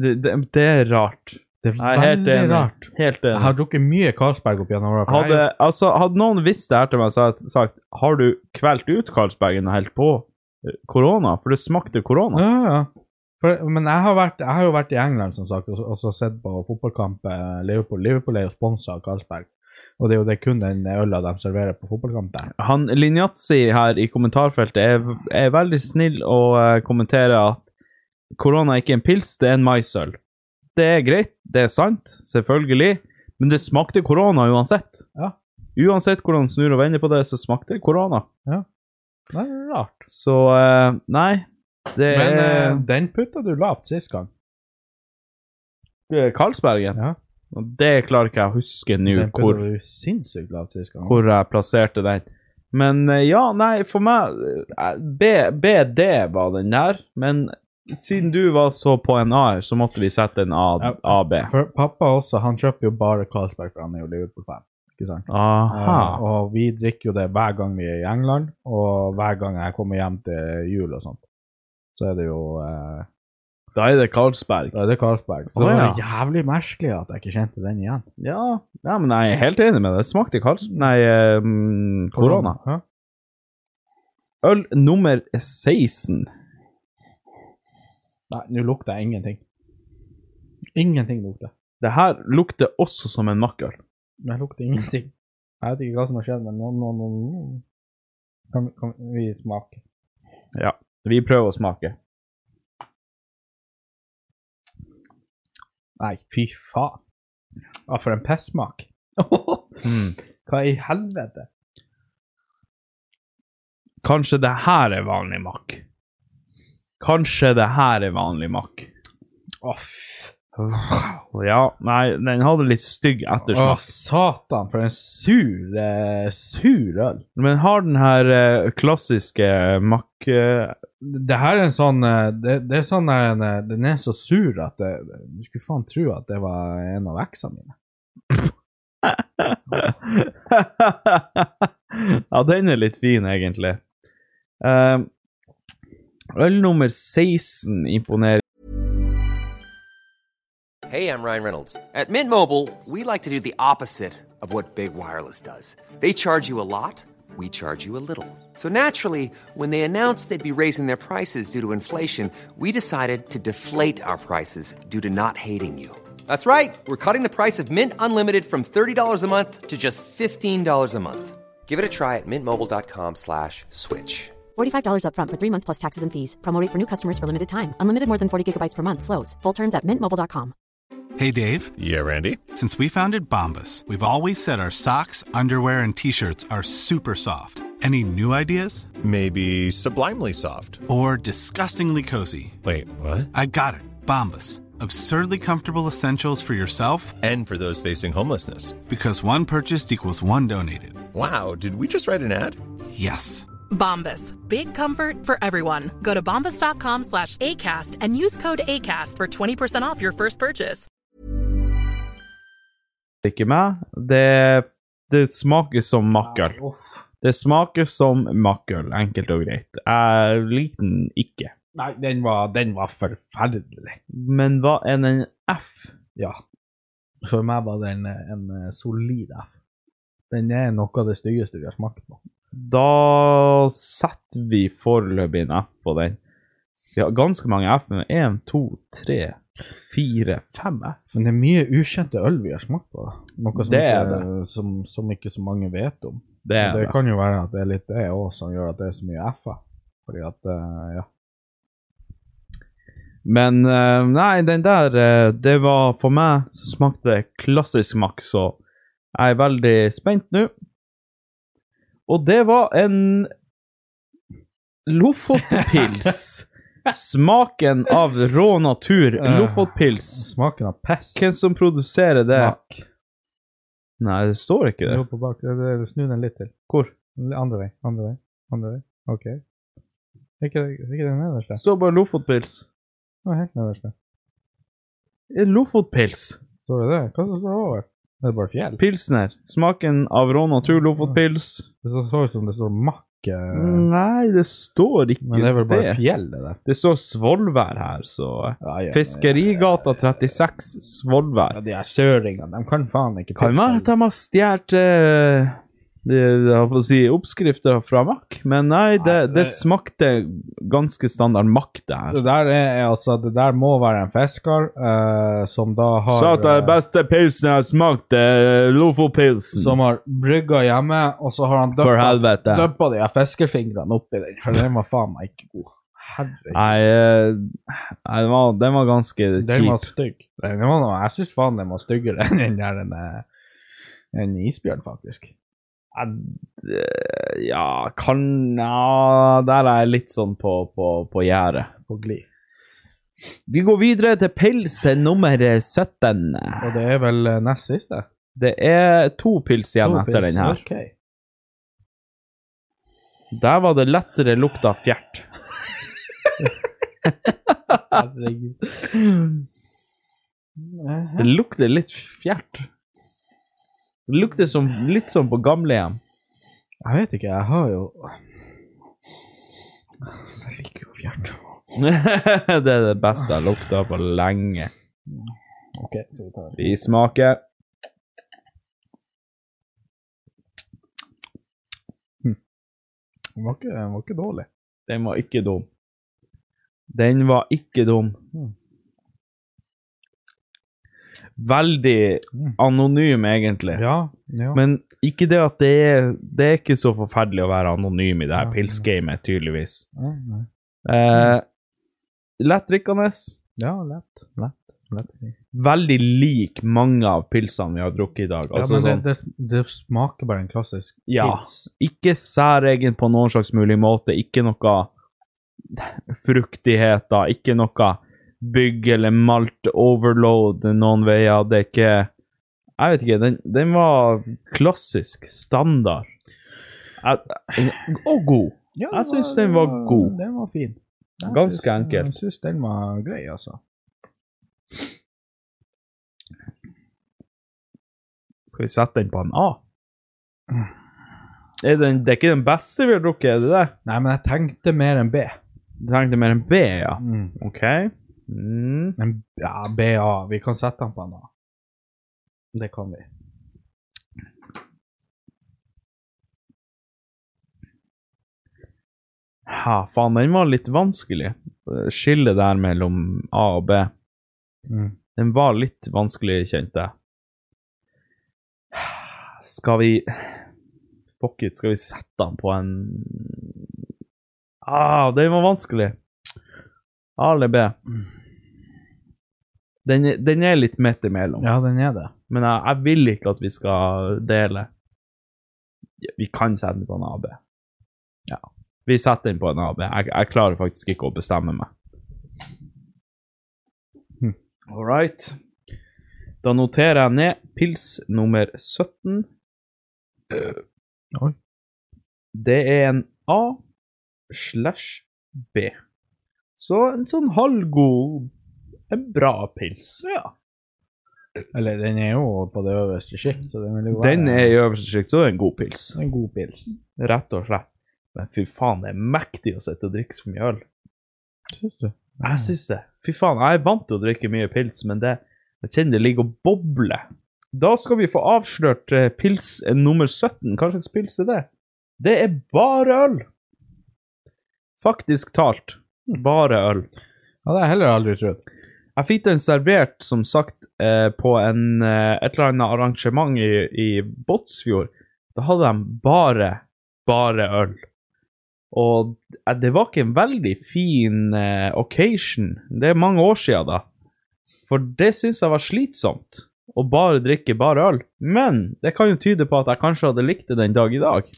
[SPEAKER 1] Det, det, det er rart.
[SPEAKER 2] Det er
[SPEAKER 1] Jeg er helt
[SPEAKER 2] veldig
[SPEAKER 1] enig.
[SPEAKER 2] rart.
[SPEAKER 1] Helt
[SPEAKER 2] Jeg
[SPEAKER 1] enig.
[SPEAKER 2] har drukket mye Carlsberg opp gjennom åra.
[SPEAKER 1] Hadde, altså, hadde noen visst det her til meg, så hadde jeg sagt Har du kvelt ut Carlsbergen og helt på eh, korona? For det smakte korona.
[SPEAKER 2] Ja, ja. For, men jeg har, vært, jeg har jo vært i England som sagt, og, så- og så sett på fotballkamp eh, Liverpool. Liverpool er jo sponsa av Carlsberg, og det er jo det kun den øla de serverer på fotballkamp der.
[SPEAKER 1] Han Linjazzi her i kommentarfeltet er, er veldig snill og eh, kommenterer at korona er ikke en pils, det er en maisøl. Det er greit, det er sant, selvfølgelig, men det smakte korona uansett.
[SPEAKER 2] Ja.
[SPEAKER 1] Uansett hvordan du snur og vender på det, så smakte det korona.
[SPEAKER 2] Det er rart.
[SPEAKER 1] Så eh, nei, det
[SPEAKER 2] Men eh,
[SPEAKER 1] er
[SPEAKER 2] den putta du lavt sist gang.
[SPEAKER 1] eh, Carlsbergen.
[SPEAKER 2] Ja.
[SPEAKER 1] Og det klarer ikke jeg å huske nå
[SPEAKER 2] Den
[SPEAKER 1] hvor
[SPEAKER 2] putta du sinnssykt lavt sist gang.
[SPEAKER 1] hvor jeg plasserte den. Men eh, ja, nei, for meg eh, B, BD var den der, men siden du var så på en A-er, så måtte vi sette en A,
[SPEAKER 2] Ja.
[SPEAKER 1] AB.
[SPEAKER 2] For pappa også, han kjøper jo bare Carlsberg, for han er jo Liverpool-fan. ikke sant?
[SPEAKER 1] Aha.
[SPEAKER 2] Eh, og vi drikker jo det hver gang vi er i England, og hver gang jeg kommer hjem til jul og sånt. Så er det jo eh,
[SPEAKER 1] Da er det Carlsberg.
[SPEAKER 2] Da er det Carlsberg. Så
[SPEAKER 1] Å,
[SPEAKER 2] det
[SPEAKER 1] ja.
[SPEAKER 2] var jævlig merkelig at jeg ikke kjente den igjen.
[SPEAKER 1] Ja, ja, men jeg er helt enig med deg. Det smakte Carlsberg Nei, eh, mm, korona.
[SPEAKER 2] Ja.
[SPEAKER 1] Øl nummer 16.
[SPEAKER 2] Nei, nå lukter jeg ingenting. Ingenting lukter.
[SPEAKER 1] Det her lukter også som en makkøl.
[SPEAKER 2] Jeg lukter ingenting. Jeg vet ikke hva som har skjedd, men nå, nå, nå, nå. Kan, kan vi smake?
[SPEAKER 1] Vi prøver å smake.
[SPEAKER 2] Nei, fy faen. Hva for en pestsmak.
[SPEAKER 1] Hmm.
[SPEAKER 2] hva i helvete?
[SPEAKER 1] Kanskje det her er vanlig makk. Kanskje det her er vanlig makk.
[SPEAKER 2] Åh,
[SPEAKER 1] Ja, nei, den hadde litt stygg
[SPEAKER 2] Åh,
[SPEAKER 1] ettersmak.
[SPEAKER 2] satan, for en sur, eh, sur øl.
[SPEAKER 1] Men har den her eh, klassiske makk... eh,
[SPEAKER 2] Det her er en sånn eh, det, det er sånn der en, eh, Den er så sur at det, du skulle faen tro at det var en av eksene mine.
[SPEAKER 1] ja, den er litt fin, egentlig. Eh, øl nummer 16 imponerer
[SPEAKER 3] Hey, I'm Ryan Reynolds. At Mint Mobile, we like to do the opposite of what Big Wireless does. They charge you a lot, we charge you a little. So naturally, when they announced they'd be raising their prices due to inflation, we decided to deflate our prices due to not hating you. That's right. We're cutting the price of Mint Unlimited from $30 a month to just $15 a month. Give it a try at mintmobile.com slash switch.
[SPEAKER 4] $45 upfront for three months plus taxes and fees. Promo rate for new customers for limited time. Unlimited more than 40 gigabytes per month. Slows. Full terms at mintmobile.com.
[SPEAKER 5] Hey, Dave.
[SPEAKER 6] Yeah, Randy.
[SPEAKER 5] Since we founded Bombus, we've always said our socks, underwear, and t shirts are super soft. Any new ideas?
[SPEAKER 6] Maybe sublimely soft.
[SPEAKER 5] Or disgustingly cozy?
[SPEAKER 6] Wait, what?
[SPEAKER 5] I got it. Bombus. Absurdly comfortable essentials for yourself
[SPEAKER 6] And for those facing homelessness.
[SPEAKER 5] because one purchased equals one donated.
[SPEAKER 6] Wow, did we just write an ad?
[SPEAKER 5] Yes.
[SPEAKER 4] Bombas. Big comfort for everyone. Go to bombas.com slash ACAST and use code ACAST for 20% off your first purchase.
[SPEAKER 1] ikke meg. Det, det smaker som makkøl. Det smaker som makkøl, enkelt og greit. Jeg liker den ikke.
[SPEAKER 2] Nei, den var, den var forferdelig.
[SPEAKER 1] Men hva er den F?
[SPEAKER 2] Ja. For meg var den eh, en eh, solid F. Den er noe av det styggeste vi har smakt på.
[SPEAKER 1] Da setter vi foreløpig en F på den. Vi har ganske mange F-er. Én, to, tre, fire, fem F.
[SPEAKER 2] Men det er mye ukjente øl vi har smakt på. Noe som,
[SPEAKER 1] Det er
[SPEAKER 2] ikke, Som, som ikke så mange vet om.
[SPEAKER 1] Det er
[SPEAKER 2] det
[SPEAKER 1] det.
[SPEAKER 2] kan jo være at det er litt det òg som gjør at det er så mye F-er. Fordi at, eh, ja.
[SPEAKER 1] Men eh, nei, den der eh, Det var for meg så smakte det klassisk makk, så jeg er veldig spent nå. Og det var en Lofotpils. Smaken av rå natur. Eh, Lofotpils.
[SPEAKER 2] Smaken av piss.
[SPEAKER 1] Hvem som produserer det?
[SPEAKER 2] Makk.
[SPEAKER 1] Nei, det står ikke det.
[SPEAKER 2] Jo, på bak. Det- det- Snu den litt til. Hvor? Andre vei. Andre vei. Andre vei. OK. Ikke, ikke den nederste.
[SPEAKER 1] Det står bare Lofotpils.
[SPEAKER 2] Nå, helt nederste.
[SPEAKER 1] Eh, Lofotpils.
[SPEAKER 2] Står det det? Hva som står over? Er det bare fjell?
[SPEAKER 1] Pilsner. Smaken av rå natur, Lofotpils.
[SPEAKER 2] Det så så ut som det står makk eh, ikke
[SPEAKER 1] Nei, det står ikke
[SPEAKER 2] Men det er vel bare
[SPEAKER 1] det.
[SPEAKER 2] fjell, det der.
[SPEAKER 1] Det står Svolvær her, så Fiskerigata 36,
[SPEAKER 2] Ja,
[SPEAKER 1] Svolvær.
[SPEAKER 2] de her søringene, de kan faen ikke
[SPEAKER 1] Kan være at de har stjålet eh, det- jeg holdt på å si oppskrifter fra Mack, men nei,
[SPEAKER 2] Nei,
[SPEAKER 1] det,
[SPEAKER 2] det-
[SPEAKER 1] det smakte ganske standard Mack, det her.
[SPEAKER 2] Det der er, er altså Det der må være en fisker eh, som da har eh,
[SPEAKER 1] beste pilsen jeg har smakt, er Lofopilsen.
[SPEAKER 2] Som har brygga hjemme, og så har han
[SPEAKER 1] For
[SPEAKER 2] døppa
[SPEAKER 1] helvete.
[SPEAKER 2] døppa de her fiskefingrene oppi den, for den var faen meg ikke god. Herregud.
[SPEAKER 1] Nei, eh, nei den, var, den var ganske
[SPEAKER 2] Den var
[SPEAKER 1] kjip.
[SPEAKER 2] stygg. Den var, noe- jeg syns faen den var styggere enn den der en, en isbjørn, faktisk.
[SPEAKER 1] Eh, Ja, kan ja, Der er jeg litt sånn på, på, på gjerdet.
[SPEAKER 2] På glid.
[SPEAKER 1] Vi går videre til pils nummer 17.
[SPEAKER 2] Og det er vel eh, nest siste?
[SPEAKER 1] Det er to pils igjen
[SPEAKER 2] To
[SPEAKER 1] etter
[SPEAKER 2] pils,
[SPEAKER 1] den her.
[SPEAKER 2] ok.
[SPEAKER 1] Der var det lettere lukt av fjert.
[SPEAKER 2] Herregud.
[SPEAKER 1] Det lukter litt fjert. Det lukter som, litt som på gamlehjem.
[SPEAKER 2] Jeg vet ikke, jeg har jo Altså, Jeg liker jo fjert.
[SPEAKER 1] det er det beste jeg har lukta på lenge.
[SPEAKER 2] Ok, skal vi ta det.
[SPEAKER 1] Vi smaker.
[SPEAKER 2] Den var ikke, den var ikke dårlig.
[SPEAKER 1] Den var ikke dum. Den var ikke dum.
[SPEAKER 2] Hmm.
[SPEAKER 1] Veldig anonym, egentlig.
[SPEAKER 2] Mm. Ja, ja.
[SPEAKER 1] Men ikke det at det er Det er ikke så forferdelig å være anonym i det her
[SPEAKER 2] Ja, ja.
[SPEAKER 1] pilsgamet, tydeligvis.
[SPEAKER 2] Ja, ja.
[SPEAKER 1] Eh, Lettdrikkende.
[SPEAKER 2] ja, lett. Lett. lett.
[SPEAKER 1] Veldig lik mange av pilsene vi har drukket i dag. Altså,
[SPEAKER 2] ja, men
[SPEAKER 1] sånn-
[SPEAKER 2] det, det, det smaker bare en klassisk
[SPEAKER 1] Ja.
[SPEAKER 2] pils.
[SPEAKER 1] ikke særegen på noen slags mulig måte. Ikke noe fruktigheter, ikke noe bygg eller malt overload noen veier. Det er ikke Jeg vet ikke. Den, den var klassisk, standard. Jeg, og god.
[SPEAKER 2] Ja,
[SPEAKER 1] Jeg syns den var god.
[SPEAKER 2] Den var fin. Jeg
[SPEAKER 1] Ganske
[SPEAKER 2] syns-
[SPEAKER 1] enkel.
[SPEAKER 2] Jeg syns den var grei, altså.
[SPEAKER 1] Skal vi sette den på en A? Er den, det er ikke den beste vi har drukket, er det det?
[SPEAKER 2] Nei, men jeg tenkte mer enn B.
[SPEAKER 1] Du tenkte mer en B, ja?
[SPEAKER 2] Mm.
[SPEAKER 1] OK. Mm.
[SPEAKER 2] En, ja, BA. Vi kan sette den på en A. Det kan vi.
[SPEAKER 1] Ja, faen, den var litt vanskelig. Eh, Skillet der mellom A og B.
[SPEAKER 2] Mm.
[SPEAKER 1] Den var litt vanskelig, kjente jeg. Skal vi Fuck it, skal vi sette den på en Ah, den var vanskelig. A eller B? Den, er- den er litt midt imellom,
[SPEAKER 2] Ja, den er det.
[SPEAKER 1] men jeg, jeg vil ikke at vi skal dele. Ja, Vi kan sette den på en AB. Ja. Vi setter den på en AB. Jeg, jeg klarer faktisk ikke å bestemme meg. Hm. All right. Da noterer jeg ned pils nummer 17.
[SPEAKER 2] Oi.
[SPEAKER 1] Det er en A slash B. Så en sånn halvgod, en bra pils. Ja.
[SPEAKER 2] Eller, den er jo på det øverste sjikt, så den vil jo være
[SPEAKER 1] Den er i øverste sjikt, så det er en god pils.
[SPEAKER 2] en god pils.
[SPEAKER 1] Rett og slett. Men fy faen, det er mektig å sitte og drikke så mye øl.
[SPEAKER 2] Syns du?
[SPEAKER 1] Jeg syns det. Fy faen, jeg er vant til å drikke mye pils, men det, jeg kjenner det ligger og bobler. Da skal vi få avslørt eh, pils eh, nummer 17. Hva slags pils er det? Det er bare øl! Faktisk talt. Bare øl.
[SPEAKER 2] Hmm. Ja, det har jeg heller aldri trodd.
[SPEAKER 1] Jeg fikk den servert, som sagt, eh, på en, eh, et eller annet arrangement i, i Båtsfjord. Da hadde de bare, bare øl. Og eh, det var ikke en veldig fin eh, occasion. Det er mange år siden da. For det syns jeg var slitsomt, å bare drikke bare øl. Men det kan jo tyde på at jeg kanskje hadde likt det den dag i dag.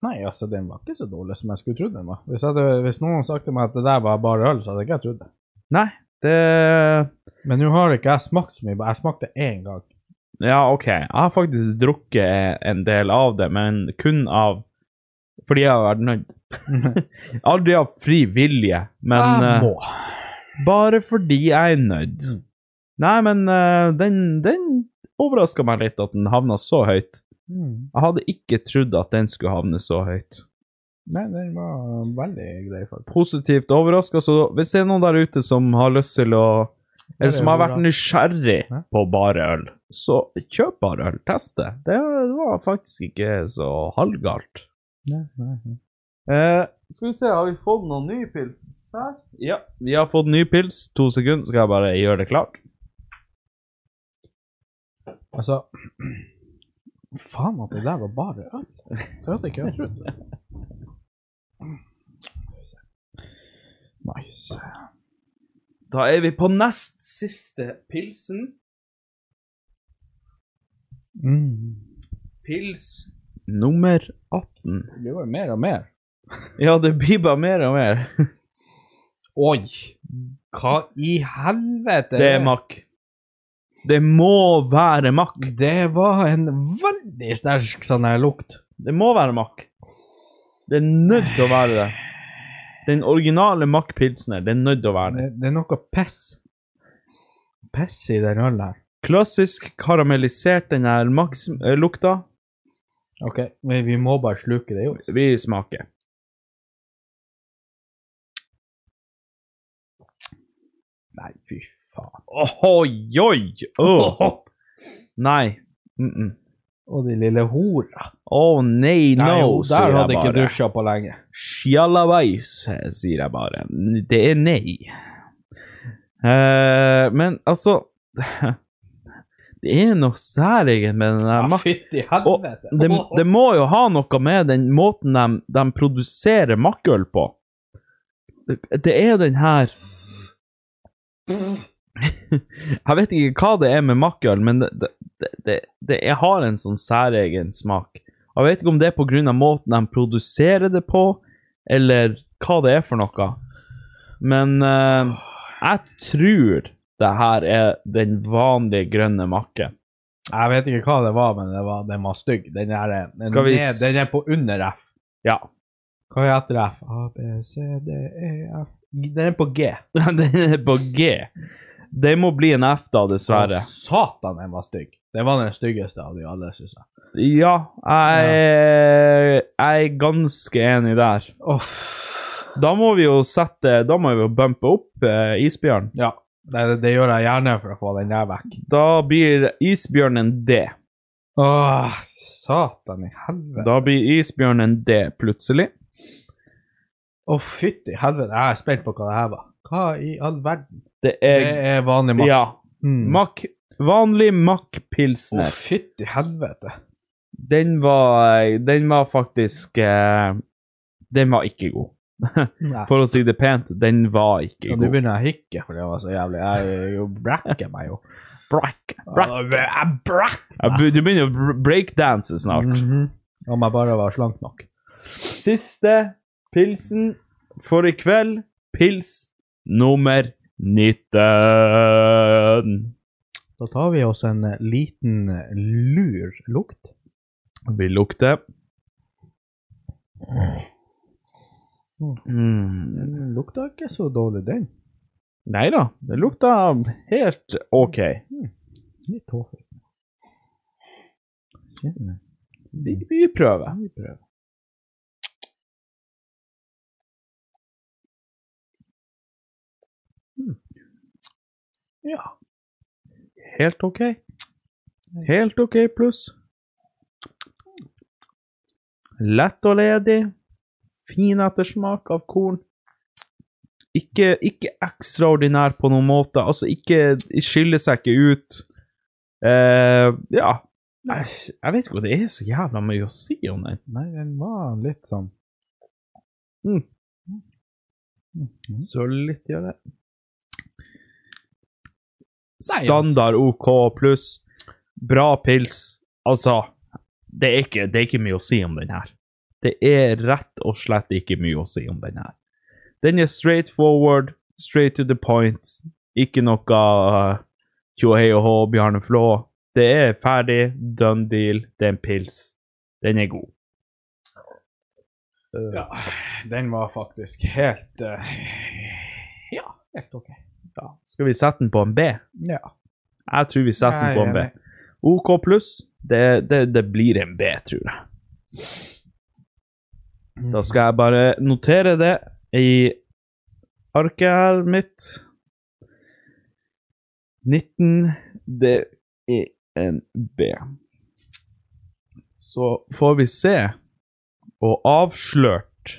[SPEAKER 2] Nei, altså, den var ikke så dårlig som jeg skulle trodd den var. Hvis, jeg hadde, hvis noen sa til meg at det der var bare øl, så hadde ikke jeg trodd det.
[SPEAKER 1] Nei, det
[SPEAKER 2] Men nå har ikke jeg smakt så mye, bare jeg smakte én gang.
[SPEAKER 1] Ja, OK. Jeg har faktisk drukket en del av det, men kun av Fordi jeg har vært nødt. Aldri av fri vilje, men
[SPEAKER 2] jeg
[SPEAKER 1] eh,
[SPEAKER 2] må. Mm.
[SPEAKER 1] bare fordi jeg er nødt. Nei, men eh, den, den overraska meg litt at den havna så høyt.
[SPEAKER 2] Mm.
[SPEAKER 1] Jeg hadde ikke trodd at den skulle havne så høyt.
[SPEAKER 2] Nei, den var veldig grei, faktisk.
[SPEAKER 1] Positivt overraska, så hvis det er noen der ute som har lyst til å Eller som har vært nysgjerrig
[SPEAKER 2] Ja.
[SPEAKER 1] på bare øl, så kjøp bare øl. Test det. Det var faktisk ikke så halvgalt.
[SPEAKER 2] Nei, nei, nei.
[SPEAKER 1] Eh, skal vi se, har vi fått noen ny pils her? Ja, vi har fått ny pils. To sekunder, skal jeg bare gjøre det klart.
[SPEAKER 2] Altså Faen at det der var bare øl. Det hadde ikke jeg trodd. Nice.
[SPEAKER 1] Da er vi på nest siste pilsen.
[SPEAKER 2] Mm.
[SPEAKER 1] Pils nummer 18.
[SPEAKER 2] Det var jo mer og mer.
[SPEAKER 1] Ja, det blir bare mer og mer.
[SPEAKER 2] Oi! Hva i helvete?
[SPEAKER 1] Det er makk. Det må være makk.
[SPEAKER 2] Det var en veldig sterk sånn her lukt.
[SPEAKER 1] Det må være makk. Det er nødt til å være det. Den originale makk-pilsen her, det er nødt til å være det.
[SPEAKER 2] Det, det er noe piss. Piss i den ølen her.
[SPEAKER 1] Klassisk karamellisert den her eh, makk-lukta.
[SPEAKER 2] OK, men vi må bare sluke det, jo.
[SPEAKER 1] Vi smaker.
[SPEAKER 2] Nei, fy faen.
[SPEAKER 1] Ohoi, oi! Åh. Nei. Mm -mm.
[SPEAKER 2] Og de lille hora.
[SPEAKER 1] Å nei, no,
[SPEAKER 2] Nei, hun
[SPEAKER 1] sier
[SPEAKER 2] der hadde
[SPEAKER 1] jeg
[SPEAKER 2] ikke
[SPEAKER 1] bare.
[SPEAKER 2] dusja på lenge.
[SPEAKER 1] Sjalabais, sier jeg bare. Det er nei. Eh, men altså Det er noe særegent med den der
[SPEAKER 2] Ja,
[SPEAKER 1] makten.
[SPEAKER 2] Fytti helvete.
[SPEAKER 1] Det, det må jo ha noe med den måten de, de produserer makkøl på. Det, det er den her Jeg vet ikke hva det er med makkøl, men det, det, det, det, det jeg har en sånn særegen smak. Jeg vet ikke om det er pga. måten de produserer det på, eller hva det er for noe. Men eh, jeg tror det her er den vanlige grønne makke.
[SPEAKER 2] Jeg vet ikke hva det var, men det var, den var stygg. Den er, eh, den,
[SPEAKER 1] Skal vi
[SPEAKER 2] er,
[SPEAKER 1] s-
[SPEAKER 2] den er på under F.
[SPEAKER 1] Ja.
[SPEAKER 2] Hva er etter F? A, B, C, D, E, F Den er på G.
[SPEAKER 1] Den er på G. Det må bli en F, da, dessverre.
[SPEAKER 2] Å, Satan, den var stygg. Den var den styggeste av de alle, syns jeg.
[SPEAKER 1] Ja, jeg, jeg er ganske enig der. Da må vi jo sette Da må vi jo bumpe opp eh, isbjørn.
[SPEAKER 2] Ja, det, det gjør jeg gjerne for å få den der vekk.
[SPEAKER 1] Da blir isbjørnen D.
[SPEAKER 2] Åh, satan i helvete. Å,
[SPEAKER 1] Da blir isbjørnen D plutselig.
[SPEAKER 2] fytti helvete. Jeg er spent på hva det her var. Hva i all verden?
[SPEAKER 1] Det
[SPEAKER 2] Det
[SPEAKER 1] er
[SPEAKER 2] er vanlig mat.
[SPEAKER 1] Ja.
[SPEAKER 2] Mm.
[SPEAKER 1] Mack. Vanlig
[SPEAKER 2] Å,
[SPEAKER 1] Mack-pilsner.
[SPEAKER 2] fytti helvete.
[SPEAKER 1] Den var eh, Den var faktisk eh, Den var ikke god.
[SPEAKER 2] Nei.
[SPEAKER 1] For å si det pent, den var ikke
[SPEAKER 2] Og nå
[SPEAKER 1] god.
[SPEAKER 2] begynner jeg å hikke, for det var så jævlig. Jeg er jo brekker meg jo.
[SPEAKER 1] Brack, brack.
[SPEAKER 2] Jeg brekker
[SPEAKER 1] Jeg be- Du begynner å br- breakdance
[SPEAKER 2] Mm.
[SPEAKER 1] snart.
[SPEAKER 2] Om jeg Mhm. bare var slank nok.
[SPEAKER 1] Siste pilsen for i kveld. Pils nummer 19.
[SPEAKER 2] Da tar vi oss en eh, liten lur lukt.
[SPEAKER 1] Vi lukter. Mm.
[SPEAKER 2] Den lukta ikke så dårlig, den.
[SPEAKER 1] Nei da, det lukta helt OK.
[SPEAKER 2] Litt liksom. hårfri.
[SPEAKER 1] Vi, vi prøver.
[SPEAKER 2] Vi prøver.
[SPEAKER 1] Hmm.
[SPEAKER 2] Ja.
[SPEAKER 1] Helt OK. Helt OK pluss. Lett og ledig. Fin ettersmak av korn. Ikke, ikke ekstraordinær på noen måte. Altså, ikke skiller seg ikke ut. Eh, ja. Nei, jeg vet ikke hva det er så jævla mye å si om den.
[SPEAKER 2] Nei, den var litt sånn
[SPEAKER 1] Mm.
[SPEAKER 2] Mhm.
[SPEAKER 1] Så litt gjør det.
[SPEAKER 2] Nei,
[SPEAKER 1] Standard OK pluss. Bra pils. Altså, det er, ikke, det er ikke mye å si om den her. Det er rett og slett ikke mye å si om den her. Den er straight forward, straight to the point. Ikke noe uh, tjo hei og hå, Bjarne Flå. Det er ferdig, done deal, det er en pils. Den er god.
[SPEAKER 2] Ja, den var faktisk helt eh, Ja, helt OK.
[SPEAKER 1] Skal vi sette den på en B?
[SPEAKER 2] Ja.
[SPEAKER 1] Jeg tror vi setter den på en B. OK pluss. Det, det, det blir en B, tror jeg.
[SPEAKER 2] Mm.
[SPEAKER 1] Da skal jeg bare notere det i arket her mitt. 19 Det er en B. Så får vi se og avslørt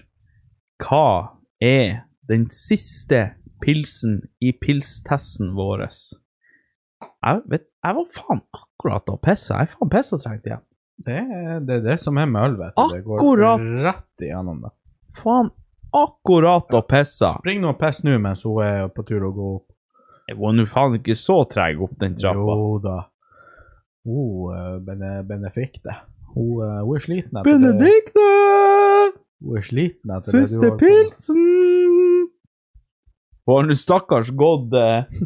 [SPEAKER 1] hva er den siste pilsen i pilstesten vår. Jeg, vet, jeg var faen akkurat og pissa. Jeg er faen pissetrengt igjen.
[SPEAKER 2] Det er, det er det som er med øl, vet du.
[SPEAKER 1] Akkurat.
[SPEAKER 2] Det går rett igjennom det.
[SPEAKER 1] Faen akkurat og pissa.
[SPEAKER 2] Spring nå og piss nå mens hun er på tur å gå opp.
[SPEAKER 1] Jeg var nå faen ikke så treg opp den trappa.
[SPEAKER 2] Jo da. Hun eh, Bene- Benedikte. Hun, eh, hun er sliten etter det.
[SPEAKER 1] Benedikte!
[SPEAKER 2] Hun er sliten etter det du
[SPEAKER 1] Siste
[SPEAKER 2] holder på med.
[SPEAKER 1] pilsen! Hun har nå stakkars gått eh,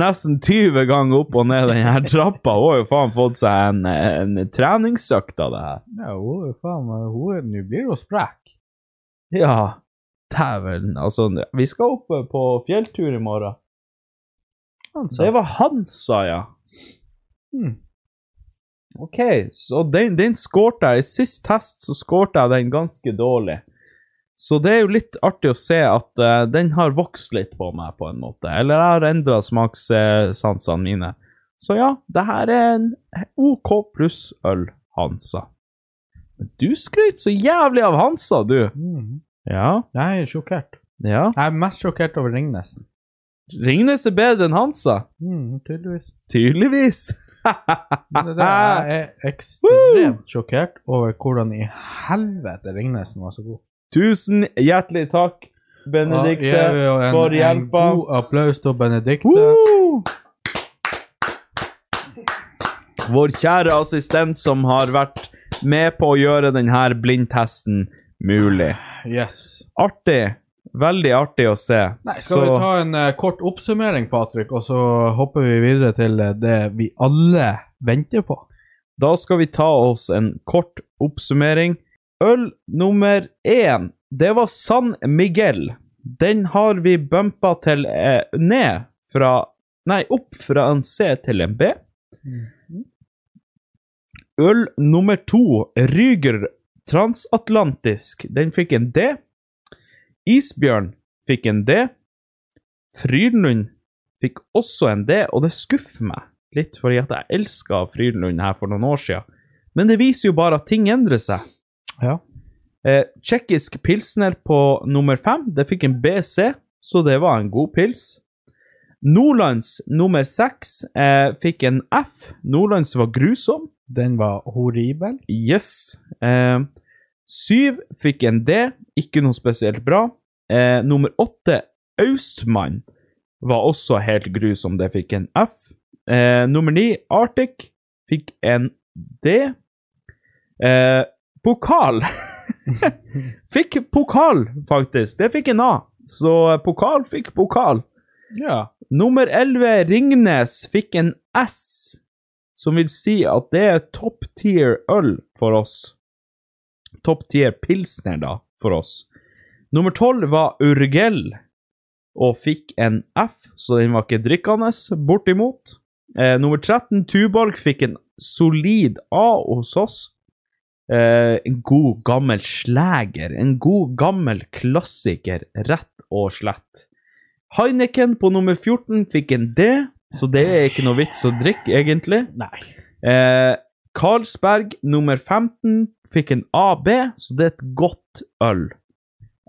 [SPEAKER 1] nesten 20 ganger opp og ned den her trappa. Hun har jo faen fått seg en, en treningsøkt av det her.
[SPEAKER 2] Ja, hun er faen meg hun er- Nå blir hun sprek.
[SPEAKER 1] Ja, dæven. Altså, vi skal opp på fjelltur i morgen.
[SPEAKER 2] Altså.
[SPEAKER 1] Det var Hansa, ja.
[SPEAKER 2] Hmm.
[SPEAKER 1] OK, så den, den skårte jeg. I sist test så skårte jeg den ganske dårlig. Så det er jo litt artig å se at eh, den har vokst litt på meg, på en måte. Eller jeg har endra smakssansene mine. Så ja, det her er en OK pluss øl, Hansa. Men du skrøt så jævlig av Hansa, du.
[SPEAKER 2] Mhm.
[SPEAKER 1] Ja,
[SPEAKER 2] Jeg er sjokkert.
[SPEAKER 1] ja.
[SPEAKER 2] Jeg er mest sjokkert over Ringnesen.
[SPEAKER 1] Ringnes er bedre enn Hansa.
[SPEAKER 2] Mm, tydeligvis.
[SPEAKER 1] Tydeligvis. Ah,
[SPEAKER 2] Men det der, jeg er ekstremt sjokkert over hvordan i helvete Ringnesen var så god.
[SPEAKER 1] Tusen hjertelig takk, Benedikte,
[SPEAKER 2] Ja, gir vi jo en-
[SPEAKER 1] for hjelpa.
[SPEAKER 2] En god applaus til Benedikte.
[SPEAKER 1] Woo! Vår kjære assistent som har vært med på å gjøre denne blindtesten mulig.
[SPEAKER 2] Yes.
[SPEAKER 1] Artig. Veldig artig å se.
[SPEAKER 2] Nei, skal vi ta en eh, kort oppsummering, Patrick, og så hopper vi videre til eh, det vi alle venter på?
[SPEAKER 1] Da skal vi ta oss en kort oppsummering. Øl nummer én, det var San Miguel. Den har vi bumpa til eh, ned fra Nei, opp fra en C til en B. Øl nummer to, Ryger transatlantisk. Den fikk en D. Isbjørn fikk en D. Frydenlund fikk også en D, og det skuffer meg litt, fordi at jeg elska Frydenlund her for noen år siden. Men det viser jo bare at ting endrer seg.
[SPEAKER 2] Ja.
[SPEAKER 1] Eh, tsjekkisk pilsner på nummer fem, det fikk en BC, så det var en god pils. Nordlands nummer seks eh, fikk en F. Nordlands var grusom.
[SPEAKER 2] Den var horribel.
[SPEAKER 1] Yes. Eh, syv fikk en D, ikke noe spesielt bra. Eh, nummer åtte, Austmann, var også helt grusom, det fikk en F. Eh, nummer ni, Arctic, fikk en D. Eh, pokal Fikk pokal, faktisk. Det fikk en A. Så eh, pokal fikk pokal.
[SPEAKER 2] Ja.
[SPEAKER 1] Nummer 11, Ringnes, fikk en S, som vil si at det er top tier øl for oss. Top tier pilsner, da, for oss. Nummer 12 var Urgell, og fikk en F, så den var ikke drikkende, bortimot. Eh, nummer 13, Tuborg, fikk en solid A hos oss. Eh, en god, gammel slager. En god, gammel klassiker, rett og slett. Heineken på nummer 14 fikk en D, så det er ikke noe vits å drikke, egentlig.
[SPEAKER 2] Nei.
[SPEAKER 1] Eh, Carlsberg nummer 15 fikk en AB, så det er et godt øl.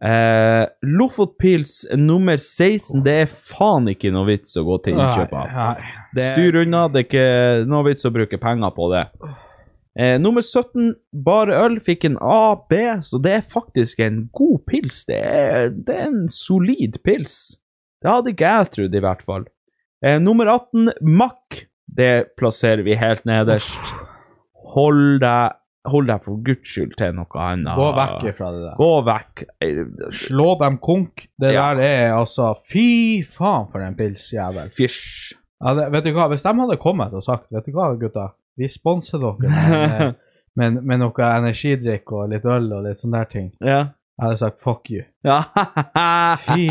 [SPEAKER 1] Eh, Lofotpils nummer 16, det er faen ikke noe vits å gå til innkjøp av.
[SPEAKER 2] Nei.
[SPEAKER 1] Det... Styr unna, det er ikke noe vits å bruke penger på det. Eh, nummer 17, Bare øl, fikk en AB, så det er faktisk en god pils. Det er, det er en solid pils. Det hadde ikke jeg trodd, i hvert fall. Eh, nummer 18, Mack. Det plasserer vi helt nederst. Hold deg, hold deg for guds skyld til noe annet.
[SPEAKER 2] Gå vekk ifra det der.
[SPEAKER 1] Gå vekk. Eh,
[SPEAKER 2] Slå dem konk. Det
[SPEAKER 1] Ja.
[SPEAKER 2] der er altså Fy faen for en pilsjævel.
[SPEAKER 1] Fysj.
[SPEAKER 2] Ja, det, vet du hva, hvis de hadde kommet og sagt Vet du hva, gutta, vi sponser dere med, en, eh, med, med noe energidrikk og litt øl og litt sånne der ting,
[SPEAKER 1] Ja.
[SPEAKER 2] jeg hadde sagt fuck you.
[SPEAKER 1] ja.
[SPEAKER 2] Fy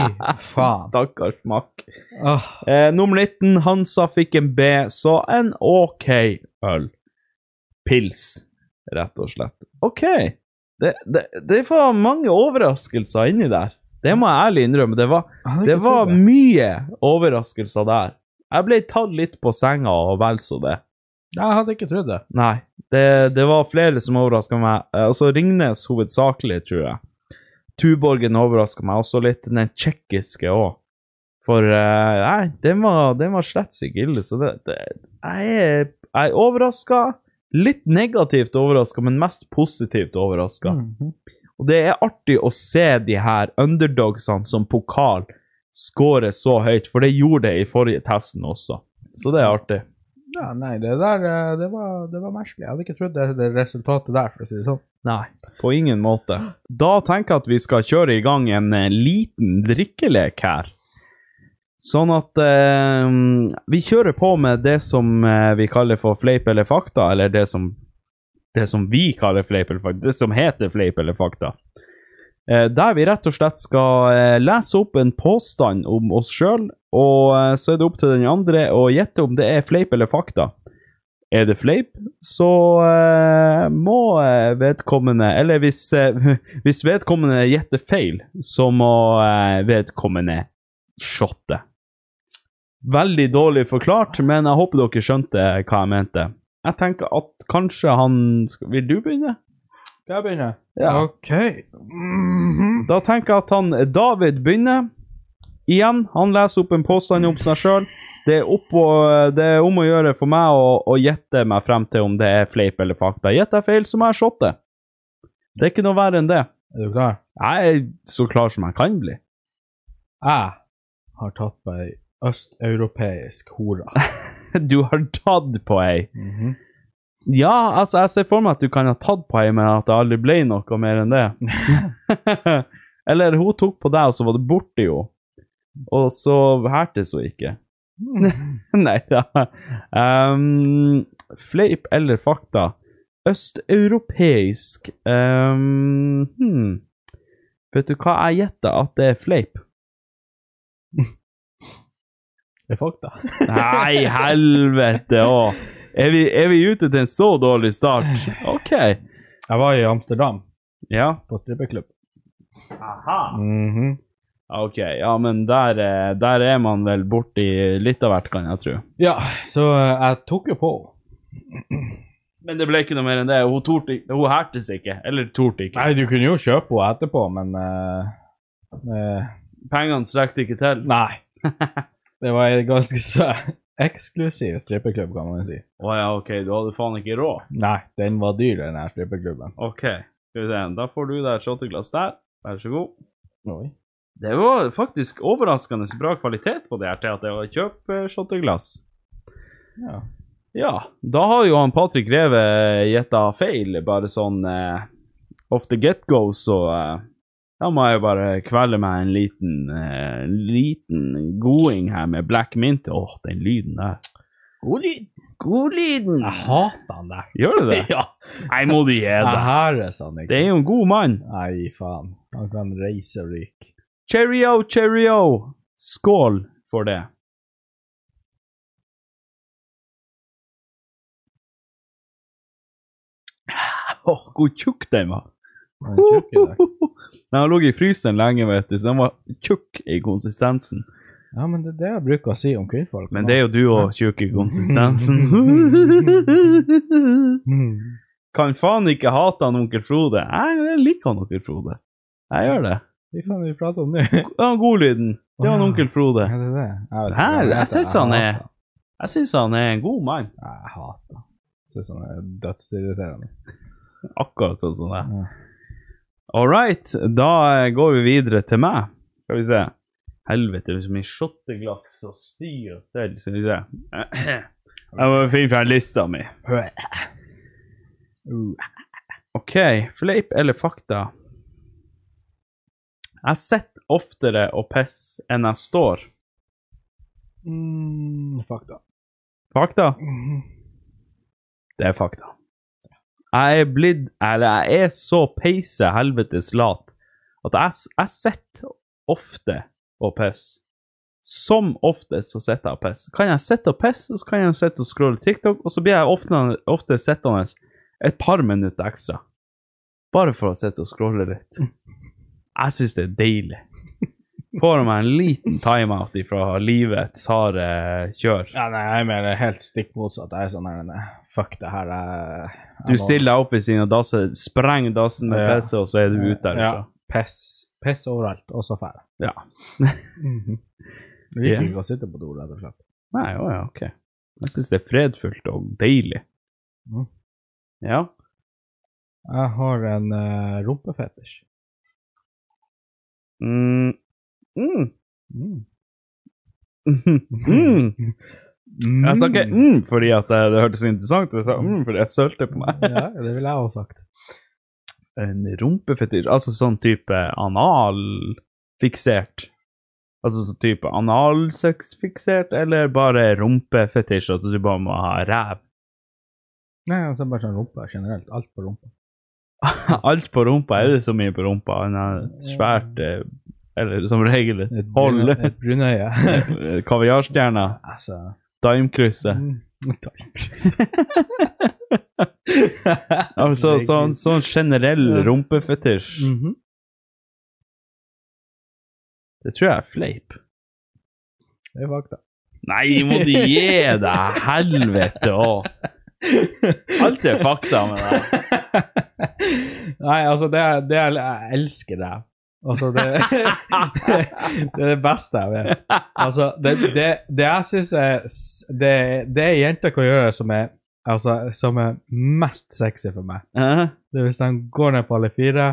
[SPEAKER 2] faen.
[SPEAKER 1] Stakkars Mack.
[SPEAKER 2] Åh,
[SPEAKER 1] Eh, nummer 19, Hansa fikk en B, så en OK øl.
[SPEAKER 2] pils, rett og slett. OK. Det, det, det var mange overraskelser inni der. Det må jeg ærlig innrømme. Det var, det var mye overraskelser der. Jeg ble tatt litt på senga og vel så det.
[SPEAKER 1] Jeg hadde ikke trodd det.
[SPEAKER 2] Nei, det, det var flere som overraska meg. Eh, Altså Ringnes hovedsakelig, tror jeg. Tuborgen overraska meg også litt. Den tsjekkiske òg. For eh, nei, den var, den var slett ikke ille. Så det, det, jeg er, jeg er overraska. Litt negativt overraska, men mest positivt overraska.
[SPEAKER 1] Mhm.
[SPEAKER 2] Og det er artig å se de her underdogsene som pokal skåre så høyt, for det gjorde det i forrige testen også. Så det er artig.
[SPEAKER 1] Ja, nei, det der eh, det var, det var merkelig. Jeg hadde ikke trodd det, det resultatet der, for å si det sånn.
[SPEAKER 2] Nei, på ingen måte. Da tenker jeg at vi skal kjøre i gang en eh, liten drikkelek her. Sånn at eh, vi kjører på med det som eh, vi kaller for fleip eller fakta, eller det som, det som vi kaller fleip eller fakta, det som heter fleip eller fakta. Eh, der vi rett og slett skal eh, lese opp en påstand om oss sjøl, og eh, så er det opp til den andre å gjette om det er fleip eller fakta. Er det fleip, så eh, må eh, vedkommende Eller hvis, eh, hvis vedkommende gjetter feil, så må eh, vedkommende shotte. Veldig dårlig forklart, men jeg håper dere skjønte hva jeg mente. Jeg tenker at kanskje han skal, Vil du begynne?
[SPEAKER 1] Skal jeg begynne?
[SPEAKER 2] Ja.
[SPEAKER 1] OK. Mhm.
[SPEAKER 2] Da tenker jeg at han David begynner. Igjen, han leser opp en påstand om seg sjøl. Det, er opp å- det er om å gjøre for meg å, å gjette meg frem til om det er fleip eller fakta. Gjetter jeg feil, så må jeg shotte. Det er ikke noe verre enn det.
[SPEAKER 1] Er du klar?
[SPEAKER 2] Jeg er så klar som jeg kan bli.
[SPEAKER 1] Jeg har tatt på ei østeuropeisk hore.
[SPEAKER 2] Du har tatt på ei.
[SPEAKER 1] Mhm.
[SPEAKER 2] Ja, altså, jeg ser for meg at du kan ha tatt på ei, men at det aldri ble noe mer enn det. eller hun tok på deg, og så var det borti henne. Og så hertes hun ikke. Nei da. Um, fleip eller fakta? Østeuropeisk um, hmm. Vet du hva jeg gjetter at det er fleip?
[SPEAKER 1] Det er fakta.
[SPEAKER 2] Nei, helvete òg! Er, vi- er vi ute til en så dårlig start? OK.
[SPEAKER 1] Jeg var i Amsterdam,
[SPEAKER 2] Ja.
[SPEAKER 1] på strippeklubb.
[SPEAKER 2] Aha.
[SPEAKER 1] Mhm.
[SPEAKER 2] OK. Ja, men der, eh, der er man vel borti litt av hvert, kan jeg tro.
[SPEAKER 1] Ja, så eh, jeg tok jo på henne.
[SPEAKER 2] Men det ble ikke noe mer enn det. Hun, torde ikke- hun hertes ikke. Eller torde ikke.
[SPEAKER 1] Nei, du kunne jo kjøpe henne etterpå, men eh, eh,
[SPEAKER 2] Pengene strekte ikke til.
[SPEAKER 1] Nei. Det var en ganske så eksklusiv strippeklubb, kan man si.
[SPEAKER 2] Å ja, OK, du hadde faen ikke råd.
[SPEAKER 1] Nei, den var dyr, den her strippeklubben.
[SPEAKER 2] OK, skal vi se. Da får du deg et shotteglass der. Vær så god.
[SPEAKER 1] Oi.
[SPEAKER 2] Det var faktisk overraskende bra kvalitet på det her til at det var kjøp eh, shotteglass.
[SPEAKER 1] Ja.
[SPEAKER 2] Ja, da har jo han Patrick Reve gjetta feil, bare sånn eh, off the get-go, så eh, da må jeg jo bare kvele meg en liten, eh, liten goding her med black mint. Åh, den lyden der.
[SPEAKER 1] God lyd.
[SPEAKER 2] Godlyden!
[SPEAKER 1] Jeg hater han der.
[SPEAKER 2] Gjør du det?
[SPEAKER 1] Ja.
[SPEAKER 2] Nei, må du gi
[SPEAKER 1] Jeg
[SPEAKER 2] deg.
[SPEAKER 1] hæres han sånn, ikke.
[SPEAKER 2] Det er jo en god mann.
[SPEAKER 1] Nei, faen. Han kan reise rik.
[SPEAKER 2] Cheerio, cheerio! Skål for det. Åh, hvor tjukk den var.
[SPEAKER 1] Han er tjukk i dag.
[SPEAKER 2] Den har ligget i fryseren lenge, vet du, så den var tjukk i konsistensen.
[SPEAKER 1] Ja, men det er det jeg bruker å si om kvinnfolk.
[SPEAKER 2] Men det er jo du òg, tjukk i konsistensen.
[SPEAKER 1] Mhm.
[SPEAKER 2] kan faen ikke hate han onkel Frode. Nei, jeg liker han onkel Frode. Jeg gjør det.
[SPEAKER 1] Hva faen er det vi prater om nå?
[SPEAKER 2] Ja, Godlyden. Det er han onkel Frode.
[SPEAKER 1] Er det det? Jeg vet ikke
[SPEAKER 2] Hæ?
[SPEAKER 1] hva
[SPEAKER 2] Jeg
[SPEAKER 1] heter.
[SPEAKER 2] synes han er-
[SPEAKER 1] hater
[SPEAKER 2] Jeg syns han er en god mann.
[SPEAKER 1] Jeg hater han. Syns han er dødsirriterende.
[SPEAKER 2] Akkurat sånn som det.
[SPEAKER 1] Ja.
[SPEAKER 2] All right, da eh, går vi videre til meg. Skal vi se. Helvete, det er så mye shotteglass og styr og stell. Skal vi se. Jeg må finne fram lista mi.
[SPEAKER 1] Uh,
[SPEAKER 2] OK, fleip eller fakta? Jeg sitter oftere og pisser enn jeg står.
[SPEAKER 1] Mm, fakta.
[SPEAKER 2] Fakta? Det er fakta. Jeg er blitt Eller jeg er så peise helvetes lat at jeg, s- jeg sitter ofte og pisser. Som oftest så sitter jeg og pisser. Kan jeg sitte og pisse, og så kan jeg sitte og scrolle TikTok, og så blir jeg ofte, ofte sittende et par minutter ekstra. Bare for å sitte og scrolle litt. Jeg syns det er deilig. Får meg en liten timeout ifra livets harde kjør.
[SPEAKER 1] Ja, nei, jeg mener helt stikk motsatt. Jeg er sånn her nei, Fuck det her. Jeg, jeg
[SPEAKER 2] Du
[SPEAKER 1] må-
[SPEAKER 2] stiller deg opp ved siden av dassen, sprenger dassen med
[SPEAKER 1] Ja.
[SPEAKER 2] pisset, og så er du ute liksom. derfra.
[SPEAKER 1] Ja. Piss. Piss overalt, og så Mhm. ferdig.
[SPEAKER 2] Ja.
[SPEAKER 1] Jeg liker
[SPEAKER 2] Ja.
[SPEAKER 1] ikke å sitte på do, rett og slett.
[SPEAKER 2] Nei, å ja, ok. Jeg syns det er fredfullt og deilig.
[SPEAKER 1] Mm.
[SPEAKER 2] Ja.
[SPEAKER 1] Jeg har en eh, rumpefetisj.
[SPEAKER 2] Mm. Mm.
[SPEAKER 1] Mm.
[SPEAKER 2] Mm. Jeg sa ikke mm fordi at det, det hørtes interessant ut, jeg sa mm fordi jeg sølte på meg.
[SPEAKER 1] ja, det ville jeg også sagt.
[SPEAKER 2] En rumpefetisj, altså sånn type analfiksert. Altså sånn type analsexfiksert, eller bare rumpefetisj, at du bare må ha ræv.
[SPEAKER 1] Nei, altså bare sånn rumpa generelt. Alt på rumpa.
[SPEAKER 2] Alt på rumpa, er det så mye på rumpa? Han har et svært, eh, eller som regel, et
[SPEAKER 1] brun-
[SPEAKER 2] hold.
[SPEAKER 1] Et brunøye.
[SPEAKER 2] Kaviarstjerna,
[SPEAKER 1] altså
[SPEAKER 2] daimkrysset.
[SPEAKER 1] mm, takk.
[SPEAKER 2] Altså sånn, sånn generell rumpefetisj.
[SPEAKER 1] Mhm.
[SPEAKER 2] Det tror jeg er fleip.
[SPEAKER 1] Det er fakta.
[SPEAKER 2] Nei, må du gi deg! Helvete òg! Alt er fakta med deg.
[SPEAKER 1] Nei, altså, det er, det er Jeg elsker det. Altså, det, det er det beste jeg vet. Altså, det, det, det jeg syns er s- det, det jenter kan gjøre som er, altså, som er mest sexy for meg,
[SPEAKER 2] Hæ?
[SPEAKER 1] det er hvis de går ned på alle fire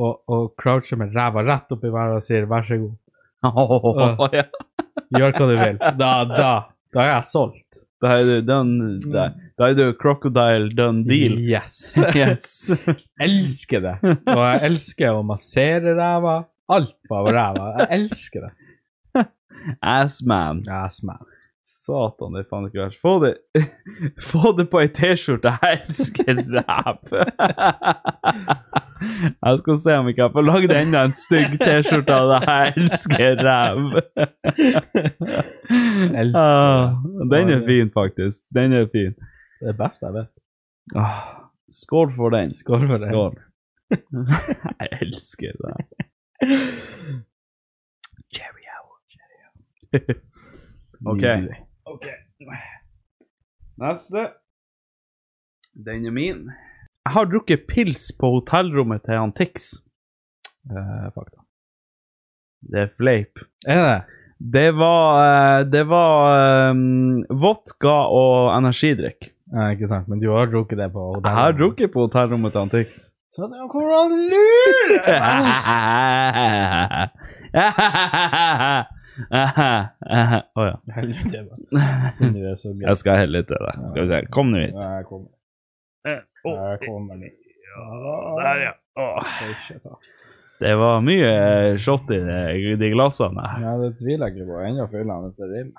[SPEAKER 1] og, og croucher med ræva rett opp i været og sier 'vær så god,
[SPEAKER 2] Åh, ja.
[SPEAKER 1] gjør hva du vil'. Da, da, da er jeg solgt. Mm.
[SPEAKER 2] Da er du done Da da er du crocodile done deal.
[SPEAKER 1] Yes.
[SPEAKER 2] Yes.
[SPEAKER 1] elsker det. Og jeg elsker å massere ræva. Alt bare ræva. Jeg elsker det.
[SPEAKER 2] Assman.
[SPEAKER 1] Ja, smell.
[SPEAKER 2] Satan, det er faen ikke verst. Få det, få det på ei T-skjorte. Jeg elsker ræv! Jeg skal se om ikke jeg får lagd enda en stygg T-skjorte av det. Jeg elsker ræv!
[SPEAKER 1] det.
[SPEAKER 2] Ah, Den er fin, faktisk. Den er fin.
[SPEAKER 1] Det er best jeg vet.
[SPEAKER 2] Ah, skål for den.
[SPEAKER 1] Skål for det.
[SPEAKER 2] Skål. jeg elsker det. Cherry hour. OK. Neste. Den er min. Jeg har drukket pils på hotellrommet til han Tix.
[SPEAKER 1] Eh, fakta.
[SPEAKER 2] Det er fleip.
[SPEAKER 1] Er det?
[SPEAKER 2] Det var, eh, det var eh, vodka og energidrikk.
[SPEAKER 1] Nei, ikke sant. Men du har drukket det på hotellet.
[SPEAKER 2] Jeg har drukket på hotellrommet til han Tix.
[SPEAKER 1] Så det kommer han lure! meg.
[SPEAKER 2] Å ja.
[SPEAKER 1] Helvete, da. Siden du er så gøy.
[SPEAKER 2] Jeg skal helle til deg. Skal vi se. Kom nå hit.
[SPEAKER 1] Jeg kommer. Eh, Jeg kommer dit.
[SPEAKER 2] Der, ja. Åh.
[SPEAKER 1] Oi, shit, da.
[SPEAKER 2] Det var mye eh, shot i de- de glassene. her.
[SPEAKER 1] Ja, det tviler jeg ikke på. Ennå fyller han etter rim.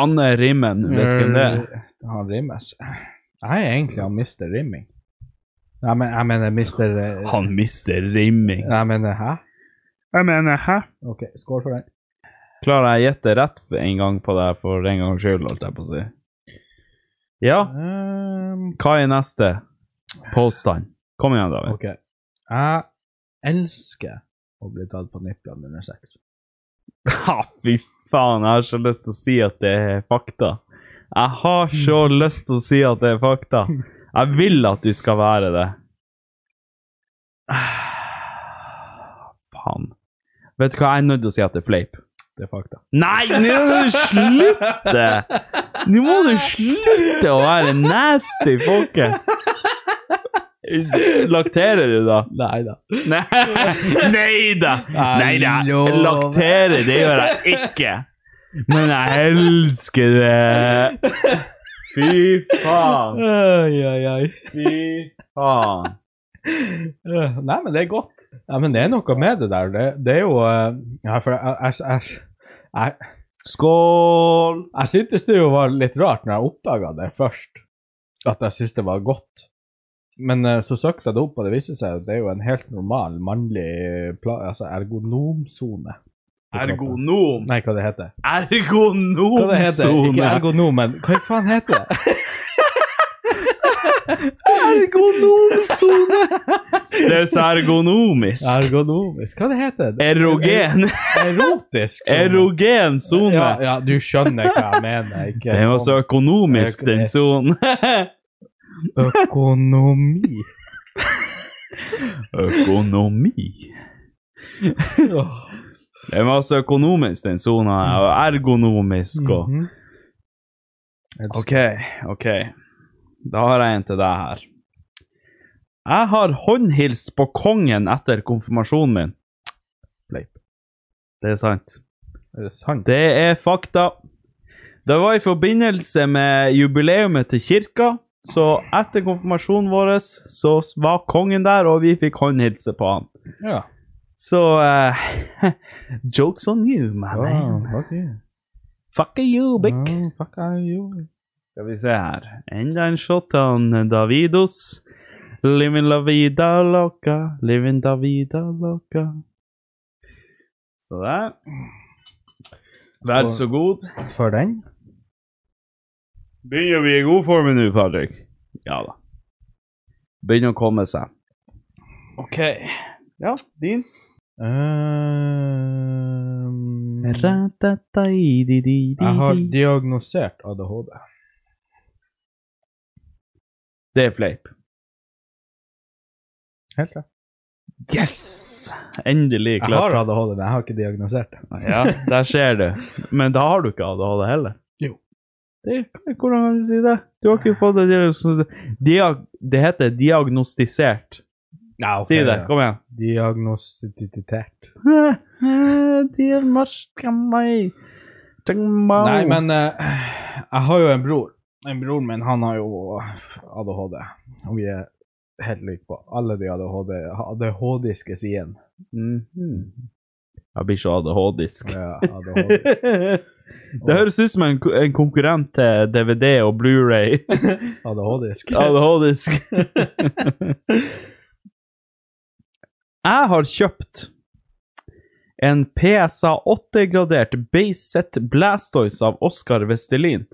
[SPEAKER 2] Anne Rimmen, vet du hvem det er?
[SPEAKER 1] Eh, Han rimes. Jeg er egentlig han mister rimming. Jeg mener, jeg mener mister eh,
[SPEAKER 2] Han mister rimming.
[SPEAKER 1] Jeg mener hæ?
[SPEAKER 2] Jeg mener, hæ?
[SPEAKER 1] Ok, skål for den.
[SPEAKER 2] Klarer jeg å gjette rett en gang på deg for en gangs skyld, holdt jeg på å si. Ja,
[SPEAKER 1] Ehm,
[SPEAKER 2] hva er neste påstand? Kom igjen, David.
[SPEAKER 1] ok. Jeg elsker å bli tatt på nipplene under sex.
[SPEAKER 2] Ha, Ah, fy faen, jeg har så lyst til å si at det er fakta. Jeg har så lyst til å si at det er fakta. Jeg vil at du skal være det. Ah, Faen. Vet du hva, jeg er nødt til å si at det er fleip.
[SPEAKER 1] Det er fakta.
[SPEAKER 2] Nei, nå må du slutte! Nå må du slutte å være nasty, folket. Lakterer du, da?
[SPEAKER 1] Nei da.
[SPEAKER 2] Nei da! Nei da,
[SPEAKER 1] Jeg lover.
[SPEAKER 2] laktere, det gjør jeg ikke. Men jeg elsker det. Fy faen.
[SPEAKER 1] Oi, oi, oi.
[SPEAKER 2] Fy faen.
[SPEAKER 1] Øh, Nei, men det er godt. Nei, men det er noe med det der. Det, det er jo eh, Ja, for jeg, jeg, jeg, jeg,
[SPEAKER 2] Skål!
[SPEAKER 1] jeg syntes det jo var litt rart når jeg oppdaga det først, at jeg syntes det var godt. Men eh, så søkte jeg det opp, og det viste seg at det er jo en helt normal mannlig pla altså ergonomsone. på kroppen.
[SPEAKER 2] Ergonom.
[SPEAKER 1] Nei, hva det heter Hva det heter? Ikke
[SPEAKER 2] Ergonomsone.
[SPEAKER 1] ergonom, men hva faen heter det?
[SPEAKER 2] Ergonomsone!
[SPEAKER 1] Det er så ergonomisk.
[SPEAKER 2] Ergonomisk. Hva det heter det?
[SPEAKER 1] Erogen.
[SPEAKER 2] Erotisk. sone.
[SPEAKER 1] Erogen sone.
[SPEAKER 2] Ja, ja, du skjønner hva jeg mener. Ikke?
[SPEAKER 1] Det er jo så økonomisk, den sonen.
[SPEAKER 2] Økonomi.
[SPEAKER 1] Økonomi. Den var så økonomisk, den sona. Og ergonomisk og
[SPEAKER 2] Mhm. Mm-hmm.
[SPEAKER 1] OK, OK. Da har jeg en til deg her. Jeg har håndhilst på kongen etter konfirmasjonen min. Fleip. Det er sant.
[SPEAKER 2] Er det sant?
[SPEAKER 1] Det er fakta. Det var i forbindelse med jubileumet til kirka, så etter konfirmasjonen vår så var kongen der, og vi fikk håndhilse på han.
[SPEAKER 2] Ja.
[SPEAKER 1] Så eh, Jokes on you, my man.
[SPEAKER 2] Ah, fuck you.
[SPEAKER 1] Fuck you, Bick.
[SPEAKER 2] Ah, fuck you.
[SPEAKER 1] Skal vi se her. Enda en shot av han Davidos. Living la vida loca, living da vida loca. Så der. Vær så god.
[SPEAKER 2] For den?
[SPEAKER 1] Begynner å bli i god form nå, Patrick. Ja da. Begynner å komme seg. OK. Ja, din.
[SPEAKER 2] Ehm, jeg
[SPEAKER 1] Jeg
[SPEAKER 2] har
[SPEAKER 1] har de-
[SPEAKER 2] diagnosert ADHD.
[SPEAKER 1] Det er fleip.
[SPEAKER 2] Helt rett.
[SPEAKER 1] Yes! Endelig
[SPEAKER 2] Jeg
[SPEAKER 1] klart.
[SPEAKER 2] har ADHD, men jeg har ikke diagnosert det.
[SPEAKER 1] Ja, der ser du. Men da har du ikke ADHD heller.
[SPEAKER 2] Jo.
[SPEAKER 1] Det, hvordan kan du si det? Du har ikke fått det diagnos- diag, Det heter diagnostisert.
[SPEAKER 2] Ja, ok,
[SPEAKER 1] si det.
[SPEAKER 2] ja.
[SPEAKER 1] Kom igjen.
[SPEAKER 2] Diagnostisert. Nei,
[SPEAKER 1] Nei,
[SPEAKER 2] men eh, jeg har jo en bror. En bror min, han har jo ADHD. Og vi er helt like på alle de ADHD, ADHD-iske sidene.
[SPEAKER 1] Jeg blir så ADHD-isk.
[SPEAKER 2] Ja, ADHD.
[SPEAKER 1] Det høres ut som en, ko- en konkurrent til DVD og Blu-ray.
[SPEAKER 2] ADHD-isk.
[SPEAKER 1] ADHD-isk. Jeg har kjøpt en PSA 8-gradert Bayset Blastoise av Oskar Vestelin.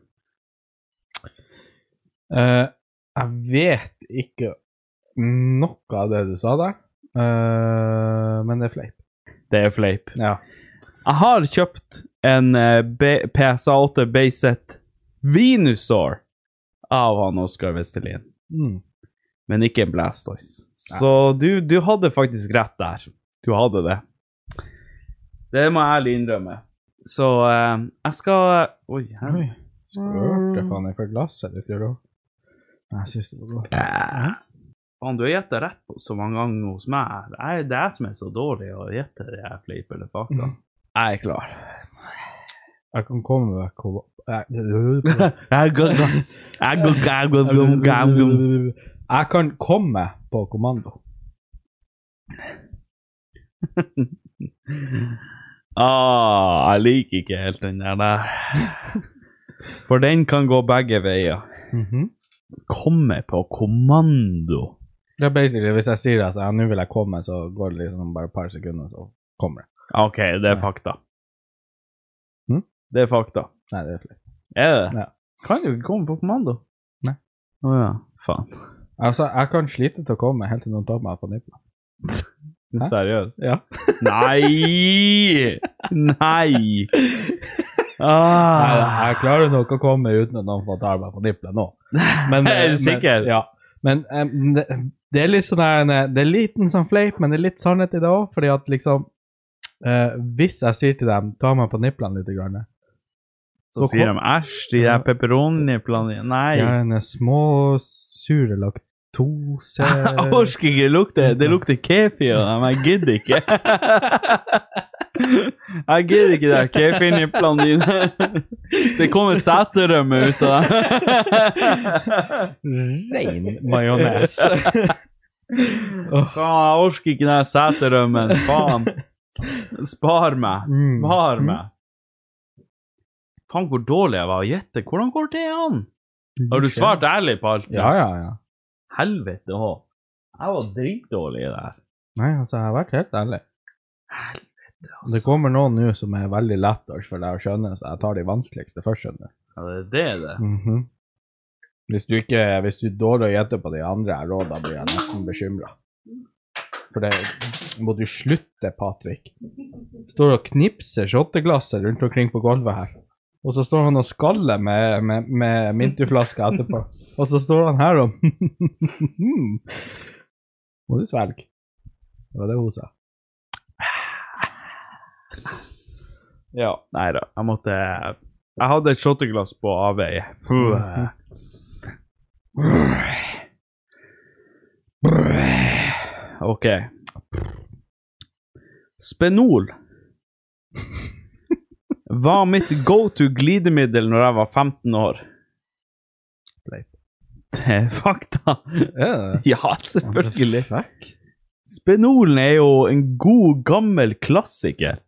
[SPEAKER 2] Eh, jeg vet ikke noe av det du sa der, Eh, men det er fleip.
[SPEAKER 1] Det er fleip.
[SPEAKER 2] Ja.
[SPEAKER 1] Jeg har kjøpt en eh, B- PSA 8 Bayset Venusaur av han Oskar Vestelin,
[SPEAKER 2] Mm.
[SPEAKER 1] men ikke en Blastoise. Så du, du hadde faktisk rett der. Du hadde det. Det må jeg ærlig innrømme. Så eh, jeg skal Oi, her.
[SPEAKER 2] Oi, skvørte faen jeg fra glasset ditt, gjør du? Nei, Jeg synes det var godt.
[SPEAKER 1] Faen, du har gjetta rett på så mange ganger hos meg. Jeg, det er jeg som er så dårlig å gjette det her fleip eller fakta. Jeg er klar.
[SPEAKER 2] Jeg kan komme med hvor... Nei.
[SPEAKER 1] Jeg går- jeg går- jeg går- jeg går-
[SPEAKER 2] Jeg kan komme på kommando.
[SPEAKER 1] Ah, jeg liker ikke helt den der der. For den kan gå begge veier.
[SPEAKER 2] Mhm.
[SPEAKER 1] Komme på kommando.
[SPEAKER 2] Det er basically, hvis jeg sier det, så ja, nå vil jeg komme, så går det liksom bare et par sekunder, så kommer det.
[SPEAKER 1] Ah, OK, det er fakta.
[SPEAKER 2] Hm?
[SPEAKER 1] Det er fakta.
[SPEAKER 2] Nei, det er fleip.
[SPEAKER 1] Er det?
[SPEAKER 2] Ja.
[SPEAKER 1] Kan du ikke komme på kommando?
[SPEAKER 2] Nei.
[SPEAKER 1] Å ja, faen.
[SPEAKER 2] Altså, jeg kan slite til å komme helt til noen tar meg på nippelen. Hæ?
[SPEAKER 1] Seriøst?
[SPEAKER 2] Ja.
[SPEAKER 1] Nei! Nei!
[SPEAKER 2] Nei,
[SPEAKER 1] Ah.
[SPEAKER 2] jeg klarer nok å komme uten at noen får ta meg på nippelen nå. Men, eh,
[SPEAKER 1] Er du
[SPEAKER 2] men-
[SPEAKER 1] sikker?
[SPEAKER 2] ja. Men em, det, det er litt sånn her en- Det er liten sånn fleip, men det er litt sannhet i det òg. Fordi at liksom eh, Hvis jeg sier til dem ta meg på nippelen litt, grann,
[SPEAKER 1] Så sier de æsj, de der pepperoni-planene Nei.
[SPEAKER 2] gjerne små, sure laktose
[SPEAKER 1] Jeg orker ikke lukte. Det lukter kefir av dem. Jeg gidder ikke. Jeg gidder ikke det kefirniplene dine. Det kommer seterømme ut av dem.
[SPEAKER 2] Rein majones.
[SPEAKER 1] Faen, jeg orker ikke den seterømmen. Faen. Spar meg.
[SPEAKER 2] Mm.
[SPEAKER 1] Spar meg. Faen, hvor dårlig jeg var å gjette. Hvordan går det an? Har du svart ærlig på alt?
[SPEAKER 2] Ja, ja, ja.
[SPEAKER 1] Helvete òg. Jeg var dritdårlig i det her.
[SPEAKER 2] Nei, altså, jeg har vært helt ærlig. Det kommer noen nå som er veldig lett for deg å skjønne, så jeg tar de vanskeligste først. skjønner du.
[SPEAKER 1] Ja, det er det. det.
[SPEAKER 2] Mhm. Hvis du ikke Hvis du dårlig gjetter på de andre her rådene, blir jeg nesten bekymra. For det må du slutte, Patrick. Står og knipser shotteglasset rundt omkring på gulvet her. Og så står han og skaller med, med, med mintuflaska etterpå. Og så står han her og Må du svelge? Det var det hun sa.
[SPEAKER 1] Ja, nei da. Jeg måtte Jeg hadde et shotteglass på avveie. OK. Spenol var mitt go to glidemiddel når jeg var 15 år. Det er fakta. Ja, selvfølgelig. Spenolen er jo en god, gammel klassiker.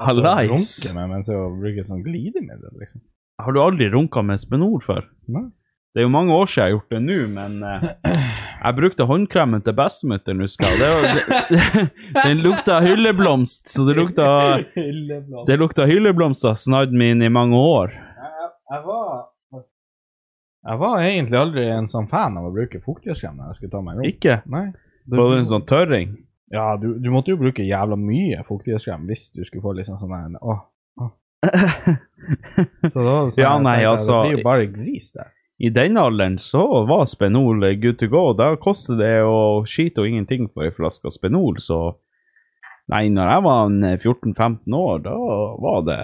[SPEAKER 1] Ah,
[SPEAKER 2] Altså,
[SPEAKER 1] Hallais.
[SPEAKER 2] Runke meg mens jeg bruker sånn glidemiddel, liksom.
[SPEAKER 1] Har du aldri runka med Spenol før?
[SPEAKER 2] Nei.
[SPEAKER 1] Det er jo mange år siden jeg har gjort det nå, men eh, jeg brukte håndkremen til bestemutteren, husker jeg. Det var, det, den lukta hylleblomst, så det lukta, det lukta hylleblomst av snadden min i mange år.
[SPEAKER 2] Jeg var Jeg var egentlig aldri en sånn fan av å bruke fuktighetskrem når jeg skulle ta meg en runk.
[SPEAKER 1] Ikke?
[SPEAKER 2] Nei.
[SPEAKER 1] Var det en sånn tørring?
[SPEAKER 2] Ja, du, du måtte jo bruke jævla mye fuktighetskrem hvis du skulle få liksom sånn en Åh. åh. Så da var det sånn,
[SPEAKER 1] Ja,
[SPEAKER 2] jeg
[SPEAKER 1] nei,
[SPEAKER 2] tenkte,
[SPEAKER 1] altså-
[SPEAKER 2] Det blir jo bare gris der.
[SPEAKER 1] I den alderen så var Spenol good to go. Da koster det jo skit og ingenting for ei flaske Spenol, så Nei, når jeg var en 14-15 år, da var det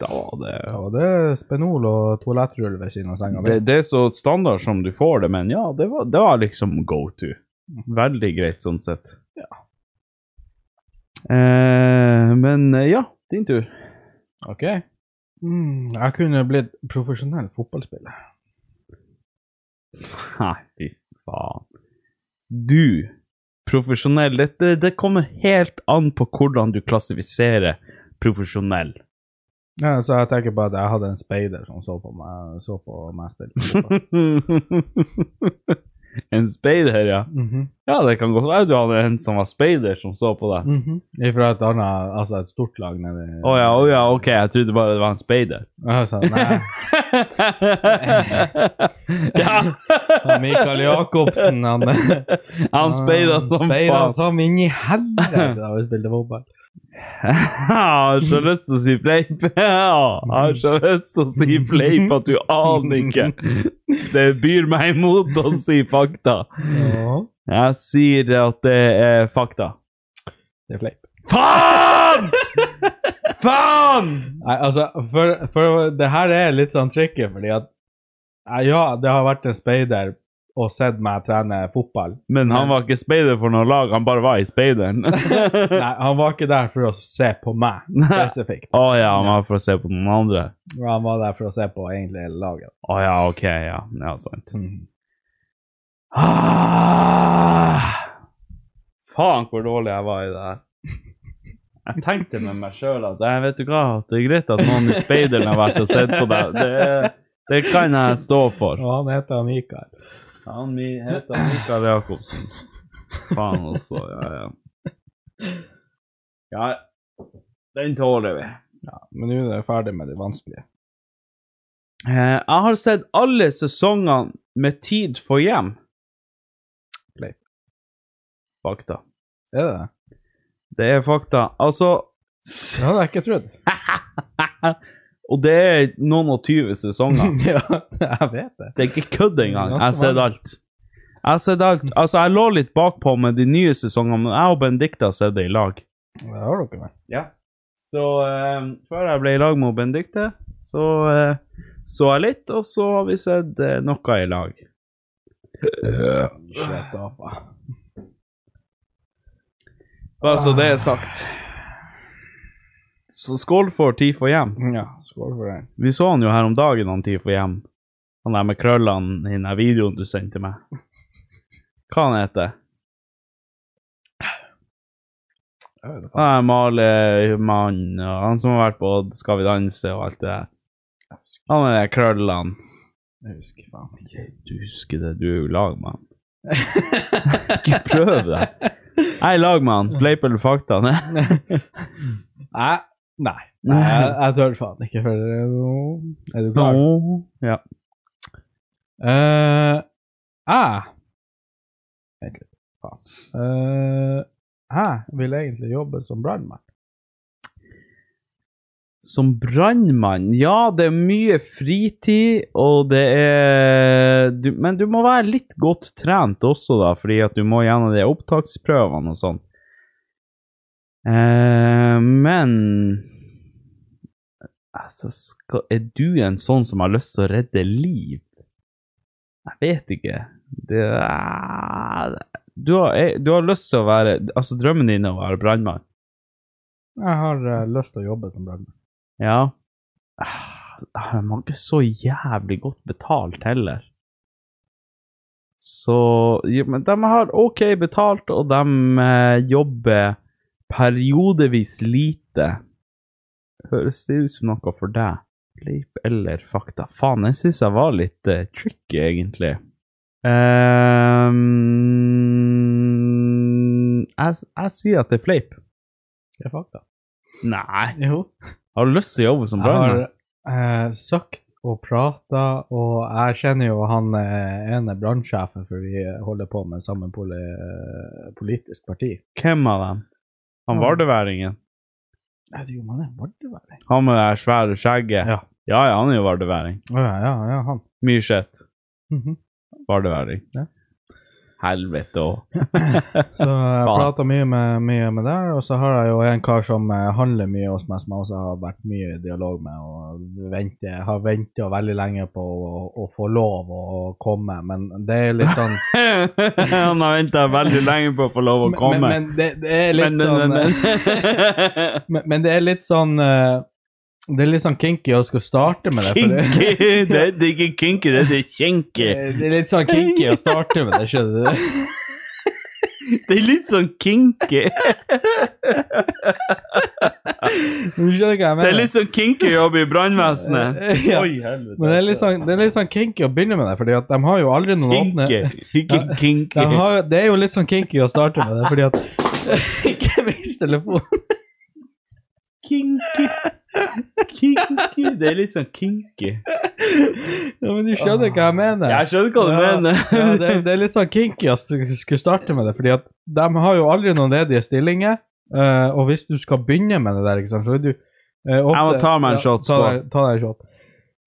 [SPEAKER 1] Da var det
[SPEAKER 2] Ja, og det er Spenol og toalettrull ved siden av senga.
[SPEAKER 1] Det, det er så standard som du får det, men ja, det var, det var liksom go to. Veldig greit sånn sett. Eh, men eh, ja, din tur.
[SPEAKER 2] Ok. Mm, jeg kunne blitt profesjonell fotballspiller.
[SPEAKER 1] Nei, fy faen. Du, profesjonell det, det, det kommer helt an på hvordan du klassifiserer profesjonell.
[SPEAKER 2] Ja, så jeg tenker på at jeg hadde en speider som så på meg, så på meg spille fotball.
[SPEAKER 1] en speider, ja.
[SPEAKER 2] Mhm,
[SPEAKER 1] Ja, det kan godt være du hadde en som var speider, som så på deg.
[SPEAKER 2] mhm. Ifra et annet, altså et stort lag nedi
[SPEAKER 1] Å ja, å ja, ok, jeg trodde bare det var en speider.
[SPEAKER 2] Altså, nei.
[SPEAKER 1] ja.
[SPEAKER 2] Han Mikael Jacobsen, han
[SPEAKER 1] Han speida som
[SPEAKER 2] Speida
[SPEAKER 1] faen.
[SPEAKER 2] som inn i helvete da vi spilte fotball.
[SPEAKER 1] Jeg har så lyst til å si fleip. Ja, Jeg har så lyst til å si fleip at du aner ikke. Det byr meg imot å si fakta.
[SPEAKER 2] Ja,
[SPEAKER 1] Jeg sier at det er fakta.
[SPEAKER 2] det er fleip.
[SPEAKER 1] Faen! Faen!
[SPEAKER 2] Nei, altså, for, for det her er litt sånn tricky, fordi at eh, Ja, det har vært en speider og sett meg trene fotball.
[SPEAKER 1] Men han var ikke speider for noe lag, han bare var i speideren. Å
[SPEAKER 2] Nei, han var ikke der for å se på meg spesifikt.
[SPEAKER 1] ja, han var for å se på noen andre.
[SPEAKER 2] Han var der for å se på egentlig hele laget.
[SPEAKER 1] Å ja, ok, ja. Ja, sant.
[SPEAKER 2] Mhm.
[SPEAKER 1] Ah! Faen, hvor dårlig jeg var i det her. Jeg tenkte med meg sjøl at jeg vet du hva, at det er greit at noen i speideren har vært og sett på deg. Det, det kan jeg stå for.
[SPEAKER 2] Og han heter Mikael.
[SPEAKER 1] Han mi- heter Mikael Jacobsen. Faen også, ja, ja. Ja, den tåler vi.
[SPEAKER 2] Men nå er jeg ferdig med det vanskelige.
[SPEAKER 1] Eh, jeg har sett alle sesongene med Tid for hjem.
[SPEAKER 2] Fleip.
[SPEAKER 1] Fakta.
[SPEAKER 2] Er det det?
[SPEAKER 1] Det er fakta. Altså
[SPEAKER 2] Det hadde jeg ikke trodd.
[SPEAKER 1] Og det er noen og tyve sesonger.
[SPEAKER 2] ja, jeg vet det.
[SPEAKER 1] Det er ikke kødd engang. Jeg har
[SPEAKER 2] Ganske
[SPEAKER 1] sett
[SPEAKER 2] mange.
[SPEAKER 1] alt. Jeg har sett alt. Altså, jeg lå litt bakpå med de nye sesongene, men jeg og Benedicte har sett det i lag.
[SPEAKER 2] Det har dere med.
[SPEAKER 1] Så eh, før jeg ble i lag med Benedicte, så eh, så jeg litt, og så har vi sett eh, noe i lag.
[SPEAKER 2] Shit, apa.
[SPEAKER 1] Bare så det er sagt. Så skål for Tid for hjem.
[SPEAKER 2] Ja, skål for den.
[SPEAKER 1] Vi så han jo her om dagen, han Tifo Hjem. Han der med krøllene i den her videoen du sendte meg. Hva han heter
[SPEAKER 2] Jeg vet ikke.
[SPEAKER 1] Han malermannen og han som har vært på Skal vi danse og alt det der. Han med de krøllene.
[SPEAKER 2] Jeg husker faen ikke.
[SPEAKER 1] Du husker det, du er jo i lag med han. Ikke prøv det. Jeg er i lag med han. Fleip eller fakta? Nei.
[SPEAKER 2] Nei. Nei, nei jeg, jeg tør faen ikke, for Er du klar?
[SPEAKER 1] Nå. Ja.
[SPEAKER 2] Eh, jeg Vent litt. faen. Eh, jeg vil egentlig jobbe som brannmann.
[SPEAKER 1] Som brannmann Ja, det er mye fritid, og det er du, Men du må være litt godt trent også, da, fordi at du må gjennom de opptaksprøvene og sånn. Eh, men altså, skal, Er du en sånn som har lyst til å redde liv? Jeg vet ikke. Det er, du, har, eh, du har lyst til å være Altså, drømmen din er å være brannmann.
[SPEAKER 2] Jeg har eh, lyst til å jobbe som brannmann.
[SPEAKER 1] Ja. Ah, Man er ikke så jævlig godt betalt heller. Så ja, Men de har OK betalt, og de eh, jobber periodevis lite. Høres det ut som noe for deg? Leip eller fakta? Faen, jeg syns jeg var litt eh, tricky, egentlig. Ehm, jeg, s- jeg sier at det er fleip.
[SPEAKER 2] Det er fakta.
[SPEAKER 1] Nei.
[SPEAKER 2] Jo.
[SPEAKER 1] Har du lyst til å jobbe som
[SPEAKER 2] Jeg har
[SPEAKER 1] brannmann?
[SPEAKER 2] eh, sagt og prata, og jeg kjenner jo han eh, ene brannsjefen, for vi eh, holder på med samme poli eh, politisk parti.
[SPEAKER 1] Hvem av dem? Han
[SPEAKER 2] Ja.
[SPEAKER 1] vardeværingen?
[SPEAKER 2] Jeg vet ikke om han er vardeværing.
[SPEAKER 1] Han med det her svære skjegget?
[SPEAKER 2] Ja.
[SPEAKER 1] ja, ja, han er jo vardeværing.
[SPEAKER 2] Å ja, ja, ja, han.
[SPEAKER 1] Mye shit.
[SPEAKER 2] Mhm.
[SPEAKER 1] Vardeværing.
[SPEAKER 2] Ja.
[SPEAKER 1] Helvete òg.
[SPEAKER 2] Så jeg
[SPEAKER 1] Faen.
[SPEAKER 2] prata mye med, mye med der, og så har jeg jo en kar som eh, handler mye hos meg, som jeg også har vært mye i dialog med, og venter, har venta veldig lenge på å, å få lov å komme, men det er litt sånn
[SPEAKER 1] han har venta veldig lenge på å få lov å komme.
[SPEAKER 2] Men, men det, det er litt sånn eh,
[SPEAKER 1] men.
[SPEAKER 2] Men, men det er litt sånn eh, Det er litt sånn kinky å skulle starte med det. for det-
[SPEAKER 1] Kinky! Det er det er ikke kinky, det er det kinky.
[SPEAKER 2] Det er litt sånn kinky å starte med det, skjønner du.
[SPEAKER 1] Det er litt sånn kinky.
[SPEAKER 2] Men Du skjønner hva jeg mener?
[SPEAKER 1] Det er litt sånn kinky jobb i brannvesenet.
[SPEAKER 2] Ja. Men det er, litt sånn, det er litt sånn kinky å begynne med det, fordi at de har jo aldri noen
[SPEAKER 1] Kinky.
[SPEAKER 2] åpne
[SPEAKER 1] Ikke kinky.
[SPEAKER 2] de har, jo- Det er jo litt sånn kinky å starte med det, fordi at Ikke vis telefonen!
[SPEAKER 1] Kinky. Kinky. Det er litt sånn kinky.
[SPEAKER 2] Ja, men du skjønner hva jeg mener?
[SPEAKER 1] Jeg skjønner hva du
[SPEAKER 2] Ja,
[SPEAKER 1] mener.
[SPEAKER 2] ja, det, det er litt sånn kinky å st- skulle starte med det, fordi at de har jo aldri noen ledige stillinger. eh, og hvis du skal begynne med det der, ikke sant, så er du eh, ofte,
[SPEAKER 1] Jeg må ta meg en shot,
[SPEAKER 2] Ta deg, ta deg en shot.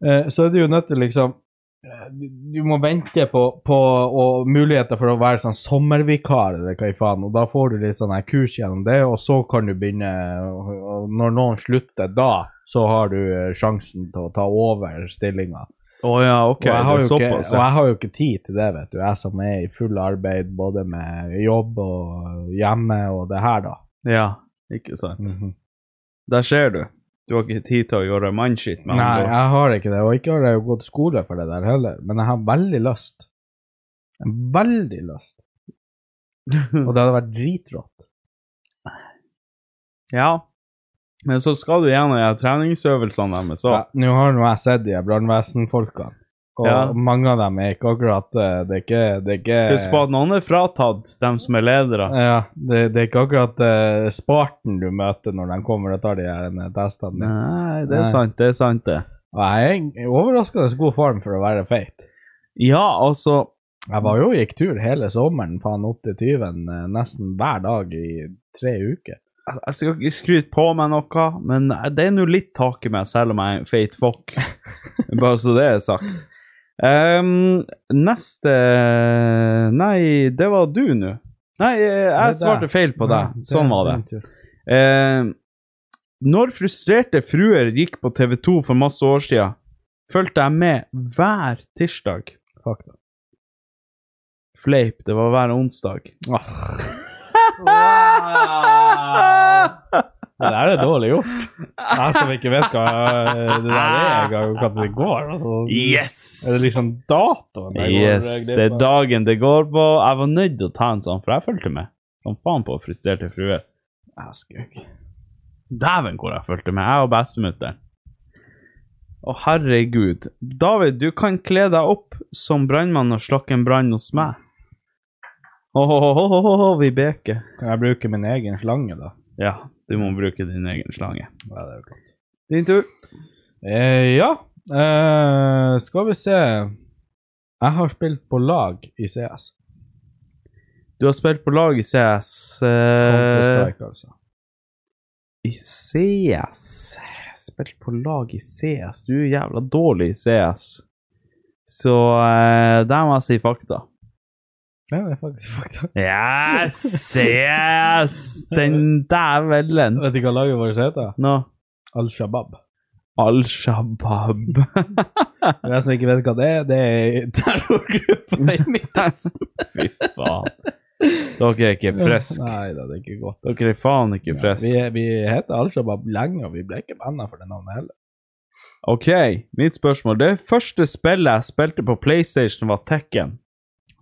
[SPEAKER 2] Eh, så er du jo nødt til liksom eh, du, du må vente på, på og muligheter for å være sånn sommervikar, eller hva i faen. Og da får du litt sånn her kurs gjennom det, og så kan du begynne. Og, og når noen slutter da, så har du eh, sjansen til å ta over stillinga.
[SPEAKER 1] Å ja, ok.
[SPEAKER 2] Og jeg, har
[SPEAKER 1] det
[SPEAKER 2] jo
[SPEAKER 1] er såpass,
[SPEAKER 2] ikke, og
[SPEAKER 1] ja.
[SPEAKER 2] jeg har jo ikke tid til det, vet du. Jeg som er i full arbeid både med jobb og hjemme og det her, da.
[SPEAKER 1] ja. Ikke sant.
[SPEAKER 2] Mm. Mhm.
[SPEAKER 1] Der ser du. Du har ikke tid til å gjøre mannskitt med
[SPEAKER 2] Nei,
[SPEAKER 1] andre.
[SPEAKER 2] jeg har ikke det. Og ikke har jeg jo gått skole for det der heller, men jeg har veldig lyst. Veldig lyst. Og det hadde vært dritrått.
[SPEAKER 1] Ja. Men så skal du gjennom de her treningsøvelsene deres
[SPEAKER 2] Ja,
[SPEAKER 1] òg.
[SPEAKER 2] Nå har nå jeg sett de her brannvesenfolkene, og
[SPEAKER 1] Ja.
[SPEAKER 2] mange av dem er ikke akkurat eh, Det er ikke, det er ikke
[SPEAKER 1] Husk på at noen er fratatt, dem som er ledere.
[SPEAKER 2] Ja, det, det er ikke akkurat eh, Spartan du møter når de kommer og tar de her eh, testene.
[SPEAKER 1] Nei, det er
[SPEAKER 2] Nei.
[SPEAKER 1] sant, det er sant, det.
[SPEAKER 2] Og jeg er i overraskende god form for å være feit.
[SPEAKER 1] Ja, altså
[SPEAKER 2] Jeg var jo gikk tur hele sommeren, faen opp til 20 eh, nesten hver dag i tre uker.
[SPEAKER 1] Altså, Jeg skal ikke skryte på meg noe, men det er nå litt tak i meg, selv om jeg er en feit fokk. Bare så det er sagt. Ehm, neste Nei, det var du nå. Nei, eh, jeg
[SPEAKER 2] Det er deg.
[SPEAKER 1] svarte feil på deg.
[SPEAKER 2] Det-
[SPEAKER 1] Sånn var det.
[SPEAKER 2] min tur.
[SPEAKER 1] Ehm, når frustrerte fruer gikk på TV 2 for masse år siden, fulgte jeg med hver tirsdag.
[SPEAKER 2] Fakta.
[SPEAKER 1] Fleip, det var hver onsdag.
[SPEAKER 2] Det der er dårlig gjort. Jeg som ikke vet hva eh, det der er, jeg har jo hva det går. Altså,
[SPEAKER 1] Yes!
[SPEAKER 2] Er det liksom datoen? jeg går-
[SPEAKER 1] Yes,
[SPEAKER 2] jeg
[SPEAKER 1] det er
[SPEAKER 2] glipper?
[SPEAKER 1] dagen det går på. Jeg var nødt til å ta en sånn, for jeg fulgte med. Som faen på frustrerte frue.
[SPEAKER 2] Jeg skulle ikke.
[SPEAKER 1] Dæven hvor jeg fulgte med, jeg og bestemutteren. Å, herregud. David, du kan kle deg opp som brannmann og slokke en brann hos meg. Åhåhåhå, vi beker.
[SPEAKER 2] Kan jeg bruke min egen slange, da?
[SPEAKER 1] Ja, du må bruke din egen slange.
[SPEAKER 2] Ja, det er jo klart.
[SPEAKER 1] Din tur.
[SPEAKER 2] Eh, ja. Eh, skal vi se
[SPEAKER 1] Jeg har spilt på lag i CS.
[SPEAKER 2] Du har spilt på lag i CS eh,
[SPEAKER 1] Counter-Strike, altså.
[SPEAKER 2] I CS Spilt på lag i CS? Du er jævla dårlig i CS. Så eh, der må jeg si fakta.
[SPEAKER 1] Ja, det er faktisk fakta.
[SPEAKER 2] Yes! Yes! Den dævelen.
[SPEAKER 1] Vet du hva laget vårt heter?
[SPEAKER 2] Nå
[SPEAKER 1] Al Shabaab.
[SPEAKER 2] Al-Shabaab.
[SPEAKER 1] For jeg som ikke vet hva det er, det er terrorgruppa i Midtøsten.
[SPEAKER 2] Fy faen. Dere er ikke friske.
[SPEAKER 1] Nei da, det er ikke godt.
[SPEAKER 2] Dere er faen ikke friske.
[SPEAKER 1] Vi, vi heter Al Shabaab lenge, og vi ble ikke banna for det navnet heller.
[SPEAKER 2] Ok, mitt spørsmål. Det første spillet jeg spilte på PlayStation, var Tekken.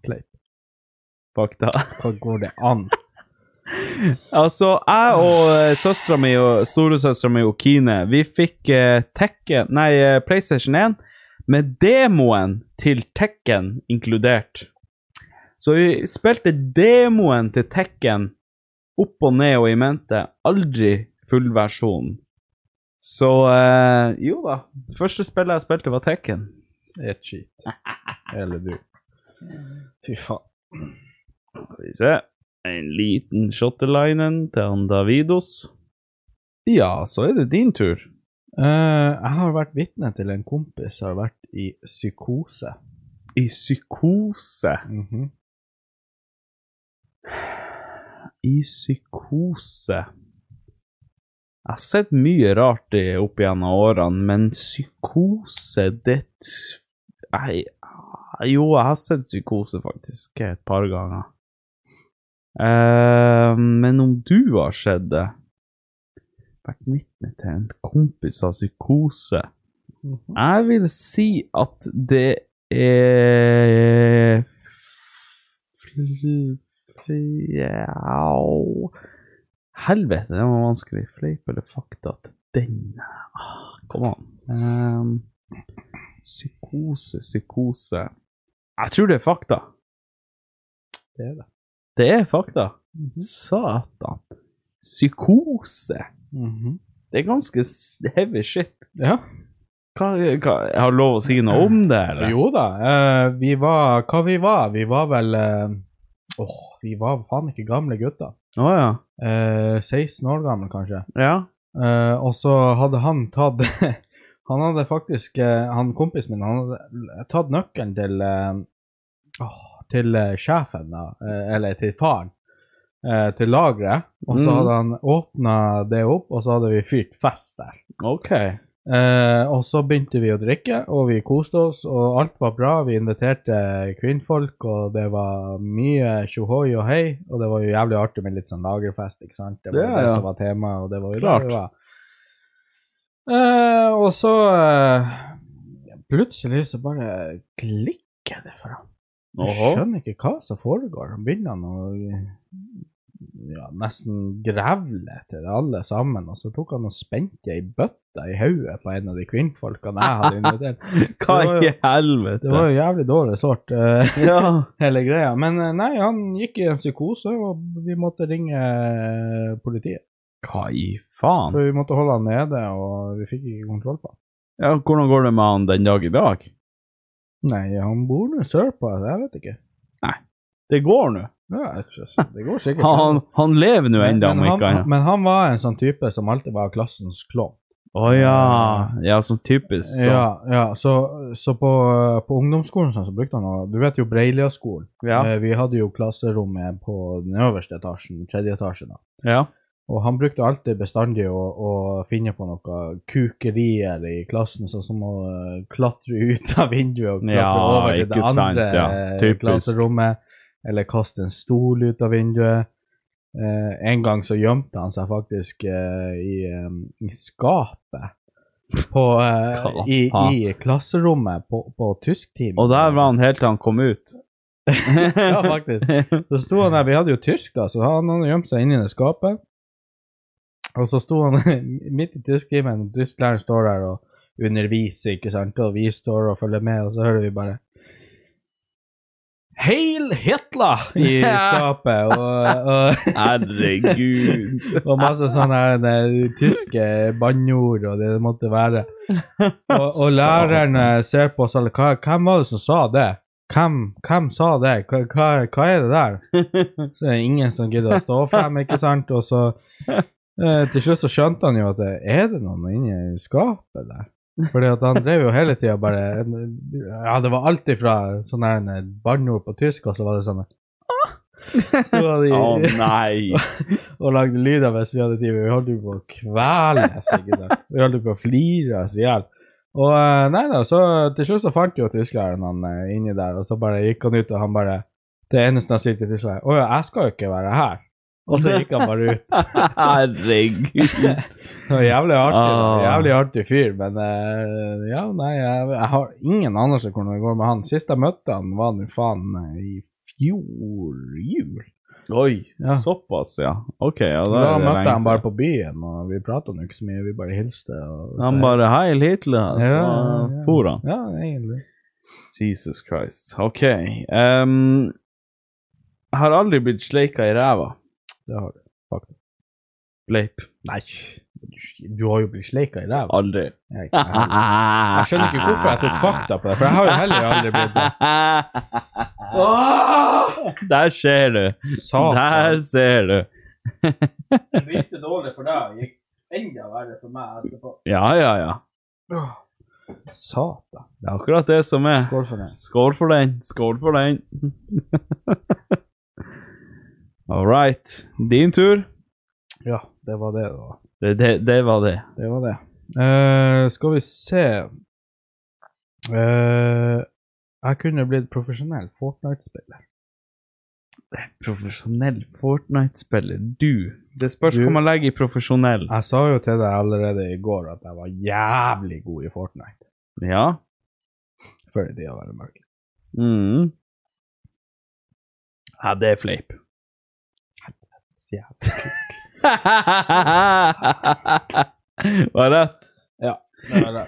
[SPEAKER 1] Play.
[SPEAKER 2] Fakta.
[SPEAKER 1] Hva går det an?
[SPEAKER 2] altså, jeg og søstera mi og storesøstera mi og Kine, vi fikk eh, Tekken Nei, eh, PlayStation 1 med demoen til Tekken inkludert. Så vi spilte demoen til Tekken opp og ned og i mente. Aldri fullversjonen. Så eh, jo da. Det første spillet jeg spilte, var Tekken.
[SPEAKER 1] Det er cheat. Eller du. Fy faen.
[SPEAKER 2] Skal vi se. En liten shottelinen til han Davidos. Ja, så er det din tur.
[SPEAKER 1] Eh, jeg har vært vitne til en kompis som har vært i psykose. Mhm.
[SPEAKER 2] I psykose. I psykose. Jeg har sett mye rart i- opp gjennom årene, men psykose, det t- Nei, ah, jo, jeg har sett psykose faktisk et par ganger. Eh, men om du har sett det Vært vitne til en kompis av psykose
[SPEAKER 1] Mhm.
[SPEAKER 2] Jeg vil si at det er fl- fl- Au. Helvete, det var vanskelig. Fleip eller fakta til den Ah, Kom an. Ehm, psykose, psykose Jeg tror det er fakta.
[SPEAKER 1] Det er det. Mhm.
[SPEAKER 2] Det er fakta. Satan. Psykose. Det er ganske s- heavy shit.
[SPEAKER 1] Ja.
[SPEAKER 2] Hva, hva, jeg har lov å si noe om det, eller?
[SPEAKER 1] Jo da. eh, vi var Hva vi var? Vi var vel eh, Åh, vi var faen ikke gamle gutter.
[SPEAKER 2] Å ja.
[SPEAKER 1] Eh, 16 år gamle, kanskje.
[SPEAKER 2] Ja.
[SPEAKER 1] Eh, og så hadde han tatt Han hadde faktisk eh, Han kompisen min han hadde tatt nøkkelen til eh, åh, Til eh, sjefen, da. eh, eller til faren. eh, til lageret. Og så
[SPEAKER 2] Mm.
[SPEAKER 1] hadde han åpna det opp, og så hadde vi fyrt fest der.
[SPEAKER 2] OK.
[SPEAKER 1] Eh, og så begynte vi å drikke, og vi koste oss, og alt var bra. Vi inviterte kvinnfolk, og det var mye tjohoi og hei. Og det var jo jævlig artig med litt sånn lagerfest, ikke sant. Det var
[SPEAKER 2] Ja,
[SPEAKER 1] jo det
[SPEAKER 2] ja.
[SPEAKER 1] som var temaet, og det var jo
[SPEAKER 2] Klart.
[SPEAKER 1] der vi var. Eh, og så eh, plutselig så bare klikker det for ham. Jeg
[SPEAKER 2] Oho.
[SPEAKER 1] skjønner ikke hva som foregår. Han begynner han å ja, nesten grevle til alle sammen, og så tok han og spente ei bøtte i hodet på en av de kvinnfolkene jeg hadde invitert. Det
[SPEAKER 2] Hva
[SPEAKER 1] var
[SPEAKER 2] i
[SPEAKER 1] jo-
[SPEAKER 2] helvete?
[SPEAKER 1] Det var jo jævlig dårlig sort, eh,
[SPEAKER 2] Ja.
[SPEAKER 1] hele greia. Men eh, nei, han gikk i en psykose, og vi måtte ringe eh, politiet.
[SPEAKER 2] Hva i faen?
[SPEAKER 1] For vi måtte holde han nede, og vi fikk ikke kontroll på han.
[SPEAKER 2] Ja, hvordan går det med han den dag i dag?
[SPEAKER 1] Nei, han bor nå sørpå, jeg vet ikke.
[SPEAKER 2] Det går nå.
[SPEAKER 1] Ja, jeg synes- det går sikkert.
[SPEAKER 2] Han, han lever nå ennå, om
[SPEAKER 1] men,
[SPEAKER 2] ikke
[SPEAKER 1] han,
[SPEAKER 2] annet.
[SPEAKER 1] men han var en sånn type som alltid var klassens klovn.
[SPEAKER 2] Å ja. Ja, sånn typisk. sånn.
[SPEAKER 1] Ja, ja, så, så på, på ungdomsskolen sånn, så brukte han å Du vet jo Breilia-skolen.
[SPEAKER 2] Ja.
[SPEAKER 1] Eh, Vi hadde jo klasserommet på den øverste etasjen, tredje etasje. da.
[SPEAKER 2] ja.
[SPEAKER 1] Og han brukte alltid bestandig å, å finne på noe kukerier i klassen, sånn som å eh, klatre ut av vinduet og klatre
[SPEAKER 2] Ja,
[SPEAKER 1] over til det
[SPEAKER 2] ikke
[SPEAKER 1] andre
[SPEAKER 2] sant, ja.
[SPEAKER 1] eh,
[SPEAKER 2] Typisk.
[SPEAKER 1] klasserommet, eller kaste en stol ut av vinduet. Eh, en gang så gjemte han seg faktisk eh, i, eh, i skapet på, eh, i, i klasserommet på, på tysktimen.
[SPEAKER 2] Og der var han helt til han kom ut.
[SPEAKER 1] ja, faktisk. Så sto han der, vi hadde jo tysk da, så han hadde gjemt seg inni det skapet. Og så sto han midt i tysktimen, og tysklæreren står der og underviser, ikke sant, og vi står og følger med, og så hører vi bare Heil Hitler! i skapet, og, og,
[SPEAKER 2] Herregud.
[SPEAKER 1] og masse sånne her, eh, tyske banneord, og det måtte være. Og, og læreren eh, ser på oss alle, hva- hvem var det som sa det?
[SPEAKER 2] Hvem, hvem sa det? Hva, hva, hva er det der? Så er det ingen som gidder å stå frem, ikke sant? Og så eh, til slutt så skjønte han jo at det- er det noen inne i skapet der? Fordi at han drev jo hele tida bare Ja, det var alt ifra sånne her banneord på tysk, og så var det sånn eh, Så var de
[SPEAKER 1] Å nei!
[SPEAKER 2] og lagde lyder mens vi hadde tid. Vi holdt jo på å kveles. ikke sant? Vi holdt jo på å flire oss i hjel. Og eh, nei da, så til slutt så fant jo tysklæreren han eh, inni der, og så bare gikk han ut, og han bare Det eneste han sier til tysklæreren, 'Å ja, jeg skal jo ikke være her'. Og så gikk han bare ut.
[SPEAKER 1] Herregud.
[SPEAKER 2] Det var Jævlig artig.
[SPEAKER 1] Ah.
[SPEAKER 2] Jævlig artig fyr, men eh, ja, nei, jeg, jeg har ingen anelse hvordan det går med han. Sist jeg møtte han, var nå faen eh, i fjor jul.
[SPEAKER 1] Oi,
[SPEAKER 2] Ja.
[SPEAKER 1] såpass, ja. Ok, ja, da
[SPEAKER 2] Da,
[SPEAKER 1] er det
[SPEAKER 2] møtte jeg
[SPEAKER 1] lenge
[SPEAKER 2] han bare
[SPEAKER 1] siden.
[SPEAKER 2] på byen, og vi prata nå ikke så mye, vi bare hilste. Og,
[SPEAKER 1] Han bare Heil Hitler,
[SPEAKER 2] Ja,
[SPEAKER 1] så
[SPEAKER 2] ja, ja.
[SPEAKER 1] for han.
[SPEAKER 2] Ja, egentlig.
[SPEAKER 1] Jesus Christ. Ok. ehm, jeg har aldri blitt sleika i ræva.
[SPEAKER 2] Det har du.
[SPEAKER 1] Bleip. Nei,
[SPEAKER 2] Du, du har jo blitt sleika i ræva.
[SPEAKER 1] aldri.
[SPEAKER 2] Jeg, jeg, jeg skjønner ikke hvorfor jeg tok fakta på det, for jeg har jo heller aldri blitt det.
[SPEAKER 1] Der ser du. Der
[SPEAKER 2] Satan.
[SPEAKER 1] ser du.
[SPEAKER 2] Det begynte dårlig for deg, gikk enda verre for meg etterpå.
[SPEAKER 1] Ja, ja, ja.
[SPEAKER 2] Satan.
[SPEAKER 1] Det er akkurat det som er.
[SPEAKER 2] Skål for det.
[SPEAKER 1] Skål for den. Skål for den. All right. Din tur.
[SPEAKER 2] Ja, det var det, da.
[SPEAKER 1] Det, det, det var det.
[SPEAKER 2] Det var det. Eh, skal vi se Eh, Jeg kunne blitt profesjonell Fortnite-spiller.
[SPEAKER 1] Profesjonell Fortnite-spiller. Du. Det spørs
[SPEAKER 2] Du.
[SPEAKER 1] hva man legger i profesjonell.
[SPEAKER 2] Jeg sa jo til deg allerede i går at jeg var jævlig god i Fortnite.
[SPEAKER 1] Ja.
[SPEAKER 2] Før i tida, vel å merke.
[SPEAKER 1] Mm. Ja, det er fleip.
[SPEAKER 2] Så jævlig kukk.
[SPEAKER 1] Var rett.
[SPEAKER 2] Det var det.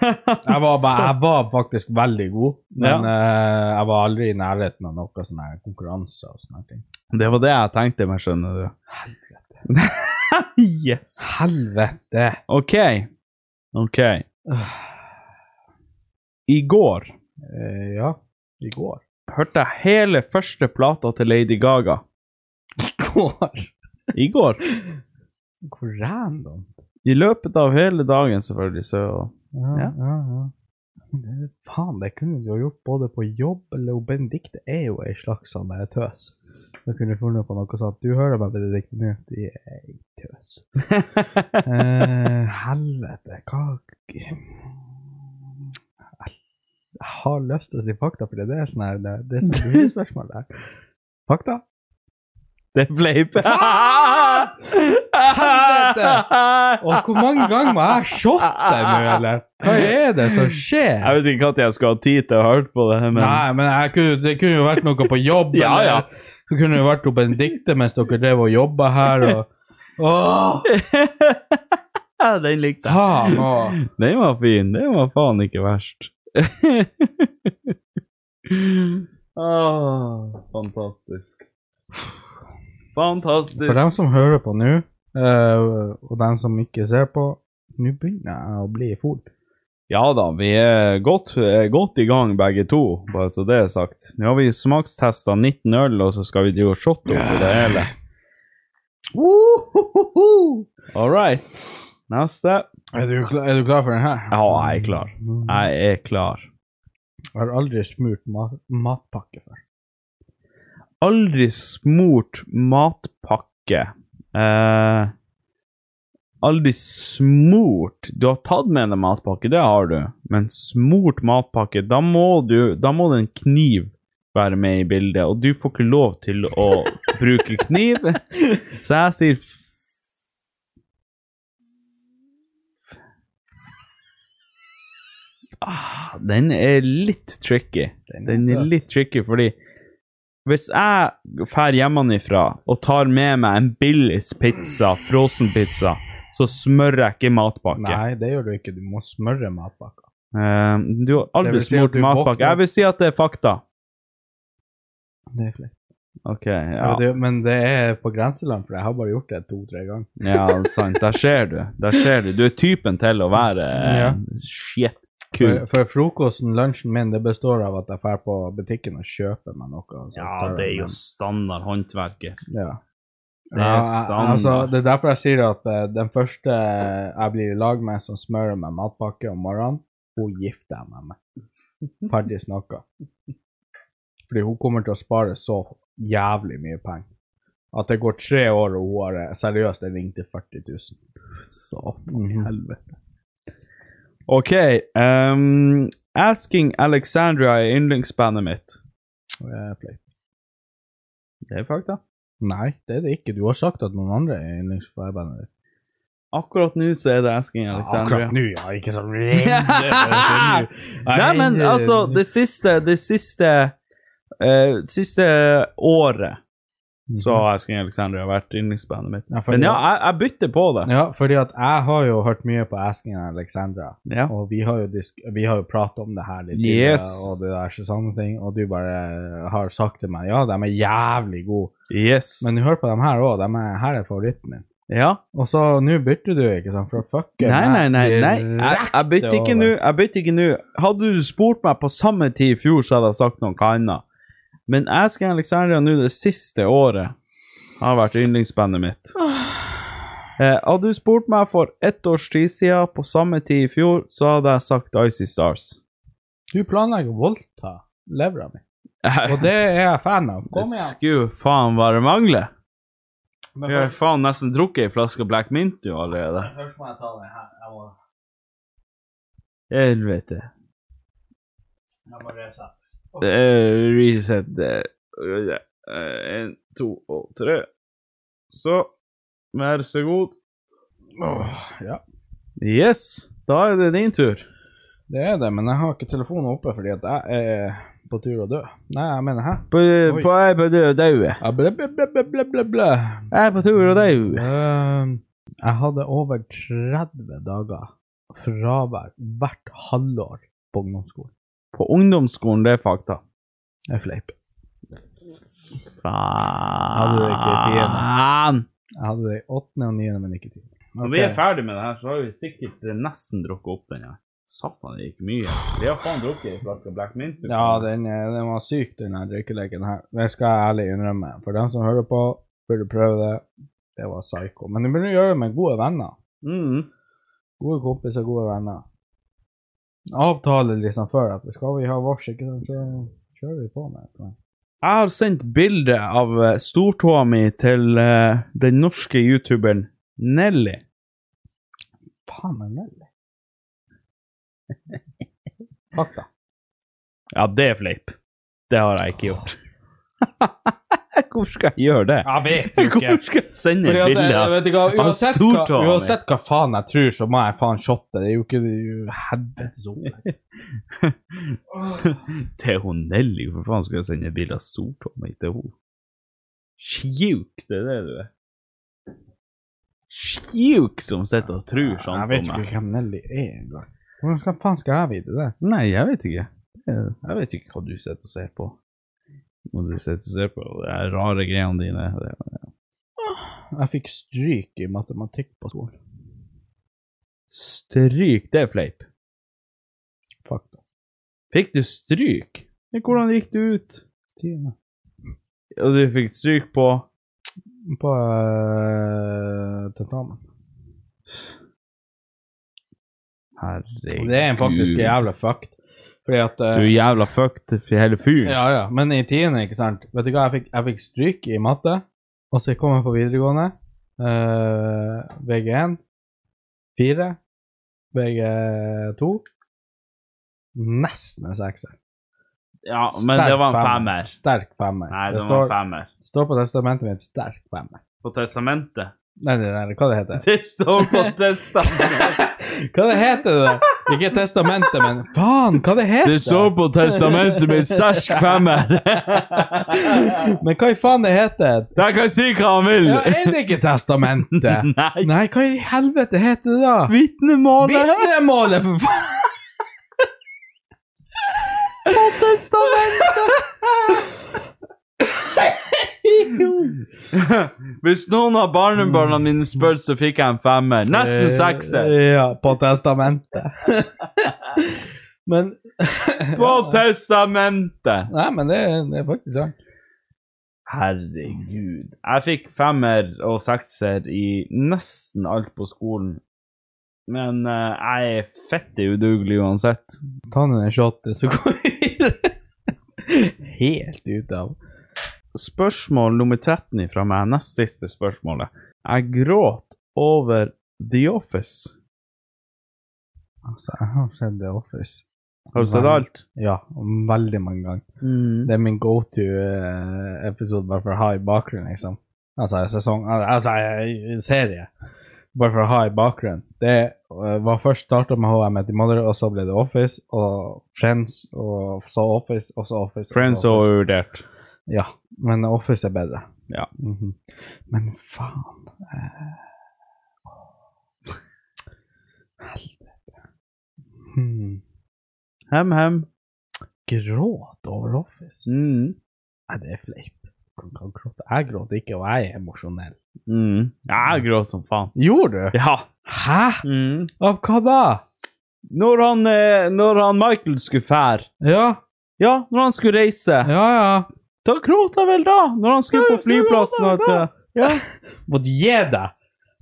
[SPEAKER 2] Jeg var, bare, jeg var faktisk veldig god, men eh, jeg var aldri i nærheten av noe sånn her konkurranse og sånne ting.
[SPEAKER 1] Det var det jeg tenkte meg, skjønner du. yes.
[SPEAKER 2] Helvete!
[SPEAKER 1] OK. OK. I går
[SPEAKER 2] Eh, ja, i går.
[SPEAKER 1] hørte jeg hele første plata til Lady Gaga.
[SPEAKER 2] I går?
[SPEAKER 1] I går.
[SPEAKER 2] Hvor random.
[SPEAKER 1] I løpet av hele dagen, selvfølgelig. Så
[SPEAKER 2] Ja,
[SPEAKER 1] Ja.
[SPEAKER 2] ja, ja. Det- Faen, det kunne du ha gjort både på jobb eller og Benedicte er jo ei slags sånn der tøs. Så kunne du funnet på noe sånt. Du hører meg, Benedicte, nå. De er ei tøs. eh, helvete, hva Jeg har lyst til å si fakta, for det er sånn her Det, det er sånn lurespørsmål der. Fakta?
[SPEAKER 1] Det er fleip.
[SPEAKER 2] Og hvor mange ganger må jeg shotte deg nå, eller? Hva er det som skjer?
[SPEAKER 1] Jeg vet ikke når jeg skulle ha tid til å høre på det, men
[SPEAKER 2] Nei, men jeg kunne, det kunne jo vært noe på jobb.
[SPEAKER 1] Ja,
[SPEAKER 2] eller-
[SPEAKER 1] ja.
[SPEAKER 2] Det kunne jo vært oppe en dikte mens dere drev og jobba her. Og, Åh,
[SPEAKER 1] Den likte jeg.
[SPEAKER 2] faen òg.
[SPEAKER 1] Den var fin. Den var faen ikke verst. Åh, Ah, fantastisk. Fantastisk.
[SPEAKER 2] For dem som hører på nå, eh, og dem som ikke ser på, nå begynner jeg å bli full.
[SPEAKER 1] Ja da, vi er godt, er godt i gang begge to, bare så det er sagt. Nå har vi smakstesta 19 øl, og så skal vi drive og shotte oppi det hele. All right. Neste.
[SPEAKER 2] Er du, kla- er du klar for den her? Mm.
[SPEAKER 1] Ja, jeg er klar. Jeg er klar.
[SPEAKER 2] Jeg har aldri smurt ma matpakke før.
[SPEAKER 1] Aldri smurt matpakke. Eh, aldri smurt Du har tatt med deg matpakke, det har du, men smurt matpakke, da må du Da må det en kniv være med i bildet, og du får ikke lov til å bruke kniv, så jeg sier f- ah, Den er litt tricky. Den er litt tricky, fordi hvis jeg drar hjemmefra og tar med meg en Billis pizza, frossenpizza, så smører jeg ikke matpakke.
[SPEAKER 2] Nei, det gjør du ikke. Du må smøre matpakka.
[SPEAKER 1] Eh, du har
[SPEAKER 2] Det
[SPEAKER 1] aldri
[SPEAKER 2] vil si at
[SPEAKER 1] smurt
[SPEAKER 2] du
[SPEAKER 1] matpakke.
[SPEAKER 2] våkner-
[SPEAKER 1] Jeg vil si at det er fakta.
[SPEAKER 2] Det er flaut.
[SPEAKER 1] Ok, ja.
[SPEAKER 2] Det- Men det er på grenseland, for jeg har bare gjort det to-tre ganger.
[SPEAKER 1] Ja, sant. Der ser du. Der ser du. Du er typen til å være eh,
[SPEAKER 2] Ja.
[SPEAKER 1] shit.
[SPEAKER 2] For,
[SPEAKER 1] kuk.
[SPEAKER 2] for frokosten, lunsjen min, det består av at jeg drar på butikken og kjøper meg noe. og så
[SPEAKER 1] Ja,
[SPEAKER 2] tar jeg
[SPEAKER 1] det er jo
[SPEAKER 2] med.
[SPEAKER 1] standard håndverket.
[SPEAKER 2] Ja.
[SPEAKER 1] Det
[SPEAKER 2] Ja,
[SPEAKER 1] er
[SPEAKER 2] jeg-
[SPEAKER 1] standard.
[SPEAKER 2] altså, det er derfor jeg sier at eh, den første jeg blir i lag med som smører meg matpakke om morgenen, hun gifter jeg meg med. Ferdig snakka. Fordi hun kommer til å spare så jævlig mye penger. At det går tre år, og hun har eh, seriøst en ring til 40 000. Satan i helvete.
[SPEAKER 1] OK. ehm, Asking Alexandria er yndlingsbandet mitt. Det er fakta.
[SPEAKER 2] Nei, det er det ikke. Du har sagt at noen andre er yndlingsbandet ditt.
[SPEAKER 1] Akkurat nå så er det Asking Alexandria.
[SPEAKER 2] Akkurat nå, ja. Ikke sånn
[SPEAKER 1] Nei, men
[SPEAKER 2] eh,
[SPEAKER 1] altså, det siste Det siste eh, Siste året så har Asking Alexandria vært yndlingsbandet mitt.
[SPEAKER 2] Mhm. Ja, for-
[SPEAKER 1] Men ja, jeg, jeg bytter på det.
[SPEAKER 2] Ja, fordi at jeg har jo hørt mye på Asking Alexandra,
[SPEAKER 1] Ja.
[SPEAKER 2] og vi har jo, disk vi har jo pratet om det her litt
[SPEAKER 1] Yes.
[SPEAKER 2] tidligere, og det der sånne ting, og du bare har sagt til meg, ja, de er jævlig gode,
[SPEAKER 1] Yes.
[SPEAKER 2] men hør på dem her også, de er, her er favoritten min.
[SPEAKER 1] ja.
[SPEAKER 2] Og så, nå bytter du, ikke sant, for å fucke
[SPEAKER 1] Nei, nei, nei. nei. Jeg, jeg bytter
[SPEAKER 2] direkte
[SPEAKER 1] ikke nå.
[SPEAKER 2] over.
[SPEAKER 1] jeg bytter ikke nå. Hadde du spurt meg på samme tid i fjor, så hadde jeg sagt noe annet. Men Asking Alexandria nå det siste året har vært yndlingsbandet mitt.
[SPEAKER 2] Ah.
[SPEAKER 1] Eh, hadde du spurt meg for ett års tid siden på samme tid i fjor, så hadde jeg sagt Icy Stars.
[SPEAKER 2] Du planlegger å voldta levra mi, og det er jeg fan av.
[SPEAKER 1] Det
[SPEAKER 2] Kom igjen.
[SPEAKER 1] skulle faen bare mangle.
[SPEAKER 2] Men
[SPEAKER 1] Jeg har faen nesten drukket ei flaske Black Mint jo allerede.
[SPEAKER 2] først må jeg ta den her, jeg må,
[SPEAKER 1] Helvete.
[SPEAKER 2] jeg må resette.
[SPEAKER 1] Eh, reset der. Eh, En, to og tre. Så, vær så god.
[SPEAKER 2] ja.
[SPEAKER 1] Yes, da er det din tur.
[SPEAKER 2] Det er det, men jeg har ikke telefonen oppe fordi at jeg er på tur å dø. Nei, jeg mener hæ?
[SPEAKER 1] På,
[SPEAKER 2] Oi.
[SPEAKER 1] på, jeg er på tur og daue.
[SPEAKER 2] Ja, Ble, ble, ble, ble, ble, ble, ble.
[SPEAKER 1] Jeg er på tur og daue.
[SPEAKER 2] Ehm, jeg hadde over 30 dager fravær hvert halvår på ungdomsskolen.
[SPEAKER 1] På ungdomsskolen, det er fakta.
[SPEAKER 2] Jeg fleip.
[SPEAKER 1] Faen.
[SPEAKER 2] det er ikke i tiende. Jeg hadde det i åttende og niende, men ikke tiende.
[SPEAKER 1] Når vi er ferdig med det her, så har vi sikkert nesten drukket opp den her. Satan, det gikk mye. Vi har faen drukket en flaske Black Mint.
[SPEAKER 2] Ja, den, er- den var syk, den her drikkeleken her. Det skal jeg ærlig innrømme. For dem som hører på, burde prøve det. Det var psycho. Men du burde gjøre det med gode venner.
[SPEAKER 1] Mm.
[SPEAKER 2] Gode kompiser, gode venner. Avtale liksom før at vi skal vi ha vårs, ikke sant, så kjører vi på med det.
[SPEAKER 1] Jeg har sendt bilde av eh, stortåa mi til eh, den norske youtuberen Nelly.
[SPEAKER 2] Faen, men veldig. Fakta.
[SPEAKER 1] Ja, det er fleip. Det har jeg ikke gjort. Hvorfor skal jeg gjøre det?
[SPEAKER 2] Jeg vet
[SPEAKER 1] Hvorfor skal jeg sende et bilde av
[SPEAKER 2] eh, vet du hva,
[SPEAKER 1] av
[SPEAKER 2] uansett, hva,
[SPEAKER 1] stortåa mi?
[SPEAKER 2] uansett hva faen jeg tror, så må jeg faen shotte. Det er jo ikke det er jo helvetes ord.
[SPEAKER 1] Til hun Nelly, for faen skal jeg sende et bilde av stortåa mi til henne? Sjuk, det er det du er. Sjuk som sitter og tror sånn
[SPEAKER 2] Jeg
[SPEAKER 1] på
[SPEAKER 2] vet jo
[SPEAKER 1] meg.
[SPEAKER 2] ikke hvem Nelly er engang. Hvordan skal, faen skal jeg vite det?
[SPEAKER 1] Nei, jeg vet ikke. Jeg jeg vet ikke hva du sitter og ser på. Hva du sitter og ser på, det er rare greiene dine. Det-
[SPEAKER 2] Jeg fikk stryk i matematikk på skolen.
[SPEAKER 1] Stryk, det er fleip.
[SPEAKER 2] Fakta.
[SPEAKER 1] Fikk du stryk? Men hvordan gikk du ut?
[SPEAKER 2] Tiende.
[SPEAKER 1] Og du fikk stryk på
[SPEAKER 2] På øh, tentamen.
[SPEAKER 1] Herregud.
[SPEAKER 2] Det er faktisk jævla fucked. Fordi at eh,
[SPEAKER 1] Du er jævla fucked for hele fyren.
[SPEAKER 2] Ja, ja. Men i tiende, ikke sant. Vet du hva, jeg fikk, jeg fikk stryk i matte, og så kom jeg på videregående. eh, VG1 4. VG2 Nesten en sekser.
[SPEAKER 1] Ja, men det var en femmer.
[SPEAKER 2] Sterk femmer.
[SPEAKER 1] Nei,
[SPEAKER 2] det
[SPEAKER 1] det var en
[SPEAKER 2] står,
[SPEAKER 1] femmer.
[SPEAKER 2] står på testamentet mitt sterk femmer.
[SPEAKER 1] På testamentet.
[SPEAKER 2] Nei, nei, nei, hva det heter
[SPEAKER 1] Det står på testamentet.
[SPEAKER 2] Hva det heter det? Ikke testamentet, men faen, hva det heter
[SPEAKER 1] Det står på testamentet mitt, sterk femmer.
[SPEAKER 2] Men hva i faen det heter?
[SPEAKER 1] Der kan si hva han vil.
[SPEAKER 2] Ja, er det ikke testamentet?
[SPEAKER 1] Nei.
[SPEAKER 2] Nei, hva i helvete heter det da?
[SPEAKER 1] Vitnemålet
[SPEAKER 2] Vitnemålet, for faen!
[SPEAKER 1] på testamentet! Hvis noen av barnebarna mine spør, så fikk jeg en femmer. Nesten sekser.
[SPEAKER 2] Eh, Ja, på testamentet. men
[SPEAKER 1] På testamentet!
[SPEAKER 2] Nei, men det, det er faktisk sant.
[SPEAKER 1] Herregud. Jeg fikk femmer og sekser i nesten alt på skolen. Men eh, jeg er fette udugelig uansett.
[SPEAKER 2] Ta ned den shoten, så går vi videre. Helt ut av
[SPEAKER 1] Spørsmål nummer 13 fra meg, nest siste spørsmålet. Jeg gråt over The Office.
[SPEAKER 2] Altså, jeg har sett The Office.
[SPEAKER 1] Har du sett alt?
[SPEAKER 2] Ja, veldig mange ganger. Det er min go to-episode bare for å ha i bakgrunnen, liksom. Altså en sesong al- Altså en en serie. Bare for å ha i bakgrunnen. Det eh, var først starta med How I Met Your Mother, og så ble det Office, og Friends, og så Office, og så Office.
[SPEAKER 1] Friends
[SPEAKER 2] og
[SPEAKER 1] og
[SPEAKER 2] Office.
[SPEAKER 1] uvurdert.
[SPEAKER 2] Ja, men Office er bedre.
[SPEAKER 1] Ja.
[SPEAKER 2] Mhm. Men faen eh, Helvete. Hmm.
[SPEAKER 1] Hem, hem.
[SPEAKER 2] Gråt over Office?
[SPEAKER 1] Mm.
[SPEAKER 2] Nei, det er fleip. Kan- kan gråte. Jeg gråter ikke, og jeg er emosjonell.
[SPEAKER 1] Mm. Jeg gråt som faen.
[SPEAKER 2] Gjorde du?
[SPEAKER 1] Ja.
[SPEAKER 2] Hæ?
[SPEAKER 1] Mm.
[SPEAKER 2] Av hva da?
[SPEAKER 1] Når han, eh, når han Michael skulle fære
[SPEAKER 2] Ja,
[SPEAKER 1] Ja, når han skulle reise.
[SPEAKER 2] ja, ja.
[SPEAKER 1] Da gråt jeg vel, da! Når han skulle
[SPEAKER 2] Ja,
[SPEAKER 1] på flyplassen.
[SPEAKER 2] ja,
[SPEAKER 1] At,
[SPEAKER 2] ja.
[SPEAKER 1] eh,
[SPEAKER 2] Måtte gi deg!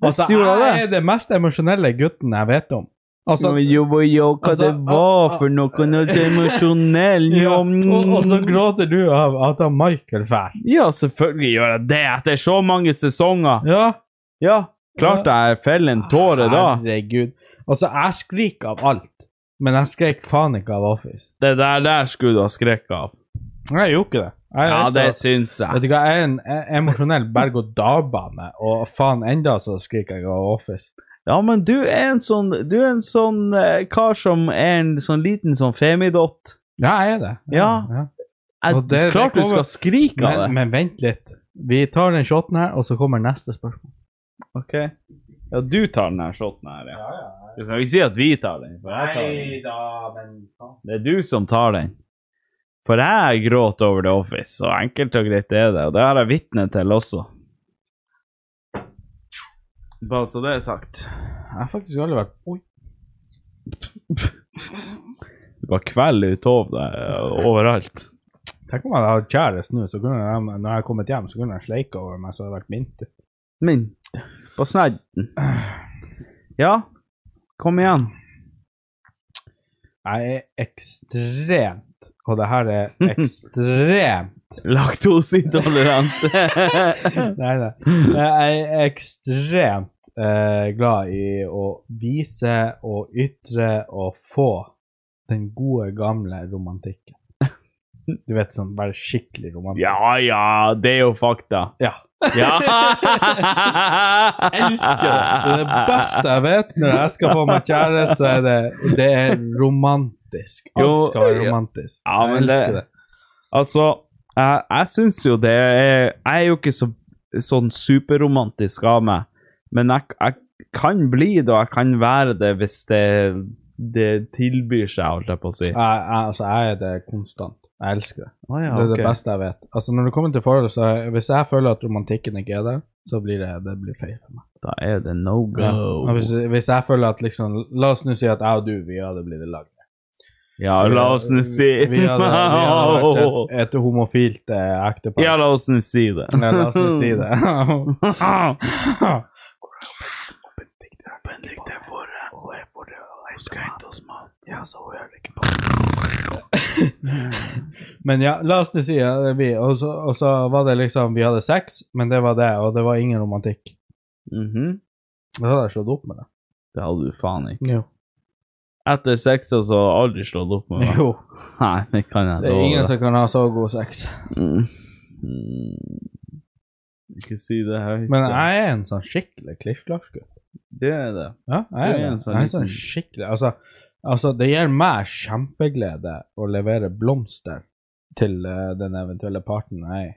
[SPEAKER 2] Altså,
[SPEAKER 1] Visst gjorde jeg
[SPEAKER 2] jeg er den mest emosjonelle gutten jeg vet om. Altså,
[SPEAKER 1] Men jo, jo, jo, hva
[SPEAKER 2] Altså,
[SPEAKER 1] det
[SPEAKER 2] ah,
[SPEAKER 1] var
[SPEAKER 2] ah,
[SPEAKER 1] for noe, noe så emosjonell
[SPEAKER 2] ja,
[SPEAKER 1] jo, mm.
[SPEAKER 2] og, og så gråter du av at han Michael drar.
[SPEAKER 1] Ja, selvfølgelig gjør jeg det, etter så mange sesonger.
[SPEAKER 2] Ja.
[SPEAKER 1] Ja, klart jeg feller en tåre da.
[SPEAKER 2] Herregud. Altså, jeg skriker av alt, men jeg skrek faen ikke av Office.
[SPEAKER 1] Det der der skulle du ha skrekk av.
[SPEAKER 2] Jeg gjorde ikke det. Jeg,
[SPEAKER 1] Ja,
[SPEAKER 2] jeg sa-
[SPEAKER 1] det syns jeg.
[SPEAKER 2] Vet du hva, jeg er en e- emosjonell berg-og-dal-bane, og faen enda så skriker jeg av Office.
[SPEAKER 1] Ja, men du er en sånn, du er en sånn eh, kar som er en sånn liten sånn femidott.
[SPEAKER 2] Ja, jeg er det.
[SPEAKER 1] Ja. Jeg,
[SPEAKER 2] Og det- det
[SPEAKER 1] klart du
[SPEAKER 2] kommer-
[SPEAKER 1] skal skrike av det.
[SPEAKER 2] Men, men vent litt. Vi tar den shoten her, og så kommer neste spørsmål.
[SPEAKER 1] Ok. Ja, du tar den her shoten her, ja. Du kan ikke si at vi tar den, for jeg tar den.
[SPEAKER 2] da, men
[SPEAKER 1] Det er du som tar den. For jeg gråt over The Office, så enkelt og greit er det. Og det har jeg vitne til også. Bare så det er sagt.
[SPEAKER 2] Jeg har faktisk aldri vært Oi.
[SPEAKER 1] Det var kveld ut av deg eh, overalt.
[SPEAKER 2] Tenk om jeg hadde hatt kjæreste nå, så kunne jeg, når jeg har kommet hjem, så kunne jeg sleika over meg, så hadde det vært min tur.
[SPEAKER 1] Min. På snedden. Ja, kom igjen.
[SPEAKER 2] Jeg er ekstremt, og det her er ekstremt
[SPEAKER 1] Laktoseintolerant.
[SPEAKER 2] Nei, nei. Jeg er ekstremt eh, glad i å vise og ytre og få den gode, gamle romantikken. Du vet, sånn bare skikkelig romantisk.
[SPEAKER 1] ja ja, det er jo fakta.
[SPEAKER 2] Ja.
[SPEAKER 1] Ja!
[SPEAKER 2] Jeg elsker det. Det er det beste jeg vet når jeg skal få meg kjæreste, så er det, det er romantisk. Alt
[SPEAKER 1] Jo,
[SPEAKER 2] skal være
[SPEAKER 1] ja.
[SPEAKER 2] romantisk.
[SPEAKER 1] Ja,
[SPEAKER 2] Jeg
[SPEAKER 1] men det-
[SPEAKER 2] elsker det.
[SPEAKER 1] Altså, jeg, jeg syns jo det er Jeg er jo ikke så, sånn superromantisk av meg, men jeg, jeg kan bli det, og jeg kan være det hvis det, det tilbyr seg, holdt jeg på å si.
[SPEAKER 2] Jeg, jeg, altså, jeg er det konstant. Jeg elsker det.
[SPEAKER 1] Å ja,
[SPEAKER 2] Det
[SPEAKER 1] ok.
[SPEAKER 2] er det beste jeg vet. Altså, når det kommer til forhold, så er- hvis jeg føler at romantikken ikke er der, så blir det, det blir feil for meg.
[SPEAKER 1] Da er det no go.
[SPEAKER 2] Ja.
[SPEAKER 1] Ja,
[SPEAKER 2] Og Hvis, hvis jeg føler at liksom La oss nå si at jeg og du, vi hadde blitt i lag.
[SPEAKER 1] la oss nå si
[SPEAKER 2] Vi hadde, vi hadde vært et, et homofilt eh, ektepar.
[SPEAKER 1] Ja, la oss nå si det.
[SPEAKER 2] Ja, la oss nå si det. Men ja, la oss nå si ja, det er vi. Og så, og så var det liksom Vi hadde sex, men det var det, og det var ingen romantikk.
[SPEAKER 1] Mhm.
[SPEAKER 2] Da hadde jeg slått opp med det.
[SPEAKER 1] Det hadde du faen ikke.
[SPEAKER 2] Jo.
[SPEAKER 1] Etter sex så har jeg aldri slått opp med meg.
[SPEAKER 2] jo.
[SPEAKER 1] Nei, det kan jeg
[SPEAKER 2] Det er
[SPEAKER 1] love
[SPEAKER 2] ingen
[SPEAKER 1] deg.
[SPEAKER 2] som kan ha så god sex.
[SPEAKER 1] Mm. Mm. Ikke si det høyt.
[SPEAKER 2] Men jeg er en sånn skikkelig klisj-klasj-gutt.
[SPEAKER 1] Det er det.
[SPEAKER 2] Ja, jeg er,
[SPEAKER 1] Du er en
[SPEAKER 2] det.
[SPEAKER 1] sånn
[SPEAKER 2] jeg er en sånn
[SPEAKER 1] liten-
[SPEAKER 2] skikkelig altså, altså, det gir meg kjempeglede å levere blomster til eh, den eventuelle parten jeg er i.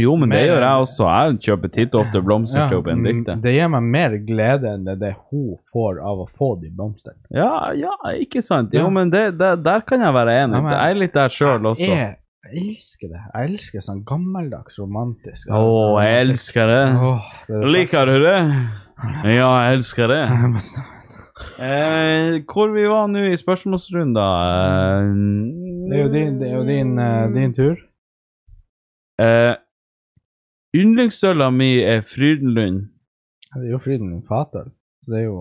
[SPEAKER 1] Jo, men det
[SPEAKER 2] Mer-
[SPEAKER 1] gjør jeg også. Jeg kjøper titt og ofte blomster
[SPEAKER 2] Ja,
[SPEAKER 1] til Benedicte.
[SPEAKER 2] mm, det gir meg mer glede enn det, det hun får av å få de blomsterne.
[SPEAKER 1] Ja, ja, ikke sant? Jo,
[SPEAKER 2] Ja.
[SPEAKER 1] men det, det, der kan jeg være enig.
[SPEAKER 2] Ja, men-
[SPEAKER 1] jeg er litt der sjøl også.
[SPEAKER 2] Jeg er Jeg elsker det. Jeg elsker sånn gammeldags romantisk. Altså,
[SPEAKER 1] Å, jeg elsker det.
[SPEAKER 2] Åh, det er det
[SPEAKER 1] Liker du det? Ja, jeg elsker det.
[SPEAKER 2] beste.
[SPEAKER 1] Eh, hvor vi var nå i eh, spørsmålsrunden?
[SPEAKER 2] Det er jo din, det er jo din, eh, din tur.
[SPEAKER 1] Eh, Yndlingsøla mi er Frydenlund.
[SPEAKER 2] Det er jo Fryden Fatøl. Så det er jo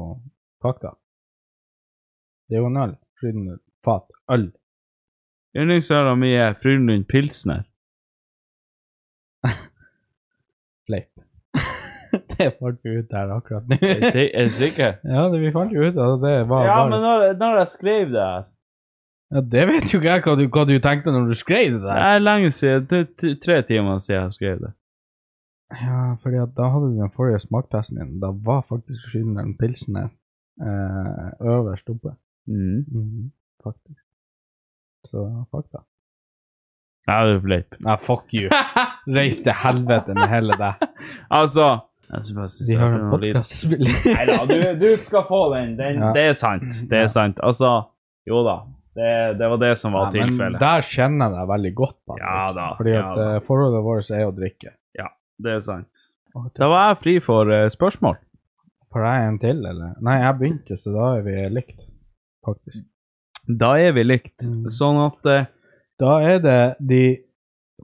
[SPEAKER 2] fakta. Det er jo en øl. Fryden Fat Øl.
[SPEAKER 1] Yndlingsøla mi er Frydenlund Pilsner.
[SPEAKER 2] Fleip. det falt jo ut der akkurat nå.
[SPEAKER 1] Er du si- er du sikker?
[SPEAKER 2] ja, det, vi falt jo ut av det. Var,
[SPEAKER 1] Ja,
[SPEAKER 2] var-
[SPEAKER 1] men når, når jeg skrev det her
[SPEAKER 2] ja, det vet jo ikke jeg hva du, hva du tenkte når du skrev det
[SPEAKER 1] Det
[SPEAKER 2] der.
[SPEAKER 1] er lenge siden. Det er t- tre timer siden jeg skrev det.
[SPEAKER 2] Ja, fordi at da hadde du den forrige smaktesten din. Da var faktisk Fryden Pilsen her eh, øverst oppe. Mhm,
[SPEAKER 1] Mm.
[SPEAKER 2] Faktisk. Så fakta.
[SPEAKER 1] Nei, det er fleip.
[SPEAKER 2] Nei, fuck you. Reis til helvete med hele deg.
[SPEAKER 1] Altså jeg skulle bare sånn, synes
[SPEAKER 2] Vi
[SPEAKER 1] jeg
[SPEAKER 2] har
[SPEAKER 1] hadde
[SPEAKER 2] en
[SPEAKER 1] noe lite-
[SPEAKER 2] podkastspiller.
[SPEAKER 1] Nei da, du, du skal få den. den
[SPEAKER 2] Ja.
[SPEAKER 1] Det er sant. Det er
[SPEAKER 2] Ja.
[SPEAKER 1] sant. Altså, jo da. Det, det var det som var
[SPEAKER 2] Ja, men
[SPEAKER 1] tilfellet.
[SPEAKER 2] Der kjenner jeg deg veldig godt, Patrick.
[SPEAKER 1] Ja da,
[SPEAKER 2] Fordi
[SPEAKER 1] ja
[SPEAKER 2] at
[SPEAKER 1] da.
[SPEAKER 2] eh, forholdet vårt er å drikke.
[SPEAKER 1] Det er sant. Da var jeg fri for eh, spørsmål.
[SPEAKER 2] Får jeg en til, eller? Nei, jeg begynte, så da er vi likt, faktisk.
[SPEAKER 1] Da er vi likt.
[SPEAKER 2] Mm.
[SPEAKER 1] Sånn at eh,
[SPEAKER 2] Da er det de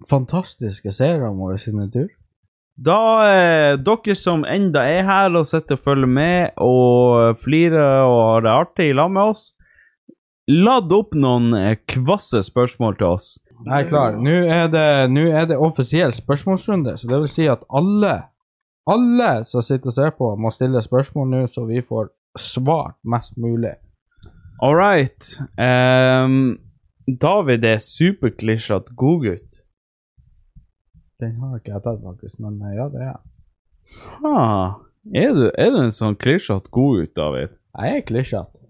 [SPEAKER 2] fantastiske seerne våre sine tur.
[SPEAKER 1] da eh, Dere som enda er her og sitter og følger med og flirer og har det artig i lag med oss, ladd opp noen eh, kvasse spørsmål til oss.
[SPEAKER 2] Jeg er klar. Nå er det, nå er det offisiell spørsmålsrunde, så det vil si at alle, alle som sitter og ser på, må stille spørsmål nå, så vi får svart mest mulig.
[SPEAKER 1] All right. Ehm, David er superklisjete godgutt.
[SPEAKER 2] Den har ikke jeg tatt, faktisk, men eh, ja, det er jeg.
[SPEAKER 1] Ha. Er, du, er du en sånn klisjete godgutt, David?
[SPEAKER 2] Jeg er klisjete.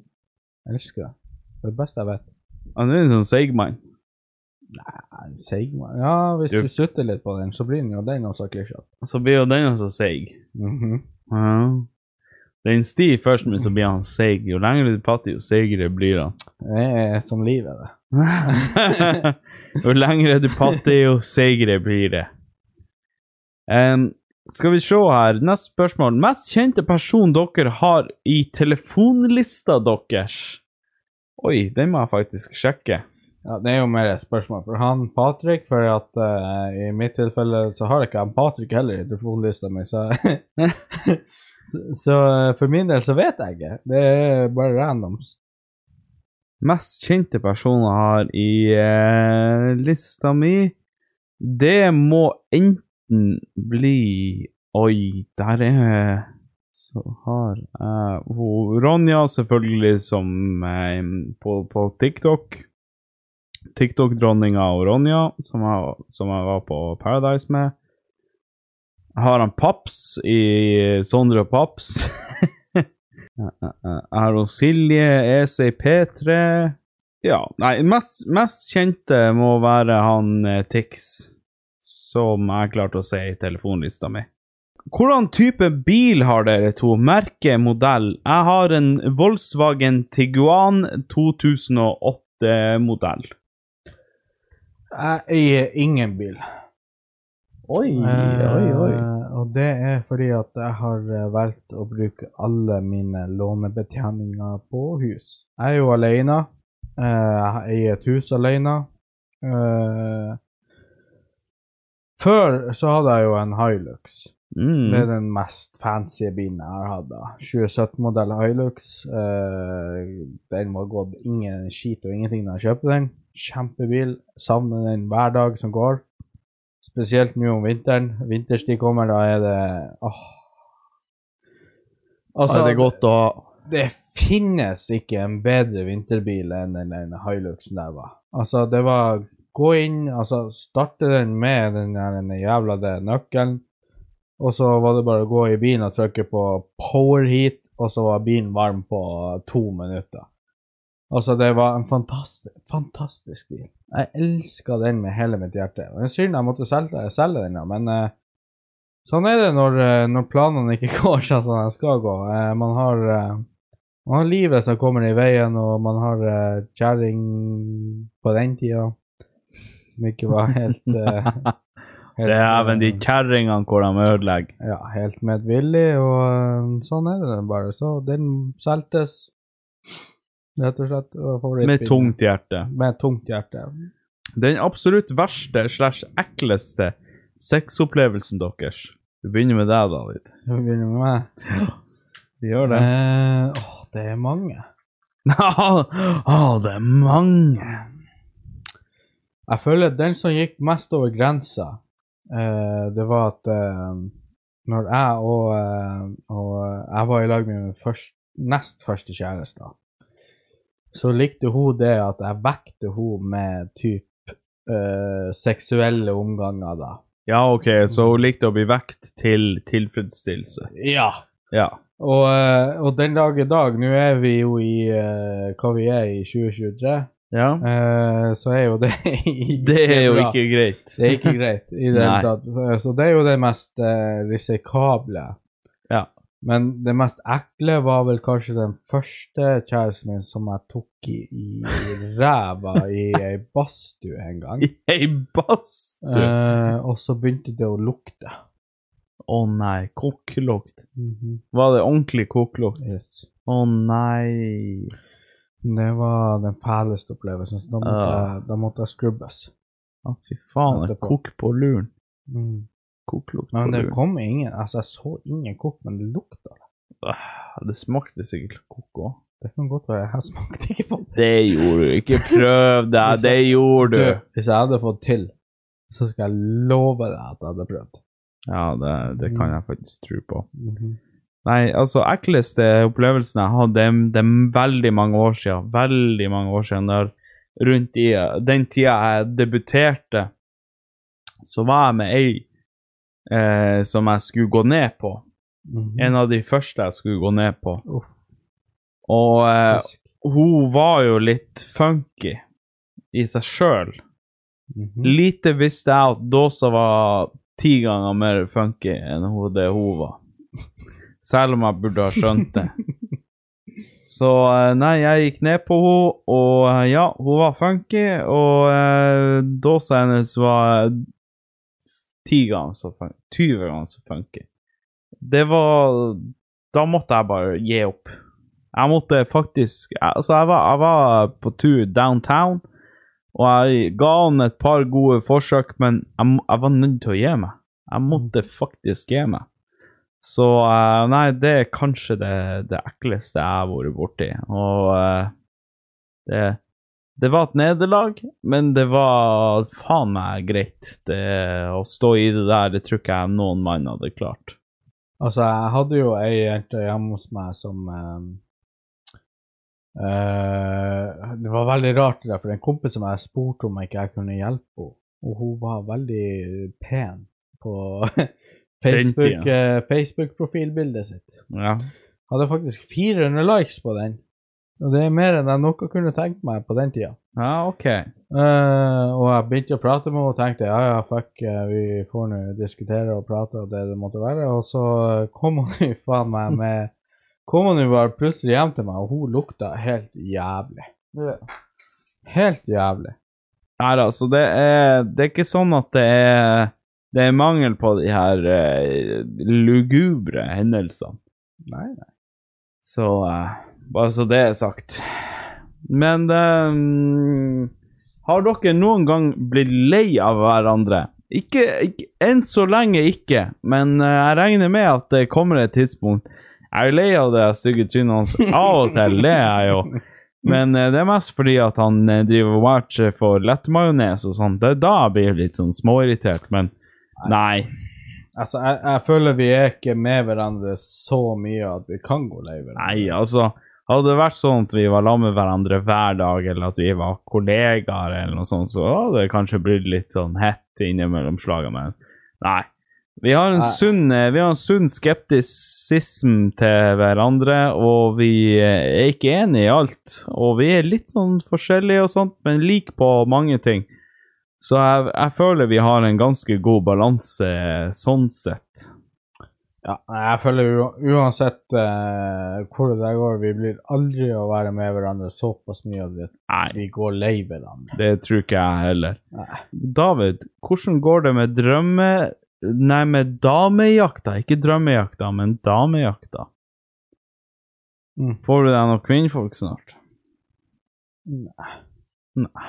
[SPEAKER 2] Elsker det. Det er det beste jeg vet.
[SPEAKER 1] Han er en sånn seigmann.
[SPEAKER 2] Nei, Sigma Ja, hvis
[SPEAKER 1] Du-
[SPEAKER 2] du sutter litt på den, så blir den jo den også klisjete.
[SPEAKER 1] Så blir jo den også seig. Ja. Den stiger først, men så blir han seig. Jo lenger du prater, jo seigere blir han.
[SPEAKER 2] Det er som livet, det.
[SPEAKER 1] jo lengre du patter, jo seigere blir det. Em, skal vi se her. Neste spørsmål. Mest kjente person dere har i telefonlista deres? Oi, den må jeg faktisk sjekke.
[SPEAKER 2] Ja, det er jo mer et spørsmål for han Patrick, for at eh, i mitt tilfelle så har ikke han Patrick heller i telefonlista mi, så Så, så eh, for min del så vet jeg ikke. Det er bare randoms.
[SPEAKER 1] Mest kjente personer har i eh, lista mi Det må enten bli Oi, der er Så har jeg hun Ronja, selvfølgelig, som eh, på, på TikTok. TikTok-dronninga og Ronja, som jeg, som jeg var på Paradise med. Jeg har han Paps i Sondre og Paps. Jeg har hun Silje, E EC P3 Ja, nei, mest, mest kjente må være han eh, Tix, som jeg klarte å se i telefonlista mi. Hvordan type bil har dere to? Merke, modell? Jeg har en Volkswagen Tiguan 2008-modell.
[SPEAKER 2] Jeg eier ingen bil.
[SPEAKER 1] Oi,
[SPEAKER 2] Eh, og det er fordi at jeg har eh, valgt å bruke alle mine lånebetjeninger på hus. Jeg er jo alene. Eh, jeg eier et hus alene. Eh, før så hadde jeg jo en Hilux. Det er
[SPEAKER 1] Mm.
[SPEAKER 2] den mest fancy bilen jeg har hatt. da. 2017-modell Hilux. Eh, den var gått ingen skit og ingenting da jeg kjøpte den. Kjempebil. Savner den hver dag som går. Spesielt nå om vinteren. Vinterstid kommer, da er det åh.
[SPEAKER 1] Altså, det er godt å ha
[SPEAKER 2] Det finnes ikke en bedre vinterbil enn den der Hiluxen der var. Altså, det var gå inn, altså starte den med den, der, den jævla det nøkkelen, og så var det bare å gå i bilen og trykke på power heat, og så var bilen varm på to minutter. Altså, det var en fantastisk, fantastisk bil. Jeg elska den med hele mitt hjerte. Og Det er synd jeg måtte selge, selge den, da, men eh, sånn er det når, eh, når planene ikke går sånn som de skal gå. Eh, man har eh, man har livet som kommer i veien, og man har eh, kjerring på den tida. som ikke var helt, eh, helt
[SPEAKER 1] Dæven, de kjerringene hvor de ødelegger.
[SPEAKER 2] Ja, helt medvillig, og eh, sånn er det bare. Så den selgtes, rett og slett. og favorittbilen-
[SPEAKER 1] Med tungt hjerte.
[SPEAKER 2] Med tungt hjerte.
[SPEAKER 1] Den absolutt verste slash ekleste sexopplevelsen deres. Vi begynner med deg, David.
[SPEAKER 2] Skal vi begynne med meg?
[SPEAKER 1] Vi gjør
[SPEAKER 2] Eh, åh, det er mange.
[SPEAKER 1] det er mange.
[SPEAKER 2] Jeg føler den som gikk mest over grensa, eh, det var at eh, når jeg og, eh, og eh, jeg var i lag med min først, nest første kjæreste, så likte hun det at jeg vekte hun med typ eh, seksuelle omganger da.
[SPEAKER 1] Ja, OK, så hun likte å bli vekt til tilfredsstillelse.
[SPEAKER 2] Ja.
[SPEAKER 1] Ja.
[SPEAKER 2] Og, eh, og den dag i dag, nå er vi jo i eh, hva vi er i 2023,
[SPEAKER 1] ja.
[SPEAKER 2] eh, så er jo det
[SPEAKER 1] Det er jo
[SPEAKER 2] bra.
[SPEAKER 1] ikke greit.
[SPEAKER 2] Det er ikke greit i det
[SPEAKER 1] Nei.
[SPEAKER 2] hele tatt. Så- Så det er jo det mest eh, risikable.
[SPEAKER 1] Ja.
[SPEAKER 2] Men det mest ekle var vel kanskje den første kjæresten min som jeg tok i, i ræva i ei badstue en gang.
[SPEAKER 1] Ei badstue! Å
[SPEAKER 2] Eh, og så begynte det å lukte.
[SPEAKER 1] nei, kokkelukt. Var det ordentlig kokkelukt? Å
[SPEAKER 2] Mhm. Yes.
[SPEAKER 1] nei.
[SPEAKER 2] Det var den fæleste opplevelsen. Så da måtte, jeg, da måtte jeg skrubbes.
[SPEAKER 1] Å, fy faen. det
[SPEAKER 2] Etterpå.
[SPEAKER 1] Kokk på luren. Kokkelukt på
[SPEAKER 2] Mm. Men det
[SPEAKER 1] luren.
[SPEAKER 2] kom ingen Altså, jeg så ingen kokk, men det lukta.
[SPEAKER 1] Ah, Det smakte sikkert kokk òg.
[SPEAKER 2] Det kan godt være jeg smakte ikke på det.
[SPEAKER 1] Det gjorde du. Ikke prøv deg. Det gjorde du.
[SPEAKER 2] Hvis jeg hadde fått til, så skal jeg love deg at jeg hadde prøvd. Mhm.
[SPEAKER 1] Ja, det, det kan jeg faktisk tro på. Nei, altså, ekleste opplevelsen jeg hadde, det- det er veldig mange år siden. Veldig mange år siden. Der, rundt i den tida jeg debuterte, så var jeg med ei eh, som jeg skulle gå ned på.
[SPEAKER 2] Mhm.
[SPEAKER 1] En av de første jeg skulle gå ned på.
[SPEAKER 2] Mm. Uff.
[SPEAKER 1] Og eh,
[SPEAKER 2] Fisk.
[SPEAKER 1] hun var jo litt funky i seg sjøl.
[SPEAKER 2] Mhm.
[SPEAKER 1] Lite visste jeg at Dåsa var ti ganger mer funky enn hun det hun var. Selv om jeg burde ha skjønt det. Så eh, nei, jeg gikk ned på henne, og eh, ja, hun var funky, og eh, dåsa hennes var ti ganger så funky. 20 ganger så funky. Det var Da måtte jeg bare gi opp. Jeg måtte faktisk Altså, jeg var, jeg var på tur downtown. Og jeg ga han et par gode forsøk, men jeg, må- jeg var nødt til å gi meg. Jeg måtte faktisk gi meg. Så eh, nei, det er kanskje det, det ekleste jeg har vært borti. Og eh, det, det var et nederlag, men det var faen meg greit. Det, å stå i det der, det tror ikke jeg noen mann hadde klart.
[SPEAKER 2] Altså, jeg hadde jo ei jente hjemme hos meg som eh, eh, Det var veldig rart, det der, for en kompis som jeg spurte om ikke jeg kunne hjelpe henne, og hun var veldig pen på Facebook, eh, Facebook-profilbildet sitt.
[SPEAKER 1] Ja.
[SPEAKER 2] Hadde faktisk 400 likes på den, og det er mer enn jeg noe kunne tenkt meg på den tida.
[SPEAKER 1] ja, OK.
[SPEAKER 2] Eh, og jeg begynte å prate med henne og tenkte ja, ja, fuck, eh, vi får nå diskutere og prate og det det måtte være. Og så eh, kom hun jo faen meg med Kom hun jo bare plutselig hjem til meg, og hun lukta helt jævlig. Helt jævlig.
[SPEAKER 1] Nei, altså, det er, det er ikke sånn at det er, det er mangel på de her eh, lugubre hendelsene.
[SPEAKER 2] Nei, nei.
[SPEAKER 1] Så eh, bare så det er sagt. Men eh, mm, har dere noen gang blitt lei av hverandre? Ikke, ikke enn så lenge ikke, men eh, jeg regner med at det kommer et tidspunkt. Jeg er jo lei av det stygge trynet hans av og til, det er jeg jo. Men eh, det er mest fordi at han eh, driver og watcher for lettmajones og sånn. Det er da jeg blir litt sånn småirritert, men nei.
[SPEAKER 2] Altså, jeg, jeg føler vi er ikke med hverandre så mye at vi kan gå lei hverandre.
[SPEAKER 1] Nei, altså Hadde det vært sånn at vi var sammen med hverandre hver dag, eller at vi var kollegaer, eller noe sånt, så hadde det kanskje blitt litt sånn hett innimellom slagene, men nei. Vi har en
[SPEAKER 2] Nei.
[SPEAKER 1] sunn, eh, vi har en sunn skeptisism til hverandre, og vi eh, er ikke enige i alt. Og vi er litt sånn forskjellige og sånt, men like på mange ting. Så jeg, jeg føler vi har en ganske god balanse eh, sånn sett.
[SPEAKER 2] Ja, nei, jeg føler jo, uansett eh, hvor det der går, vi blir aldri å være med hverandre såpass mye at vi-
[SPEAKER 1] Nei.
[SPEAKER 2] vi går lei hverandre.
[SPEAKER 1] Det tror ikke jeg heller. David, hvordan går det med drømme... Nei, med damejakta. Ikke drømmejakta, men damejakta.
[SPEAKER 2] Mm.
[SPEAKER 1] Får du deg noen kvinnfolk snart?
[SPEAKER 2] Nei,
[SPEAKER 1] Nei.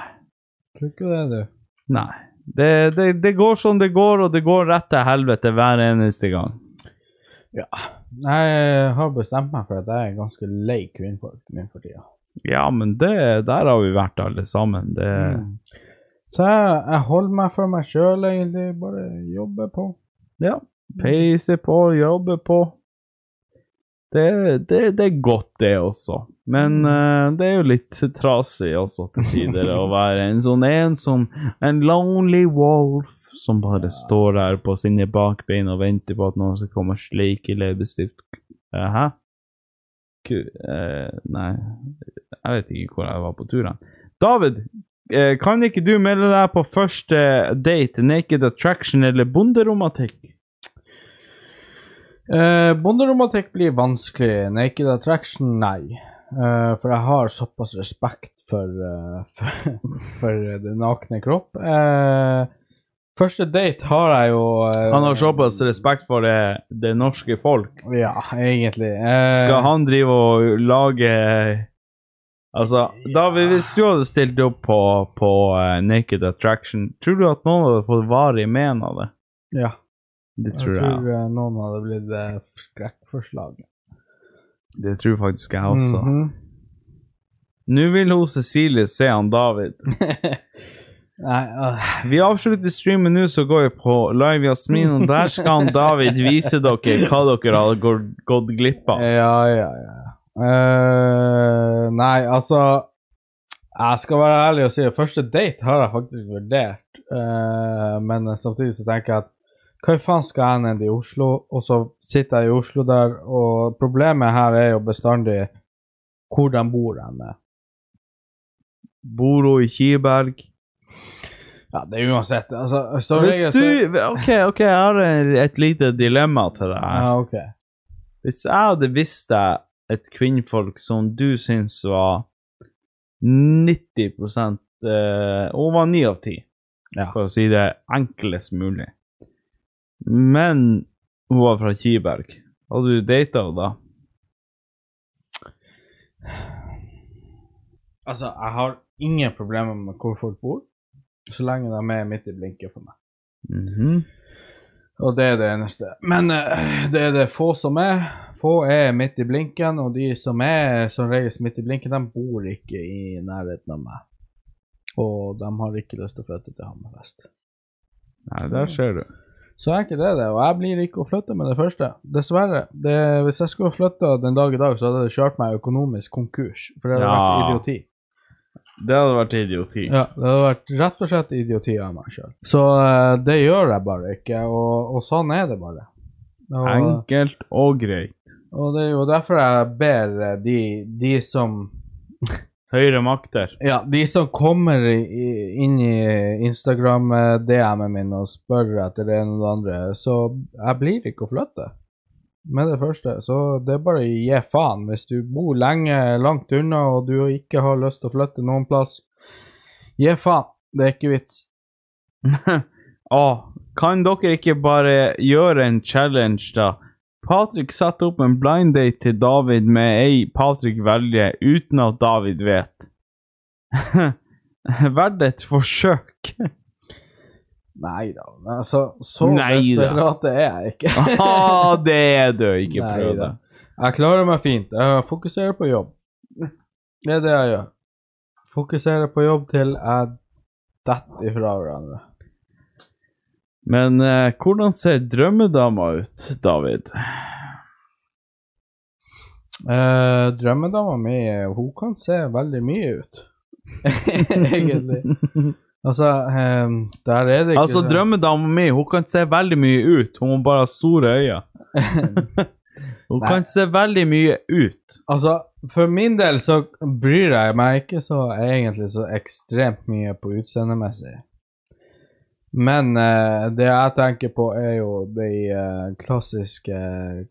[SPEAKER 2] tror ikke det, du.
[SPEAKER 1] Nei. Det, det, det går som det går, og det går rett til helvete hver eneste gang.
[SPEAKER 2] Nei, jeg har bestemt meg for at jeg er ganske lei kvinnfolk min for tida.
[SPEAKER 1] Ja, men det, der har vi vært alle sammen. Det,
[SPEAKER 2] Mm. Så jeg, jeg holder meg for meg sjøl, egentlig. Bare jobber på.
[SPEAKER 1] Ja. Peise på, jobbe på. Det, det, det er godt, det også. Men eh, det er jo litt trasig også til tider å være en sånn ensom, en lonely wolf som bare står der på sine bakbein og venter på at noen skal komme og sleike leppestift Eh, Hæ? Ku... eh, nei, jeg vet ikke hvor jeg var på tur. hen. David, eh, kan ikke du melde deg på første date, naked attraction eller bonderomantikk?
[SPEAKER 2] Eh, Bonderomantikk blir vanskelig. Naked attraction, nei. Eh, for jeg har såpass respekt for, eh, for, for den nakne kropp. Eh, første date har jeg jo eh,
[SPEAKER 1] Han har såpass respekt for det, det norske folk.
[SPEAKER 2] Ja, egentlig. Eh,
[SPEAKER 1] Skal han drive og lage Altså, David, hvis du hadde stilt opp på, på eh, Naked Attraction, tror du at noen hadde fått varig men av det?
[SPEAKER 2] Ja.
[SPEAKER 1] Det
[SPEAKER 2] Jeg
[SPEAKER 1] tror
[SPEAKER 2] tror,
[SPEAKER 1] jeg.
[SPEAKER 2] eh, noen hadde blitt eh, skrekkforslag.
[SPEAKER 1] Det tror faktisk jeg også.
[SPEAKER 2] Mhm.
[SPEAKER 1] Nå vil hun Cecilie se han David.
[SPEAKER 2] Nei, øh.
[SPEAKER 1] Vi avslutter streamen nå, så går vi på Live Jasmin, og der skal han David vise dere hva dere har gått- gått glipp av.
[SPEAKER 2] Ja, ja, ja. Eh, nei, altså Jeg skal være ærlig og si at første date har jeg faktisk vurdert. eh, men samtidig så tenker jeg at hva i faen skal jeg ned i Oslo? Og så sitter jeg i Oslo der, og problemet her er jo bestandig hvor de bor henne.
[SPEAKER 1] Bor hun i Kiberg?
[SPEAKER 2] Ja, det er uansett. Altså, som regel
[SPEAKER 1] Hvis
[SPEAKER 2] så-
[SPEAKER 1] du OK, ok, jeg har en- et lite dilemma til deg. her.
[SPEAKER 2] Ja, ok.
[SPEAKER 1] Hvis jeg hadde visst deg et kvinnfolk som du syns var 90 eh, Hun var 9 av 10,
[SPEAKER 2] Ja.
[SPEAKER 1] for å si det enklest mulig. Men hun var fra Kiberg. Hadde du data henne da?
[SPEAKER 2] Altså, jeg har ingen problemer med hvor folk bor, så lenge de er midt i blinken for meg.
[SPEAKER 1] Mhm.
[SPEAKER 2] Og det er det eneste. Men eh, det er det få som er. Få er midt i blinken, og de som er som regel midt i blinken, de bor ikke i nærheten av meg. Og de har ikke lyst til å flytte til Hammerfest.
[SPEAKER 1] Nei, der ser du.
[SPEAKER 2] Så er ikke det det, og jeg blir ikke å flytte med det første. Dessverre. Det, hvis jeg skulle flytta den dag i dag, så hadde det kjørt meg økonomisk konkurs. For det hadde vært
[SPEAKER 1] Ja.
[SPEAKER 2] idioti.
[SPEAKER 1] Det hadde vært idioti.
[SPEAKER 2] Ja, det hadde vært rett og slett idioti av meg sjøl. Så eh, det gjør jeg bare ikke, og, og sånn er det bare. Og,
[SPEAKER 1] Enkelt og greit.
[SPEAKER 2] Og det er jo derfor jeg ber eh, de, de som
[SPEAKER 1] Høyre makter.
[SPEAKER 2] Ja, de som kommer i, i- inn i Instagram-DM-en min og spør etter det ene og det andre, så jeg blir ikke å flytte med det første. Så det er bare å gi faen. Hvis du bor lenge, langt unna, og du ikke har lyst til å flytte noen plass, gi faen. Det er ikke vits.
[SPEAKER 1] Åh, kan dere ikke bare gjøre en challenge, da? Patrick setter opp en blind date til David med ei Patrick velger, uten at David vet. Verd et forsøk.
[SPEAKER 2] Nei da. Altså, så
[SPEAKER 1] Neida.
[SPEAKER 2] desperat er jeg ikke.
[SPEAKER 1] Ah, det er du! Ikke
[SPEAKER 2] Nei
[SPEAKER 1] prøv det.
[SPEAKER 2] da. Jeg klarer meg fint. Jeg fokuserer på jobb. Det er det jeg gjør. Fokuserer på jobb til jeg detter ifra hverandre.
[SPEAKER 1] Men eh, hvordan ser drømmedama ut, David?
[SPEAKER 2] Uh, drømmedama mi hun kan se veldig mye ut. Egentlig. Altså, eh, der er det ikke
[SPEAKER 1] Altså,
[SPEAKER 2] sånn-
[SPEAKER 1] drømmedama mi, hun kan se veldig mye ut. Hun må bare ha store øyne. Hun
[SPEAKER 2] Nei.
[SPEAKER 1] kan se veldig mye ut.
[SPEAKER 2] Altså, for min del så bryr jeg meg ikke så egentlig så ekstremt mye på utseendemessig. Men eh, det jeg tenker på, er jo de eh, klassiske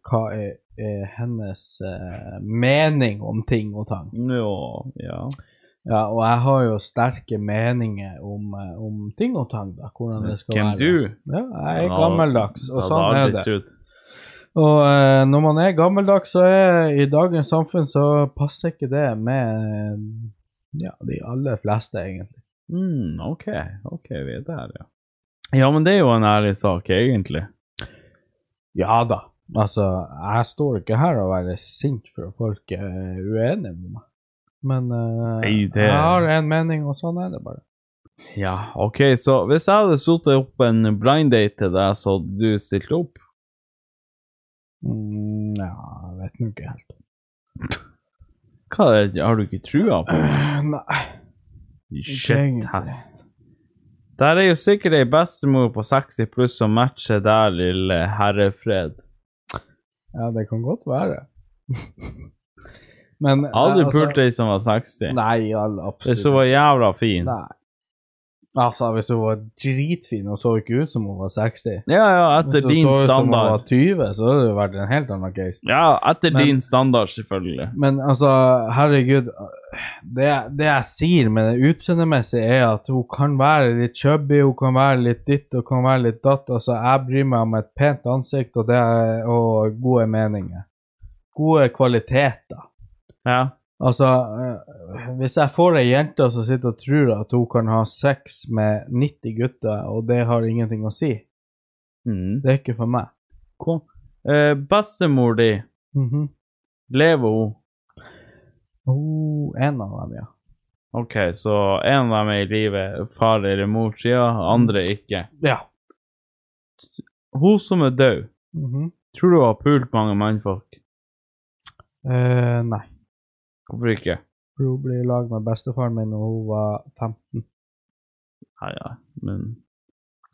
[SPEAKER 2] Hva er, er hennes eh, mening om ting og tang?
[SPEAKER 1] Jo, ja.
[SPEAKER 2] Ja, og jeg har jo sterke meninger om, eh, om ting og tang, da. Hvordan det skal
[SPEAKER 1] Hvem
[SPEAKER 2] være.
[SPEAKER 1] du?
[SPEAKER 2] Ja, jeg er gammeldags, og
[SPEAKER 1] Ja,
[SPEAKER 2] sånn er det.
[SPEAKER 1] arbeidsut.
[SPEAKER 2] Og eh, når man er gammeldags, så er i dagens samfunn, så passer ikke det med eh, ja, de aller fleste, egentlig.
[SPEAKER 1] Mm, ok, ok, vi er der, ja. Ja, men det er jo en ærlig sak, egentlig.
[SPEAKER 2] Ja da. Altså, jeg står ikke her og er sint for at folk er uenige med meg. Men eh,
[SPEAKER 1] Nei, det-
[SPEAKER 2] jeg har en mening, og sånn er det bare.
[SPEAKER 1] Ja, ok, så hvis jeg hadde satt opp en blind date til deg, så hadde du stilt opp?
[SPEAKER 2] Mm, ja, jeg vet nå ikke helt.
[SPEAKER 1] Hva er det, har du ikke trua på?
[SPEAKER 2] Nei. egentlig.
[SPEAKER 1] Shit-hest. Der er jo sikkert ei bestemor på 60 pluss som matcher deg, lille herrefred.
[SPEAKER 2] Ja, det kan godt være. Men
[SPEAKER 1] Hadde
[SPEAKER 2] eh,
[SPEAKER 1] du pult ei som var 60?
[SPEAKER 2] Nei, all- absolutt
[SPEAKER 1] Hvis hun var jævla fin?
[SPEAKER 2] Nei. Altså, hvis hun var dritfin og så ikke ut som hun var 60
[SPEAKER 1] Ja, ja,
[SPEAKER 2] Hvis
[SPEAKER 1] etter
[SPEAKER 2] hun
[SPEAKER 1] din
[SPEAKER 2] så ut som hun var
[SPEAKER 1] standard.
[SPEAKER 2] 20, så hadde det jo vært en helt annen case.
[SPEAKER 1] Ja, etter
[SPEAKER 2] Men-
[SPEAKER 1] din standard, selvfølgelig.
[SPEAKER 2] Men altså, herregud Det, det jeg sier med det utseendemessige, er at hun kan være litt chubby, hun kan være litt ditt og kan være litt datt. Altså, jeg bryr meg om et pent ansikt og, det, og gode meninger. Gode kvaliteter.
[SPEAKER 1] Ja.
[SPEAKER 2] Altså, eh, hvis jeg får ei jente som sitter og tror at hun kan ha sex med 90 gutter, og det har ingenting å si,
[SPEAKER 1] Mm.
[SPEAKER 2] det er ikke for meg.
[SPEAKER 1] Kom. Eh, bestemor di,
[SPEAKER 2] Mhm.
[SPEAKER 1] lever hun?
[SPEAKER 2] oh, en av dem, ja.
[SPEAKER 1] Ok, så en av dem er i live, far eller mor sida, andre
[SPEAKER 2] Mm.
[SPEAKER 1] ikke.
[SPEAKER 2] Ja.
[SPEAKER 1] Hun som er død,
[SPEAKER 2] Mhm.
[SPEAKER 1] tror du hun har pult mange mannfolk?
[SPEAKER 2] Eh, nei.
[SPEAKER 1] Hvorfor ikke?
[SPEAKER 2] For Hun ble i lag med bestefaren min da hun var 15.
[SPEAKER 1] Ja, ja, men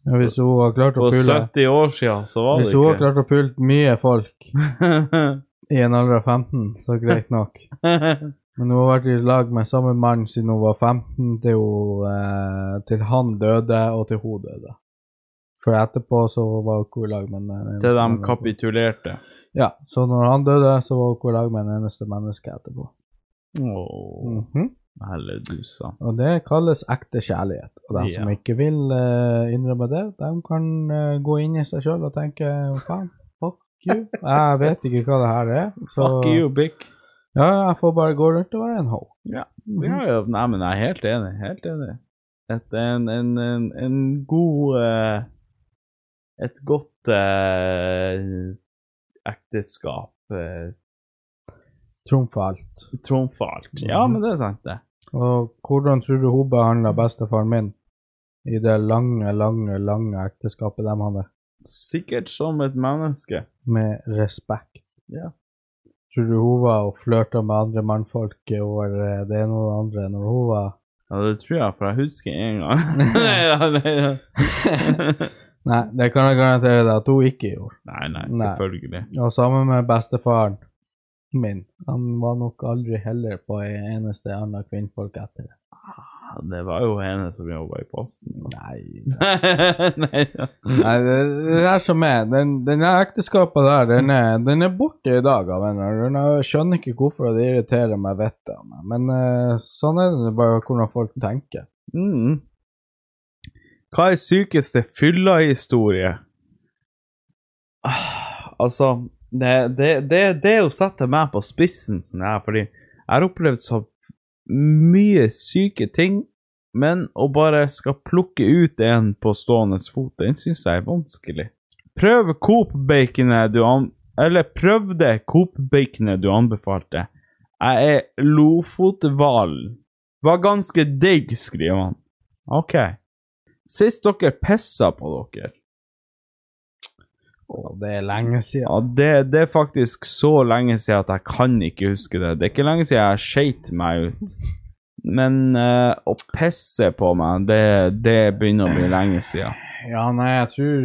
[SPEAKER 2] Ja, Hvis hun har klart å
[SPEAKER 1] For
[SPEAKER 2] pule
[SPEAKER 1] 70 år siden så var det
[SPEAKER 2] Hvis hun har
[SPEAKER 1] ikke
[SPEAKER 2] klart å pule mye folk i en alder av 15, så greit nok. Men hun har vært i lag med samme mann siden hun var 15, til, hun, eh, til han døde, og til hun døde. For etterpå så var hun ikke i lag med en eneste
[SPEAKER 1] Til de
[SPEAKER 2] menneske.
[SPEAKER 1] kapitulerte.
[SPEAKER 2] Ja, så når han døde, så var hun ikke i lag med en eneste menneske etterpå.
[SPEAKER 1] Åh,
[SPEAKER 2] Mhm.
[SPEAKER 1] helle du sa.
[SPEAKER 2] Og det kalles ekte kjærlighet. Og de
[SPEAKER 1] Ja.
[SPEAKER 2] som ikke vil eh, innrømme det, de kan eh, gå inn i seg sjøl og tenke faen, fuck you. Jeg vet ikke hva det her er. Så,
[SPEAKER 1] Fuck you, Bick.
[SPEAKER 2] Ja, jeg får bare gå rundt og være en ho.
[SPEAKER 1] Ja.
[SPEAKER 2] Mhm.
[SPEAKER 1] Mm. Ja, ja, nei, men jeg er helt enig. Helt enig. Et, en, en, en, en god eh, Et godt eh, ekteskap eh,
[SPEAKER 2] Trumfer alt.
[SPEAKER 1] trumfer alt. Ja, men det er sant, det.
[SPEAKER 2] Og hvordan tror du hun behandla bestefaren min i det lange, lange, lange ekteskapet de hadde?
[SPEAKER 1] Sikkert som et menneske.
[SPEAKER 2] Med respekt.
[SPEAKER 1] Ja.
[SPEAKER 2] Tror du hun var og flørta med andre mannfolk over eh, det ene og det andre når hun var
[SPEAKER 1] Ja, det tror jeg, for jeg husker en gang. ja, nei, ja.
[SPEAKER 2] Nei, det kan jeg garantere deg at hun ikke gjorde.
[SPEAKER 1] nei, nei,
[SPEAKER 2] Nei.
[SPEAKER 1] selvfølgelig.
[SPEAKER 2] Og sammen med bestefaren min. Han var nok aldri heller på ei eneste anna kvinnfolk etter det.
[SPEAKER 1] Ja, Ah, Det var jo henne som jobba i Posten.
[SPEAKER 2] Nei.
[SPEAKER 1] nei, ja.
[SPEAKER 2] Nei, det, det er som er. Den, den der ekteskapet der, den er, den er borte i dag. av en eller annen grunn. Jeg skjønner ikke hvorfor og det irriterer meg vettet av meg. Men eh, sånn er det bare hvordan folk tenker.
[SPEAKER 1] Mm. Hva er sykeste fylla-historie? Ah, Altså, det, det, det, det er å sette meg på spissen sånn her, fordi jeg har opplevd så mye syke ting, men å bare skal plukke ut en på stående fot, den syns jeg er vanskelig. Prøv Coop-baconet du an... Eller prøvde Coop-baconet du anbefalte. Jeg er Lofothvalen. Var ganske digg, skriver han. Ok. Sist dere pissa på dere.
[SPEAKER 2] Og det er lenge siden.
[SPEAKER 1] Ja, det, det er faktisk så lenge siden at jeg kan ikke huske det. Det er ikke lenge siden jeg skeit meg ut. Men eh, å pisse på meg, det, det begynner å bli lenge siden.
[SPEAKER 2] Ja, nei, jeg tror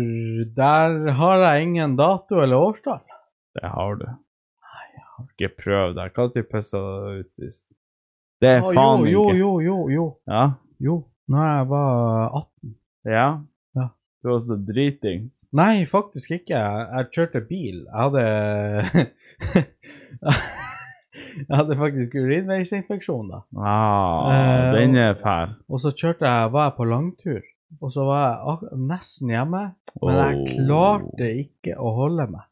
[SPEAKER 2] Der har jeg ingen dato eller årstall.
[SPEAKER 1] Det har du. Nei, jeg har ikke prøvd det. Hva type pissa du ut sist? Det er
[SPEAKER 2] Å,
[SPEAKER 1] faen
[SPEAKER 2] jo, jo,
[SPEAKER 1] ikke.
[SPEAKER 2] jo, jo, jo.
[SPEAKER 1] Ja?
[SPEAKER 2] Jo, når jeg var 18.
[SPEAKER 1] Ja?
[SPEAKER 2] Ja.
[SPEAKER 1] Du var så dritings.
[SPEAKER 2] Nei, faktisk ikke. Jeg jeg kjørte bil. Jeg hadde Jeg hadde faktisk urinveisinfeksjon, da.
[SPEAKER 1] Ah,
[SPEAKER 2] Eh,
[SPEAKER 1] den er fæl.
[SPEAKER 2] Og så kjørte jeg, var jeg på langtur, og så var jeg ak- nesten hjemme, men jeg
[SPEAKER 1] Åh.
[SPEAKER 2] klarte ikke å holde meg.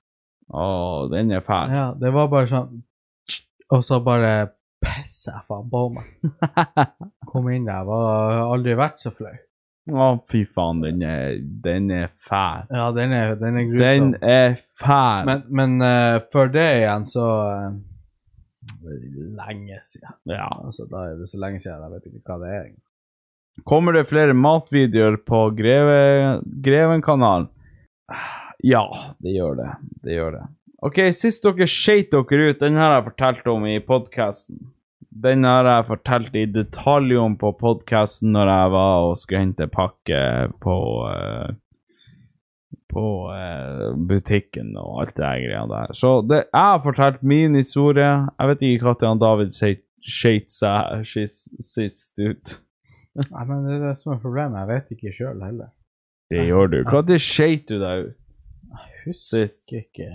[SPEAKER 1] Åh, den er fæl.
[SPEAKER 2] Ja, det var bare sånn Og så bare pisser jeg faen på meg. Kom inn der, var aldri vært så flau.
[SPEAKER 1] Å, fy faen, den er, den er fæl.
[SPEAKER 2] Ja, den er, den er grusom.
[SPEAKER 1] Den er fæl.
[SPEAKER 2] Men, men eh, før det igjen, så eh, Lenge siden.
[SPEAKER 1] ja.
[SPEAKER 2] Altså, da er det så lenge siden, jeg vet ikke hva det er.
[SPEAKER 1] Kommer det flere matvideoer på Greve, Greven-kanalen? Ja, det gjør det. Det gjør det. OK, sist dere skeit dere ut, den har jeg fortalt om i podkasten. Den har jeg fortalt i detalj om på podkasten når jeg var og skulle hente pakke på eh, på eh, butikken og alt det her greia der. Så det, jeg har fortalt min historie. Jeg vet ikke når han David skeit- skeit seg sist, sist ut.
[SPEAKER 2] Nei, men det er det som er problemet. Jeg vet ikke sjøl heller.
[SPEAKER 1] Det gjør du. Når skeit du deg ut?
[SPEAKER 2] Jeg husker ikke.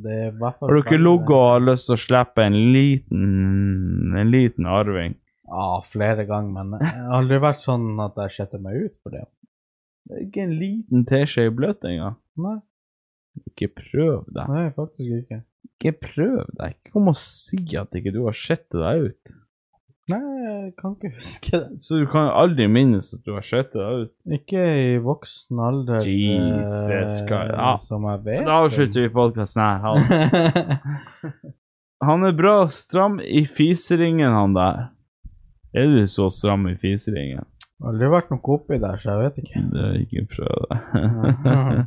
[SPEAKER 2] Det er i hvert fall
[SPEAKER 1] Har du ikke ligget og har lyst til å slippe en liten en liten arving?
[SPEAKER 2] Ja, flere ganger, men jeg har aldri vært sånn at jeg setter meg ut for det.
[SPEAKER 1] Det er ikke en liten teskje i bløt engang.
[SPEAKER 2] Nei.
[SPEAKER 1] Ikke prøv deg.
[SPEAKER 2] Nei, faktisk ikke.
[SPEAKER 1] Ikke prøv deg. Ikke kom og si at ikke du har sett deg ut.
[SPEAKER 2] Nei, jeg kan ikke huske det.
[SPEAKER 1] Så du kan aldri minnes at du har sett deg ut.
[SPEAKER 2] Ikke i voksen alder
[SPEAKER 1] Jesus
[SPEAKER 2] eh,
[SPEAKER 1] Christ. Ja.
[SPEAKER 2] som jeg vet.
[SPEAKER 1] Da avslutter vi podkasten her. Ha det. Han er bra stram i fiseringen, han der. Er du så stram i fiseringen?
[SPEAKER 2] Aldri vært noe oppi der, så jeg vet ikke.
[SPEAKER 1] Det er ikke prøv det.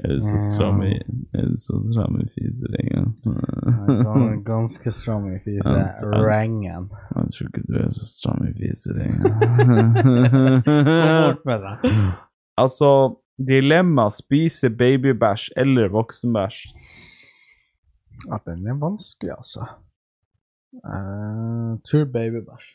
[SPEAKER 1] Er du så stram i Er du så stram i fiseringen?
[SPEAKER 2] Jeg kan Ganske stram i fise.
[SPEAKER 1] Ja, det er-
[SPEAKER 2] Rangen.
[SPEAKER 1] Jeg tror ikke du er så stram i fiseringen.
[SPEAKER 2] Bort med deg.
[SPEAKER 1] altså, dilemma spise babybæsj eller voksenbæsj.
[SPEAKER 2] Ja, den er vanskelig, altså. Uh, tror babybæsj.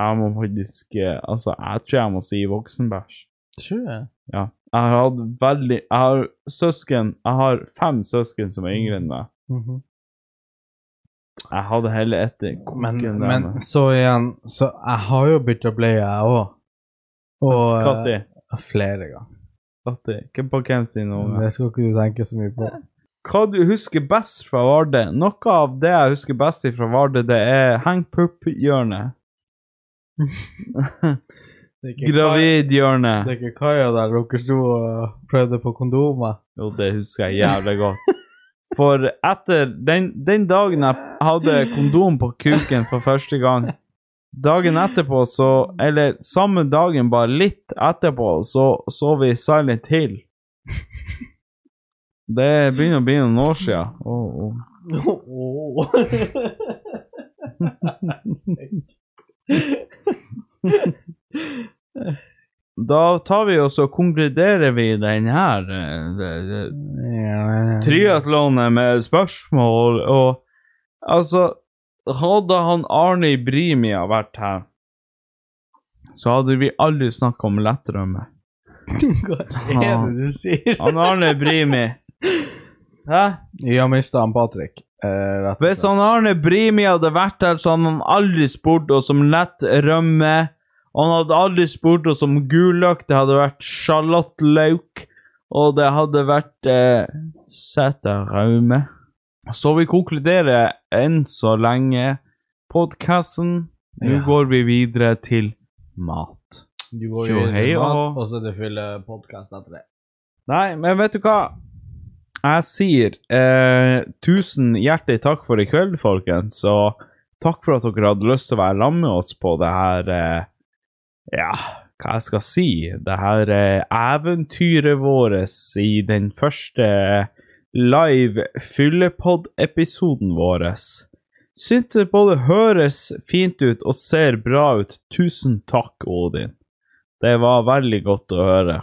[SPEAKER 1] Jeg må faktisk eh, Altså, jeg tror jeg må si voksenbæsj.
[SPEAKER 2] Tror jeg.
[SPEAKER 1] Ja. Jeg har hatt veldig Jeg har søsken Jeg har fem søsken som er yngre enn meg.
[SPEAKER 2] Mhm.
[SPEAKER 1] Jeg hadde heller etter
[SPEAKER 2] men,
[SPEAKER 1] kokken der
[SPEAKER 2] men
[SPEAKER 1] med-
[SPEAKER 2] så igjen, så jeg har jo bytta bleie, jeg òg. Og
[SPEAKER 1] Katti.
[SPEAKER 2] eh, flere ganger.
[SPEAKER 1] Katti. Hvem på hvem sin unge?
[SPEAKER 2] Det skal ikke du tenke så mye på.
[SPEAKER 1] Hva du husker best fra Vardø? Noe av det jeg husker best fra Vardø, det er hengpupp-hjørnet.
[SPEAKER 2] Det er ikke Kai-
[SPEAKER 1] Gravid-hjørnet.
[SPEAKER 2] Det er ikke Kaja der dere sto og prøvde på kondomer.
[SPEAKER 1] Jo, det husker jeg jævlig godt. For etter den, den dagen jeg hadde kondom på kuken for første gang Dagen etterpå så Eller samme dagen, bare litt etterpå, så så vi Silent Hill. Det begynner å bli noen år siden. Åh, åh.
[SPEAKER 2] Oh.
[SPEAKER 1] Da tar vi og så konkluderer vi den her eh, det- det- triatlonet med spørsmål og Altså, hadde han Arne i Brimia vært her, så hadde vi aldri snakka om lettrømme.
[SPEAKER 2] Hva er det du sier?
[SPEAKER 1] Han Arne Brimi Hæ?
[SPEAKER 2] Vi har mista han Patrick. eh, rett og
[SPEAKER 1] Hvis
[SPEAKER 2] slett.
[SPEAKER 1] han Arne Brimi hadde vært her, så hadde han aldri spurt oss om lett rømme. Og han hadde aldri spurt oss om gulløk. Det hadde vært sjalottløk. Og det hadde vært eh, seteraume. Så vi konkluderer enn så lenge podkasten. Nå
[SPEAKER 2] Ja.
[SPEAKER 1] går vi videre til mat.
[SPEAKER 2] Du går
[SPEAKER 1] Jo,
[SPEAKER 2] jo inn
[SPEAKER 1] hei,
[SPEAKER 2] i
[SPEAKER 1] og-
[SPEAKER 2] mat, og så er det fyller podkast etter det.
[SPEAKER 1] Nei, men vet du hva? Jeg sier eh, tusen hjertelig takk for i kveld, folkens. Og takk for at dere hadde lyst til å være sammen med oss på det her eh, Ja, hva jeg skal si? Det her eh, eventyret vårt i den første live fyllepod-episoden vår. Syns det både høres fint ut og ser bra ut. Tusen takk, Odin. Det var veldig godt å høre.